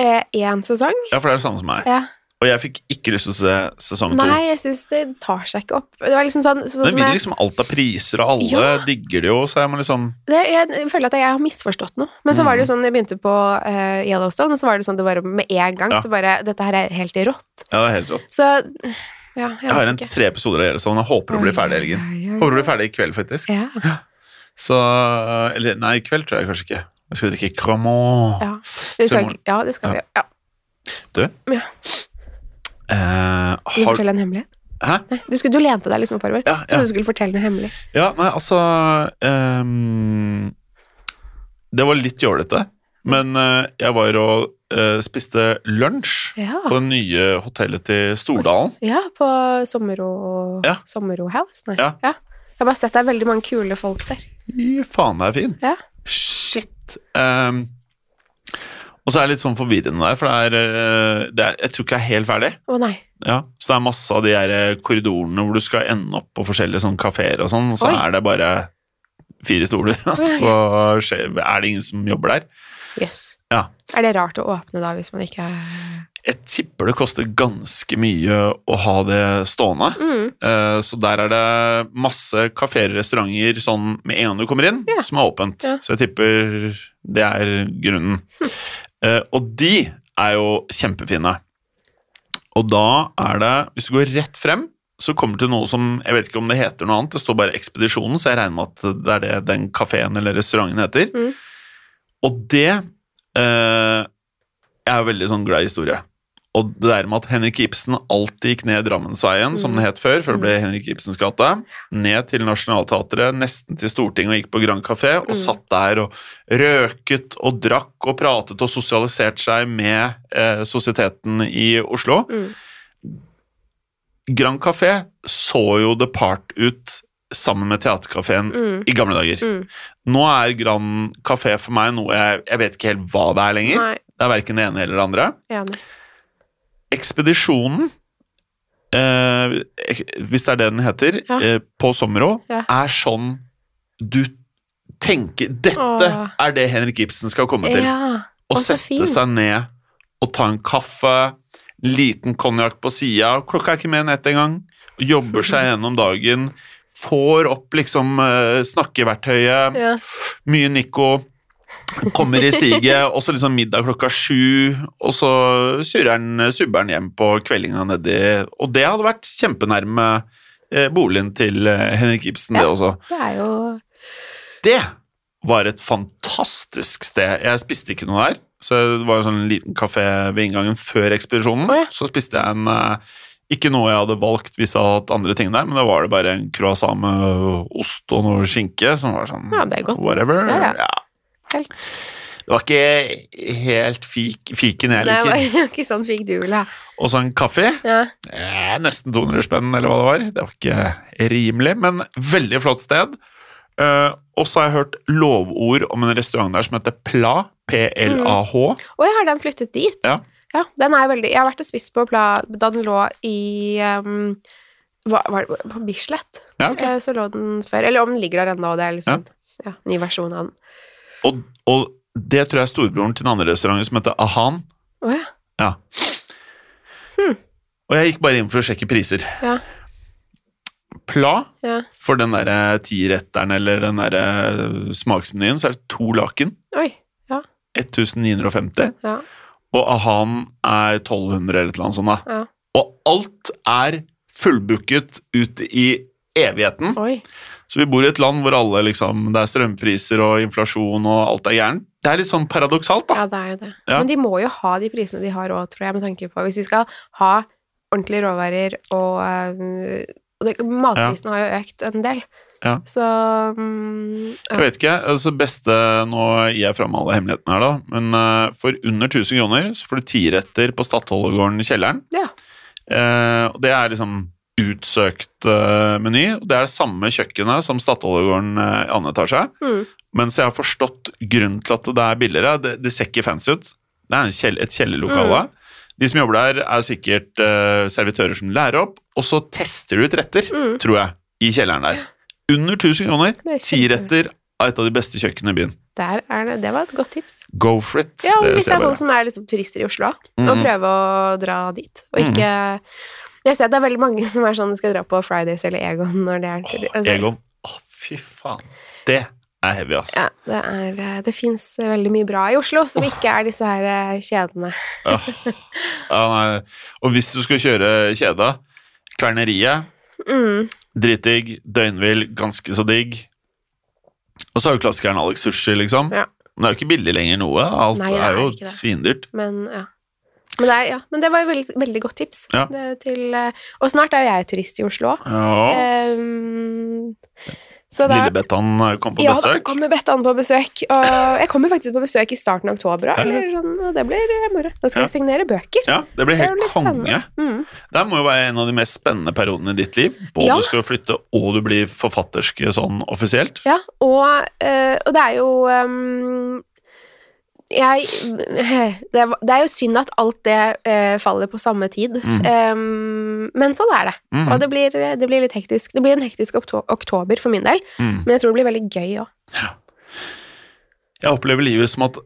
Speaker 1: Én Eh, sesong?
Speaker 2: Ja, for det er det samme som meg.
Speaker 1: Ja.
Speaker 2: Og jeg fikk ikke lyst til å se sesong to.
Speaker 1: Nei, jeg syns det tar seg ikke opp. Det var liksom sånn, sånn
Speaker 2: Den
Speaker 1: som
Speaker 2: vinner
Speaker 1: jeg,
Speaker 2: liksom alt av priser, og alle
Speaker 1: Ja.
Speaker 2: digger det jo, så jeg må liksom
Speaker 1: det, jeg føler at jeg har misforstått noe. Men så var
Speaker 2: Mm.
Speaker 1: det jo sånn, jeg begynte på eh, Yellowstone, og så var det sånn det bare med en gang
Speaker 2: Ja.
Speaker 1: så bare Dette her er helt rått.
Speaker 2: Ja, det er helt rått.
Speaker 1: Så ja, jeg,
Speaker 2: Jeg har
Speaker 1: vet
Speaker 2: en
Speaker 1: ikke.
Speaker 2: tre episoder av Yellowstone, jeg håper det blir ferdig i helgen. Håper det blir ferdig i kveld, faktisk.
Speaker 1: Ja.
Speaker 2: Så Eller nei, i kveld tror jeg kanskje ikke. Jeg skal drikke Cremant.
Speaker 1: Ja. Vi
Speaker 2: Så i
Speaker 1: Skal,
Speaker 2: morgen.
Speaker 1: ja, det skal vi. Ja.
Speaker 2: Eh,
Speaker 1: Skal du
Speaker 2: har,
Speaker 1: fortelle en hemmelighet?
Speaker 2: hæ?
Speaker 1: Nei, du, skulle, du lente deg liksom forover.
Speaker 2: Ja, ja.
Speaker 1: Trodde du skulle fortelle noe hemmelig.
Speaker 2: Ja, nei, altså ehm, Det var litt jålete, men eh, jeg var og eh, spiste lunsj
Speaker 1: Ja.
Speaker 2: på det nye hotellet til Stordalen.
Speaker 1: Ja, på Sommero,
Speaker 2: Ja.
Speaker 1: Sommero House. Nei.
Speaker 2: Ja.
Speaker 1: Jeg har bare sett det er veldig mange kule folk der.
Speaker 2: Fy faen, det er fin.
Speaker 1: Ja.
Speaker 2: Shit. Ehm, og så er det litt sånn forvirrende der, for det er, eh, det er Jeg tror ikke jeg er helt ferdig.
Speaker 1: Å nei.
Speaker 2: Ja, så det er masse av de her eh, korridorene hvor du skal ende opp på forskjellige sånn kafeer og sånn, og så
Speaker 1: Oi.
Speaker 2: er det bare fire stoler, og så skjer- er det ingen som jobber der.
Speaker 1: Jøss.
Speaker 2: Ja.
Speaker 1: Er det rart å åpne da, hvis man ikke
Speaker 2: Jeg tipper det koster ganske mye å ha det stående.
Speaker 1: mm.
Speaker 2: Eh, Så der er det masse kafeer og restauranter sånn med en gang du kommer inn,
Speaker 1: Ja.
Speaker 2: som er åpent.
Speaker 1: Ja.
Speaker 2: Så jeg tipper det er grunnen. Eh, Og de er jo kjempefine. Og da er det Hvis du går rett frem, så kommer du til noe som Jeg vet ikke om det heter noe annet, det står bare Ekspedisjonen, så jeg regner med at det er det den kafeen eller restauranten heter.
Speaker 1: Mm.
Speaker 2: Og det eh, Jeg er jo veldig sånn glad i historie. Og det der med at Henrik Ibsen alltid gikk ned Drammensveien,
Speaker 1: Mm.
Speaker 2: som den het før, før det ble Henrik Ibsens gate, ned til Nationaltheatret, nesten til Stortinget, og gikk på Grand Café, og
Speaker 1: Mm.
Speaker 2: satt der og røket og drakk og pratet og sosialisert seg med eh, sosieteten i Oslo.
Speaker 1: Mm.
Speaker 2: Grand Café så jo The Part ut sammen med Theatercaféen
Speaker 1: Mm.
Speaker 2: i gamle dager.
Speaker 1: Mm.
Speaker 2: Nå er Grand Café for meg noe jeg, jeg vet ikke helt hva det er lenger.
Speaker 1: Nei,
Speaker 2: Det er verken det ene eller det andre.
Speaker 1: enig.
Speaker 2: Ekspedisjonen, eh, ek- hvis det er det den heter,
Speaker 1: Ja.
Speaker 2: eh, på Sommero,
Speaker 1: Ja.
Speaker 2: er sånn du tenker Dette
Speaker 1: Åh.
Speaker 2: er det Henrik Ibsen skal komme til.
Speaker 1: Ja.
Speaker 2: Å
Speaker 1: Å, så
Speaker 2: sette
Speaker 1: fint.
Speaker 2: seg ned og ta en kaffe, liten konjakk på sida, klokka er ikke mer enn ett engang. jobber seg gjennom dagen, får opp liksom eh, snakkeverktøyet,
Speaker 1: Ja.
Speaker 2: mye Nico, kommer i siget, og så liksom middag klokka sju, og så surrer han subberen hjem på kveldinga nedi Og det hadde vært kjempenærme eh, boligen til eh, Henrik Ibsen, det også.
Speaker 1: Det er jo
Speaker 2: Det var et fantastisk sted. Jeg spiste ikke noe der. Så det var en sånn liten kafé ved inngangen før ekspedisjonen.
Speaker 1: Å, ja.
Speaker 2: Så spiste jeg en eh, Ikke noe jeg hadde valgt hvis jeg hadde hatt andre ting der, men da var det bare en croissant med ost og noe skinke som var sånn
Speaker 1: Ja, det er godt.
Speaker 2: whatever.
Speaker 1: Ja, ja.
Speaker 2: Ja.
Speaker 1: Helt.
Speaker 2: Det var ikke helt fik, fiken jeg
Speaker 1: Det
Speaker 2: liker.
Speaker 1: var jo ikke sånn fikk du ville ha.
Speaker 2: Og så en kaffe.
Speaker 1: Ja.
Speaker 2: Eh, nesten 200 spenn, eller hva det var. Det var ikke rimelig, men veldig flott sted. Eh, og så har jeg hørt lovord om en restaurant der som heter Pla. P-L-A-H.
Speaker 1: Og jeg har den flyttet dit.
Speaker 2: Ja.
Speaker 1: den er veldig, jeg har vært og spist på Pla- da den lå i um, hva, var det, På Bislett.
Speaker 2: Ja, ok.
Speaker 1: Eh, Så lå den før. Eller om den ligger der ennå, det er liksom ja, ny versjon av den.
Speaker 2: Og, og det tror jeg er storebroren til den andre restauranten som heter Ahan.
Speaker 1: Å ja.
Speaker 2: Ja. Og jeg gikk bare inn for å sjekke priser.
Speaker 1: Ja.
Speaker 2: Pla,
Speaker 1: ja.
Speaker 2: for den derre tiretteren eller den derre smaksmenyen, så er det to laken.
Speaker 1: Oi.
Speaker 2: 1950.
Speaker 1: Ja.
Speaker 2: Og Ahan er 1200 eller et eller annet sånt. da.
Speaker 1: Ja.
Speaker 2: Og alt er fullbooket ut i evigheten.
Speaker 1: Oi.
Speaker 2: Så vi bor i et land hvor alle liksom, det er strømpriser og inflasjon og alt er gærent. Det er litt sånn paradoksalt, da.
Speaker 1: Ja, det er jo det.
Speaker 2: Ja.
Speaker 1: Men de må jo ha de prisene de har òg, tror jeg, med tanke på Hvis de skal ha ordentlige råvarer og eh, og det- Matprisene har jo økt en del.
Speaker 2: Ja.
Speaker 1: Så mm,
Speaker 2: Jeg vet ikke, altså beste Nå gir jeg fram alle hemmelighetene her, da. Men eh, for under 1000 kroner så får du tiretter på Stadholdergården i kjelleren.
Speaker 1: Ja.
Speaker 2: Eh, og det er liksom utsøkt eh, meny. og Det er det samme kjøkkenet som Stadholdergården eh, i annen etasje.
Speaker 1: Mm.
Speaker 2: Mens jeg har forstått grunnen til at det er billigere. Det, det ser ikke fancy ut. Det er en kjell, et kjellerlokale.
Speaker 1: Mm.
Speaker 2: De som jobber der, er sikkert eh, servitører som lærer opp, og så tester du ut retter,
Speaker 1: Mm.
Speaker 2: tror jeg, i kjelleren der. Under 1000
Speaker 1: Det er
Speaker 2: kroner, ti
Speaker 1: kjempe-
Speaker 2: retter av et av de beste kjøkkenene i byen.
Speaker 1: Der er det. Det var et godt tips.
Speaker 2: Go for it.
Speaker 1: Ja, men
Speaker 2: det
Speaker 1: hvis det
Speaker 2: ser
Speaker 1: er
Speaker 2: jeg
Speaker 1: folk
Speaker 2: bare.
Speaker 1: som er liksom turister i Oslo, og
Speaker 2: Mhm.
Speaker 1: prøve å dra dit, og ikke Jeg ser at det er veldig mange som er sånn skal dra på Fridays eller Egon når det er altså,
Speaker 2: Egon, å fy faen. Det er heavy, ass.
Speaker 1: Ja, det er eh, Det fins veldig mye bra i Oslo som ikke er disse her eh, kjedene.
Speaker 2: Åh. Ja, nei. Og hvis du skal kjøre kjeda, Kverneriet
Speaker 1: Mm.
Speaker 2: Dritdigg, døgnvill, ganske så digg. Og så har jo klassikeren Alex Sushi, liksom.
Speaker 1: Ja.
Speaker 2: Men det er jo ikke billig lenger noe. Alt
Speaker 1: Nei, det
Speaker 2: er,
Speaker 1: er ikke
Speaker 2: jo
Speaker 1: det.
Speaker 2: svindyrt.
Speaker 1: Men ja. Men det, er, ja. Men det var et veldig, veldig godt tips.
Speaker 2: Ja.
Speaker 1: Det, til, eh, og snart er jo jeg turist i Oslo.
Speaker 2: Ja.
Speaker 1: Eh, Um, så da
Speaker 2: Lillebettan eh, kom på
Speaker 1: ja, da
Speaker 2: besøk.
Speaker 1: kommer Bettan på besøk. Og jeg kommer faktisk på besøk i starten av oktober. også, Eller sånn, og det blir eh, moro. Da skal
Speaker 2: Ja.
Speaker 1: jeg signere bøker.
Speaker 2: Ja, det blir
Speaker 1: Det er
Speaker 2: helt
Speaker 1: jo litt
Speaker 2: konge.
Speaker 1: spennende. Mm.
Speaker 2: Det må jo være en av de mest spennende periodene i ditt liv. Både
Speaker 1: Ja.
Speaker 2: du skal flytte, og du blir forfatterske sånn offisielt.
Speaker 1: Ja, og, eh, og det er jo ehm, jeg, det, var- det er jo synd at alt det eh, faller på samme tid,
Speaker 2: Mhm.
Speaker 1: Ehm, men sånn er det.
Speaker 2: Mhm.
Speaker 1: Og det blir, det blir litt hektisk. Det blir en hektisk okto- oktober for min del, men
Speaker 2: Mm.
Speaker 1: jeg tror det blir veldig gøy òg.
Speaker 2: Jeg opplever livet som at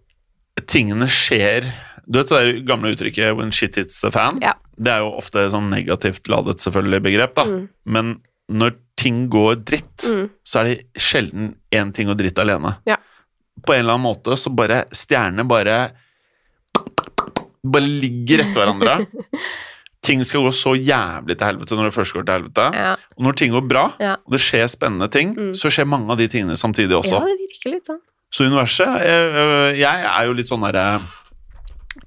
Speaker 2: tingene skjer Du vet det der gamle uttrykket 'when shit hits the fan'?
Speaker 1: Ja.
Speaker 2: Det er jo ofte sånn negativt ladet selvfølgelig begrep, da.
Speaker 1: Mm.
Speaker 2: Men når ting går dritt,
Speaker 1: Mm.
Speaker 2: så er det sjelden én ting og dritt alene.
Speaker 1: Ja.
Speaker 2: På en eller annen måte så bare stjernene bare bare ligger etter hverandre. ting skal gå så jævlig til helvete når det først går til helvete.
Speaker 1: Ja.
Speaker 2: Og når ting går bra,
Speaker 1: Ja.
Speaker 2: og det skjer spennende ting,
Speaker 1: Mm.
Speaker 2: så skjer mange av de tingene samtidig også.
Speaker 1: ja, det virker litt sånn.
Speaker 2: Så universet jeg, øh, jeg er jo litt sånn derre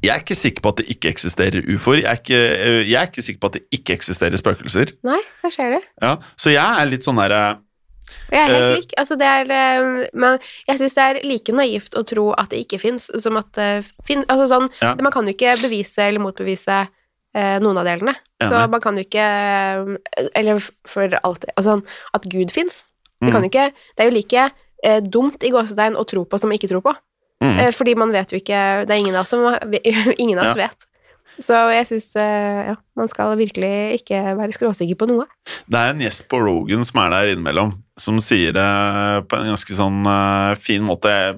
Speaker 2: Jeg er ikke sikker på at det ikke eksisterer ufoer. Jeg, er ikke, øh, jeg er ikke sikker på at det ikke eksisterer spøkelser.
Speaker 1: Nei, der ser du.
Speaker 2: Ja. Så jeg er litt sånn derre
Speaker 1: Og jeg er helt
Speaker 2: Eh.
Speaker 1: lik. Altså, det er, eh, men jeg syns det er like naivt å tro at det ikke fins, som at det fins Altså sånn,
Speaker 2: Ja.
Speaker 1: man kan jo ikke bevise eller motbevise eh, noen av delene. Så
Speaker 2: Enig.
Speaker 1: man kan jo ikke eh, Eller f- for alt Altså sånn at Gud fins. Det
Speaker 2: Mm.
Speaker 1: kan jo ikke Det er jo like eh, dumt i gåsetegn å tro på som ikke tro på.
Speaker 2: Mm.
Speaker 1: Eh, fordi man vet jo ikke Det er ingen av oss som Ingen av oss vet. Så jeg syns eh, ja, man skal virkelig ikke være skråsikker på noe.
Speaker 2: Det er en gjest på Rogan som er der innimellom, som sier det på en ganske sånn øh, fin måte. Jeg,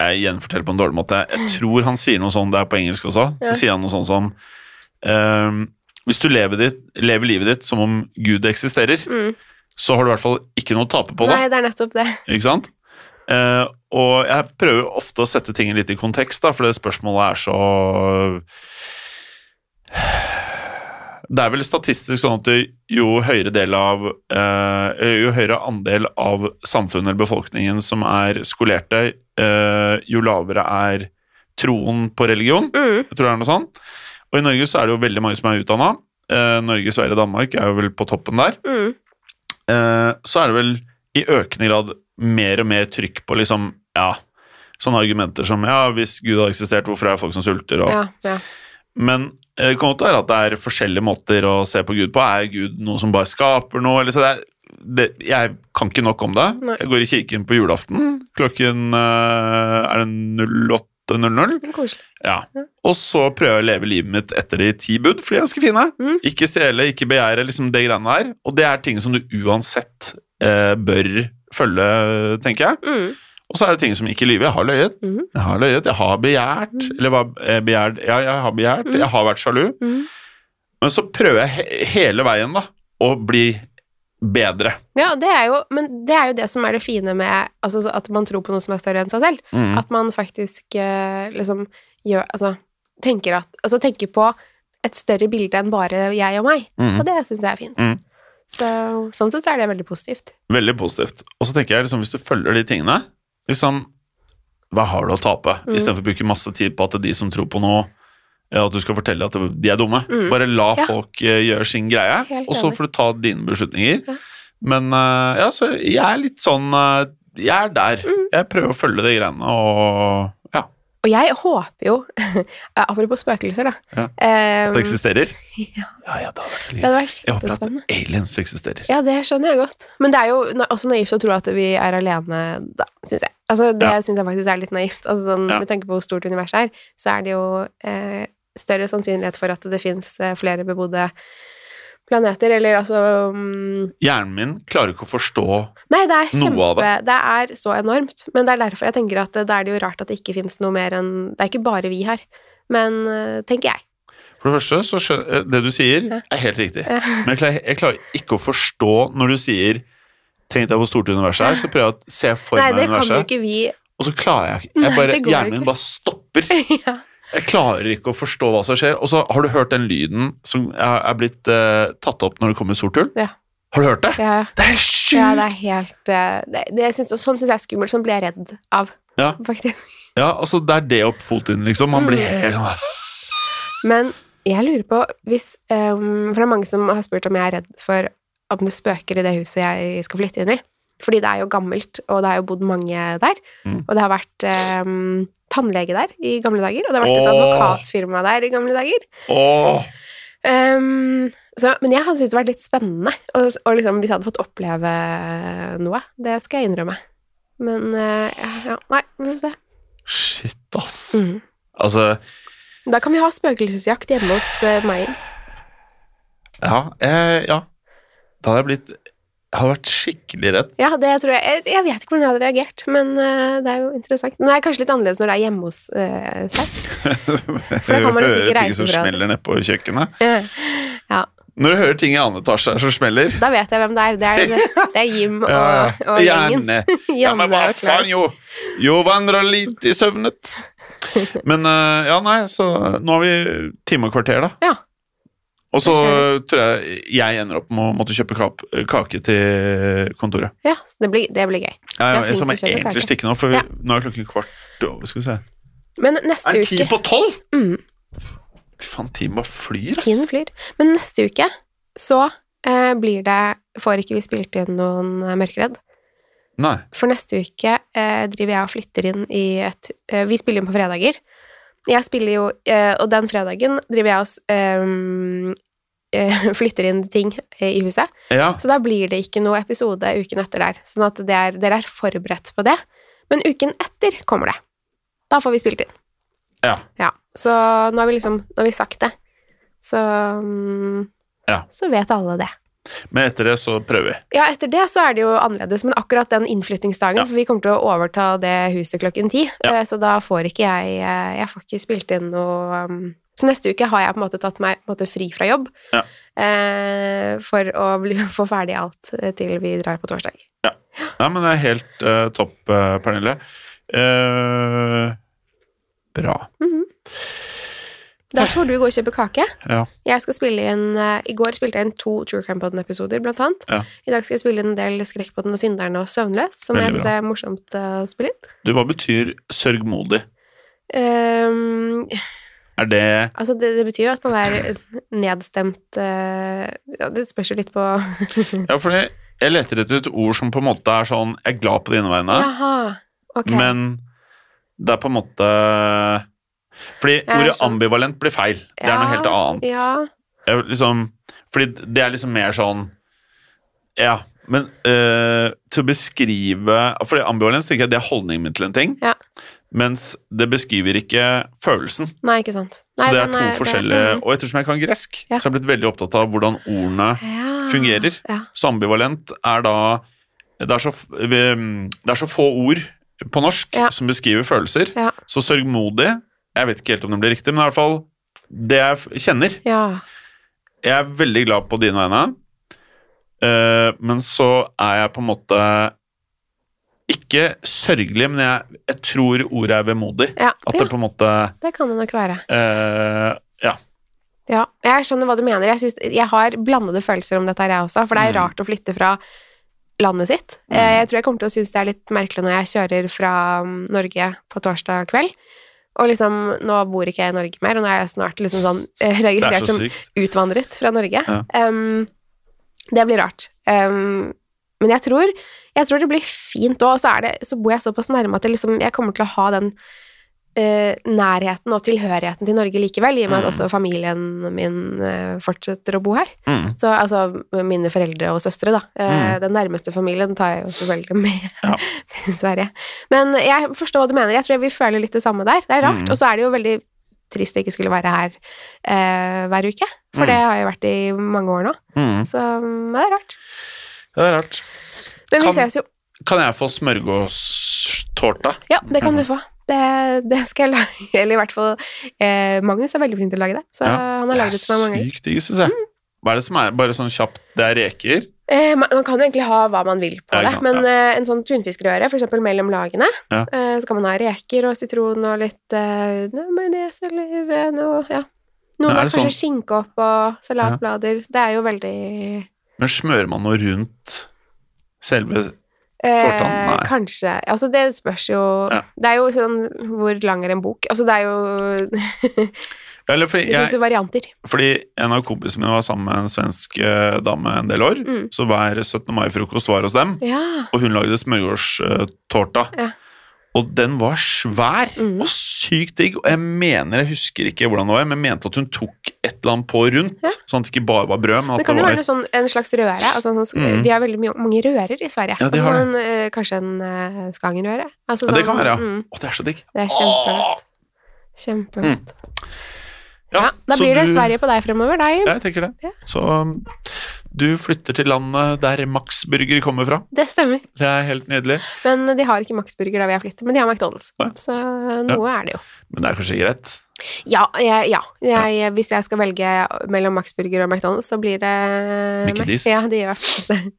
Speaker 2: jeg gjenforteller på en dårlig måte. Jeg tror han sier noe sånn, det er på engelsk også,
Speaker 1: Ja.
Speaker 2: så sier han noe sånn som ehm, Hvis du lever, ditt, lever livet ditt som om Gud eksisterer,
Speaker 1: Mm.
Speaker 2: så har du i hvert fall ikke noe å tape på det.
Speaker 1: Nei, det er nettopp det.
Speaker 2: Ikke sant? Eh, og jeg prøver ofte å sette ting litt i kontekst, da, for det spørsmålet er så Det er vel statistisk sånn at jo høyere, del av, eh, jo høyere andel av samfunnet eller befolkningen som er skolerte, eh, jo lavere er troen på religion.
Speaker 1: Mm.
Speaker 2: Jeg tror det er noe sånn. Og i Norge så er det jo veldig mange som er utdanna. Eh, Norge, Sverige og Danmark er jo vel på toppen der
Speaker 1: Mm.
Speaker 2: eh, så er det vel i økende grad mer og mer trykk på liksom, ja, sånne argumenter som ja, hvis Gud har eksistert, hvorfor er folk som sulter? Og,
Speaker 1: Ja, ja.
Speaker 2: Men eh, det kan godt være at det er forskjellige måter å se på Gud på. Er Gud noe som bare skaper noe? Eller, så det er, det, jeg kan ikke nok om det.
Speaker 1: Nei.
Speaker 2: Jeg går i kirken på julaften klokken eh, er det 08.00.
Speaker 1: Det er koselig.
Speaker 2: Ja. Og så prøver jeg å leve livet mitt etter de ti bud, for de er ganske fine.
Speaker 1: Mm.
Speaker 2: Ikke stjele, ikke begjære, liksom det greiene her. Og det er ting som du uansett eh, bør følge, tenker jeg.
Speaker 1: Mm.
Speaker 2: Og så er det ting som ikke lyver. Jeg har løyet.
Speaker 1: Mhm.
Speaker 2: Jeg har løyet, jeg har begjært.
Speaker 1: Mm.
Speaker 2: Eller hva eh, begjært Ja, jeg har begjært. Jeg har vært sjalu.
Speaker 1: Mhm.
Speaker 2: Men så prøver jeg he hele veien, da, å bli bedre.
Speaker 1: Ja, det er jo, men det er jo det som er det fine med altså, så at man tror på noe som er større enn seg selv.
Speaker 2: Mm.
Speaker 1: At man faktisk eh, liksom gjør Altså tenker, at, altså, tenker på et større bilde enn bare jeg og meg.
Speaker 2: Mhm.
Speaker 1: Og det syns jeg er fint.
Speaker 2: Mm.
Speaker 1: Så, sånn sett så er det veldig positivt.
Speaker 2: Veldig positivt. Og så tenker jeg liksom, hvis du følger de tingene, liksom, hva har du å tape?
Speaker 1: Mm.
Speaker 2: Istedenfor å bruke masse tid på at de som tror på noe, ja, at du skal fortelle at de er dumme.
Speaker 1: Mm.
Speaker 2: Bare la
Speaker 1: Ja.
Speaker 2: folk eh, gjøre sin greie,
Speaker 1: Helt
Speaker 2: og så
Speaker 1: enig.
Speaker 2: får du ta dine beslutninger.
Speaker 1: Ja.
Speaker 2: Men eh, ja, så jeg er litt sånn eh, Jeg er der.
Speaker 1: Mm.
Speaker 2: Jeg prøver å følge de greiene og ja,
Speaker 1: Og jeg håper jo Apropos spøkelser, da.
Speaker 2: Ja.
Speaker 1: eh,
Speaker 2: at det eksisterer.
Speaker 1: ja,
Speaker 2: Ja, ja, det hadde vært
Speaker 1: det
Speaker 2: litt
Speaker 1: hadde vært
Speaker 2: Jeg håper at
Speaker 1: kjempespennende.
Speaker 2: aliens eksisterer.
Speaker 1: Ja, det skjønner jeg godt. Men det er jo na- også naivt å tro at vi er alene, da, syns jeg. Altså, det
Speaker 2: Ja.
Speaker 1: synes syns jeg faktisk er litt naivt. Altså, sånn,
Speaker 2: Ja.
Speaker 1: Med tanke på hvor stort universet er, så er det jo eh, større sannsynlighet for at det fins eh, flere bebodde planeter, eller altså mm,
Speaker 2: Hjernen min klarer ikke å forstå
Speaker 1: Nei, det er kjempe
Speaker 2: Noe av
Speaker 1: det. er så enormt. Men det er derfor jeg tenker at eh, da er det jo rart at det ikke fins noe mer enn Det er ikke bare vi her, men eh, tenker jeg.
Speaker 2: For det første, så skjø- eh, det du sier,
Speaker 1: Ja.
Speaker 2: er helt riktig.
Speaker 1: Ja.
Speaker 2: Men jeg klarer, jeg klarer ikke å forstå når du sier Tenk deg hvor stort universet er, så prøver jeg å se for
Speaker 1: Nei,
Speaker 2: meg
Speaker 1: det kan jo
Speaker 2: universet,
Speaker 1: ikke vi
Speaker 2: og så klarer jeg ikke. Jeg
Speaker 1: Nei,
Speaker 2: bare,
Speaker 1: det går
Speaker 2: hjernen
Speaker 1: ikke.
Speaker 2: min bare stopper.
Speaker 1: ja.
Speaker 2: Jeg klarer ikke å forstå hva som skjer. Og så har du hørt den lyden som er er blitt eh, tatt opp når det kommer et sort hull?
Speaker 1: Ja.
Speaker 2: Har du hørt det?
Speaker 1: ja.
Speaker 2: Det er helt sjukt!
Speaker 1: Ja, det er helt eh, det, det synes, Sånn syns jeg er skummelt. Sånn blir jeg redd av,
Speaker 2: Ja.
Speaker 1: faktisk.
Speaker 2: Ja, altså, det er det opp Putin, liksom. Man blir helt sånn
Speaker 1: Men jeg lurer på hvis eh, For det er mange som har spurt om jeg er redd for om det spøker i det huset jeg skal flytte inn i. Fordi det er jo gammelt, og det har jo bodd mange der.
Speaker 2: Mm.
Speaker 1: Og det har vært eh, tannlege der i gamle dager, og det har vært et
Speaker 2: Åh.
Speaker 1: advokatfirma der i gamle dager.
Speaker 2: Åh!
Speaker 1: Ehm, så, men jeg hadde syntes det vært litt spennende, og, og liksom, hvis jeg hadde fått oppleve noe. Det skal jeg innrømme. Men eh, ja, ja, Nei, vi får se.
Speaker 2: Shit, ass.
Speaker 1: Mm.
Speaker 2: Altså,
Speaker 1: Da kan vi ha spøkelsesjakt hjemme hos eh, meg.
Speaker 2: ja, eh, ja. Da hadde jeg blitt Jeg hadde vært skikkelig redd.
Speaker 1: Ja, det tror jeg. jeg Jeg vet ikke hvordan jeg hadde reagert, men eh, det er jo interessant. Men det er kanskje litt annerledes når det er hjemme hos eh, seg.
Speaker 2: For
Speaker 1: da kan man liksom ikke
Speaker 2: ting
Speaker 1: reise
Speaker 2: som
Speaker 1: fra det.
Speaker 2: smeller ned på kjøkkenet.
Speaker 1: Ja,
Speaker 2: Når du hører ting i annen etasje her som smeller
Speaker 1: da vet jeg hvem det er. Det er, det, er Jim og,
Speaker 2: Ja,
Speaker 1: og gjengen.
Speaker 2: Janne.
Speaker 1: Janne
Speaker 2: Ja, men hva
Speaker 1: og Clark.
Speaker 2: faen, jo! Jo vandra lite i søvnet. Men eh, ja, nei, så nå har vi time og kvarter, da.
Speaker 1: Ja.
Speaker 2: Og så
Speaker 1: Det
Speaker 2: tror jeg jeg ender opp med å måtte kjøpe kap kake til kontoret.
Speaker 1: Ja, så det blir, det blir gøy.
Speaker 2: Ja,
Speaker 1: Jeg er
Speaker 2: ja,
Speaker 1: flink
Speaker 2: som jeg
Speaker 1: til å kjøpe
Speaker 2: egentlig
Speaker 1: kake.
Speaker 2: stikker nå, for
Speaker 1: Ja.
Speaker 2: nå er klokken kvart over. Skal vi se
Speaker 1: Men
Speaker 2: Er
Speaker 1: neste
Speaker 2: det ti
Speaker 1: uke
Speaker 2: på tolv?!
Speaker 1: Mm.
Speaker 2: Fy faen, tiden bare flyr,
Speaker 1: Tiden
Speaker 2: ass.
Speaker 1: flyr. Men neste uke så eh, blir det Får ikke vi spilt inn noen eh, Mørkeredd?
Speaker 2: Nei.
Speaker 1: For neste uke eh, driver jeg og flytter inn i et eh, Vi spiller inn på fredager. Jeg spiller jo eh, Og den fredagen driver jeg og s- ehm, eh, flytter inn ting eh, i huset.
Speaker 2: Ja.
Speaker 1: Så da blir det ikke noe episode uken etter der. Sånn at det er, dere er forberedt på det. Men uken etter kommer det. Da får vi spilt inn.
Speaker 2: Ja.
Speaker 1: Så nå har vi liksom Nå har vi sagt det. Så mm,
Speaker 2: Ja.
Speaker 1: Så vet alle det.
Speaker 2: Men etter det så prøver vi.
Speaker 1: Ja, etter det så er det jo annerledes, men akkurat den innflyttingsdagen,
Speaker 2: Ja.
Speaker 1: for vi kommer til å overta det huset klokken ti,
Speaker 2: Ja.
Speaker 1: eh, så da får ikke jeg eh, Jeg får ikke spilt inn noe um, Så neste uke har jeg på en måte tatt meg på en måte fri fra jobb
Speaker 2: Ja.
Speaker 1: eh, for å bli, få ferdig alt eh, til vi drar på torsdag.
Speaker 2: Nei, men det er helt eh, topp, eh, Pernille. Eh, bra.
Speaker 1: Mhm. Da får du gå og kjøpe kake.
Speaker 2: Ja.
Speaker 1: Jeg skal spille inn eh, I går spilte jeg inn to True Crime Podden-episoder, blant annet.
Speaker 2: Ja.
Speaker 1: I dag skal jeg spille inn en del Skrekkpodden og Synderen og Søvnløs, som
Speaker 2: Veldig
Speaker 1: jeg
Speaker 2: bra.
Speaker 1: synes er morsomt eh, å spille inn.
Speaker 2: Du, hva betyr sørgmodig?
Speaker 1: Ehm,
Speaker 2: Er det
Speaker 1: altså, det, det betyr jo at man er nedstemt eh, ja, Det spørs jo litt på
Speaker 2: Ja, for jeg leter etter et ord som på en måte er sånn Jeg er glad på dine vegne,
Speaker 1: Jaha, ok.
Speaker 2: men det er på en måte Fordi ordet
Speaker 1: skjønner.
Speaker 2: ambivalent blir feil. Det er
Speaker 1: sånn- Ja,
Speaker 2: noe helt annet.
Speaker 1: ja,
Speaker 2: Jeg, liksom, fordi det er liksom mer sånn Ja, men eh, til å beskrive Fordi ambivalens tenker jeg det er holdningen min til en ting.
Speaker 1: Ja.
Speaker 2: Mens det beskriver ikke følelsen.
Speaker 1: nei, ikke sant. Nei,
Speaker 2: så det er
Speaker 1: den
Speaker 2: to
Speaker 1: det-
Speaker 2: forskjellige
Speaker 1: mhm.
Speaker 2: Og ettersom jeg kan gresk,
Speaker 1: Ja. Ah.
Speaker 2: så har jeg blitt veldig opptatt av hvordan ordene
Speaker 1: Ja.
Speaker 2: fungerer.
Speaker 1: Ja.
Speaker 2: Så ambivalent er da Det er så, f- vi- det er så få ord på norsk
Speaker 1: Ja.
Speaker 2: som beskriver følelser.
Speaker 1: Ja.
Speaker 2: Så sørgmodig Jeg vet ikke helt om det blir riktig, men i hvert fall det jeg f- kjenner
Speaker 1: ja.
Speaker 2: jeg er veldig glad på dine vegne, eh, men så er jeg på en måte ikke sørgelig, men jeg, jeg tror ordet er vemodig.
Speaker 1: Ja,
Speaker 2: At
Speaker 1: ja,
Speaker 2: det på en måte
Speaker 1: det kan det nok være.
Speaker 2: eh, Ja.
Speaker 1: Ja, jeg skjønner hva du mener. Jeg, synes, jeg har blandede følelser om dette her, jeg også, for det er
Speaker 2: Mm.
Speaker 1: rart å flytte fra landet sitt.
Speaker 2: Mm.
Speaker 1: Eh, Jeg tror jeg kommer til å synes det er litt merkelig når jeg kjører fra mm, Norge på torsdag kveld, og liksom, nå bor ikke jeg i Norge mer, og nå er jeg snart liksom sånn eh,
Speaker 2: Det er
Speaker 1: registrert
Speaker 2: så
Speaker 1: som
Speaker 2: sykt.
Speaker 1: utvandret fra Norge.
Speaker 2: Ja.
Speaker 1: Em, det blir rart. Em, men jeg tror, jeg tror det blir fint òg, og så, er det- så bor jeg såpass nærme at jeg, liksom, jeg kommer til å ha den eh, nærheten og tilhørigheten til Norge likevel, i og med at
Speaker 2: Mm.
Speaker 1: også familien min eh, fortsetter å bo her.
Speaker 2: Mm.
Speaker 1: Så altså mine foreldre og søstre, da. Eh, Den nærmeste familien tar jeg jo selvfølgelig med
Speaker 2: Ja.
Speaker 1: til Sverige. Men jeg forstår hva du mener. Jeg tror vi føler litt det samme der. Det er rart.
Speaker 2: Mm.
Speaker 1: Og så er det jo veldig trist å ikke skulle være her eh, hver uke. For
Speaker 2: Mm.
Speaker 1: det har jeg vært i mange år nå.
Speaker 2: Mm.
Speaker 1: Så men det er rart.
Speaker 2: Ja, det er rart.
Speaker 1: Men vi
Speaker 2: Kan-
Speaker 1: ses jo.
Speaker 2: Kan jeg få smørgåstårta?
Speaker 1: Ja, det kan du
Speaker 2: Mhm.
Speaker 1: få. Det, det skal jeg lage. Eller i hvert fall eh, Magnus er veldig flink til å lage det. Så
Speaker 2: Ja,
Speaker 1: han har
Speaker 2: Det er
Speaker 1: lagd det til meg mange ganger. Mm.
Speaker 2: sykt digg, syns jeg. Hva er det som er Bare sånn kjapt, det er reker.
Speaker 1: Eh, man, man kan jo egentlig ha hva man vil på
Speaker 2: Ja, ikke
Speaker 1: det,
Speaker 2: sant,
Speaker 1: men eh, en sånn tunfiskrøre, for eksempel mellom lagene,
Speaker 2: Ja.
Speaker 1: eh, så kan man ha reker og sitron og litt eh, noe majones eller eh, noe ja. Noen
Speaker 2: Men er
Speaker 1: har
Speaker 2: det sånn-
Speaker 1: kanskje skinke opp og salatblader. Det er jo veldig
Speaker 2: Men smører man noe rundt selve
Speaker 1: eh,
Speaker 2: Fortan, nei.
Speaker 1: Kanskje Altså, det spørs jo
Speaker 2: Ja.
Speaker 1: Det er jo sånn Hvor lang er en bok? Altså, det er jo
Speaker 2: Eller fordi
Speaker 1: Det
Speaker 2: jeg,
Speaker 1: finnes jo varianter.
Speaker 2: Fordi en av kompisene mine var sammen med en svensk eh, dame en del år,
Speaker 1: Mm.
Speaker 2: så hver 17. mai-frokost var hos dem,
Speaker 1: Ja.
Speaker 2: og hun lagde smørgårdstårta.
Speaker 1: Ja.
Speaker 2: Og den var svær
Speaker 1: Mm.
Speaker 2: og sykt digg, og jeg mener, jeg husker ikke hvordan det var, men jeg mente at hun tok et eller annet på rundt,
Speaker 1: Ja.
Speaker 2: sånn at det ikke bare var brød, men
Speaker 1: Det
Speaker 2: at det,
Speaker 1: kan jo være
Speaker 2: var
Speaker 1: noe sånn, en slags røre. Altså, en sånn,
Speaker 2: Mm.
Speaker 1: De har veldig mye- mange rører i Sverige.
Speaker 2: Ja, de
Speaker 1: altså,
Speaker 2: har
Speaker 1: sånn, eh, kanskje en eh, Skagen-røre. Altså,
Speaker 2: Ja, det kan
Speaker 1: sånn-
Speaker 2: være, ja.
Speaker 1: mm.
Speaker 2: Å, det er så digg.
Speaker 1: Det er kjempegodt. Kjempegodt. Ja, da
Speaker 2: Mm. så
Speaker 1: blir det
Speaker 2: du-
Speaker 1: Sverige på deg fremover, da, Jim.
Speaker 2: Ja, jeg tenker det.
Speaker 1: Ja.
Speaker 2: Så um, du flytter til landet der Max Burger kommer fra.
Speaker 1: Det stemmer.
Speaker 2: Det er helt nydelig.
Speaker 1: Men de har ikke Max Burger der hvor jeg flytter, men de har McDonald's.
Speaker 2: Ja.
Speaker 1: Så noe er det jo.
Speaker 2: Men det er kanskje greit.
Speaker 1: Ja, jeg, ja. Jeg, hvis jeg skal velge mellom Max Burger og McDonald's, så blir det
Speaker 2: Mickey
Speaker 1: Mac.
Speaker 2: D's.
Speaker 1: Ja, det gjør faktisk det.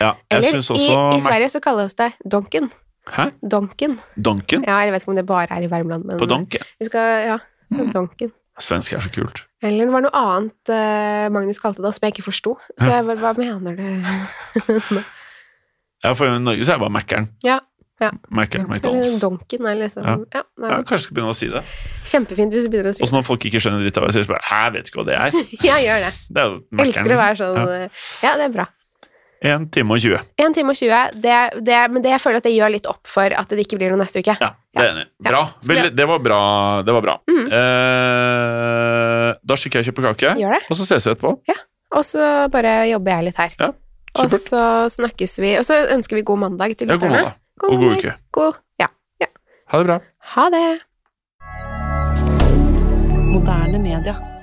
Speaker 2: Ja, jeg
Speaker 1: Eller
Speaker 2: synes også...
Speaker 1: i, i Sverige så kalles det Donken.
Speaker 2: Hæ?
Speaker 1: Donken.
Speaker 2: Donken?
Speaker 1: Ja, jeg vet ikke om det bare er i Värmland, men
Speaker 2: På donk, ja.
Speaker 1: vi skal Ja,
Speaker 2: Mm.
Speaker 1: Donken.
Speaker 2: Svensk er så kult.
Speaker 1: Eller det var noe annet eh, Magnus kalte det, som jeg ikke forsto. Så jeg bare Hva mener du?
Speaker 2: Ja, for i Norge så er det bare Mækkern.
Speaker 1: Ja, ja.
Speaker 2: Mækkern,
Speaker 1: Eller
Speaker 2: McDonald's.
Speaker 1: Donken, eller liksom
Speaker 2: Ja.
Speaker 1: Ja, nei,
Speaker 2: Ja, kanskje jeg skal begynne å si det.
Speaker 1: Kjempefint hvis du begynner å si
Speaker 2: Også når folk ikke skjønner dritt av hva jeg sier, så bare Hæ, vet du ikke hva det er?
Speaker 1: Jeg gjør det.
Speaker 2: Det er jo
Speaker 1: Jeg
Speaker 2: Mækkern.
Speaker 1: elsker å være sånn eh, Ja, det er bra.
Speaker 2: En time og 20.
Speaker 1: 1 time og 20, det, det, men det jeg føler at det gjør litt opp for at det ikke blir noe neste uke.
Speaker 2: Ja, det er jeg enig. i.
Speaker 1: Ja.
Speaker 2: Bra.
Speaker 1: Skal
Speaker 2: Veldig- det var bra. Det var bra.
Speaker 1: Mhm.
Speaker 2: Eh, da stikker jeg og kjøper kake,
Speaker 1: Gjør det.
Speaker 2: og så ses vi etterpå.
Speaker 1: Og så bare jobber jeg litt her.
Speaker 2: Ja,
Speaker 1: og
Speaker 2: supert.
Speaker 1: så snakkes vi, og så ønsker vi god mandag til
Speaker 2: Ja, god
Speaker 1: lytterne.
Speaker 2: mandag, og god uke.
Speaker 1: God, ja.
Speaker 2: Ha det bra.
Speaker 1: Ha det.
Speaker 3: Moderne media.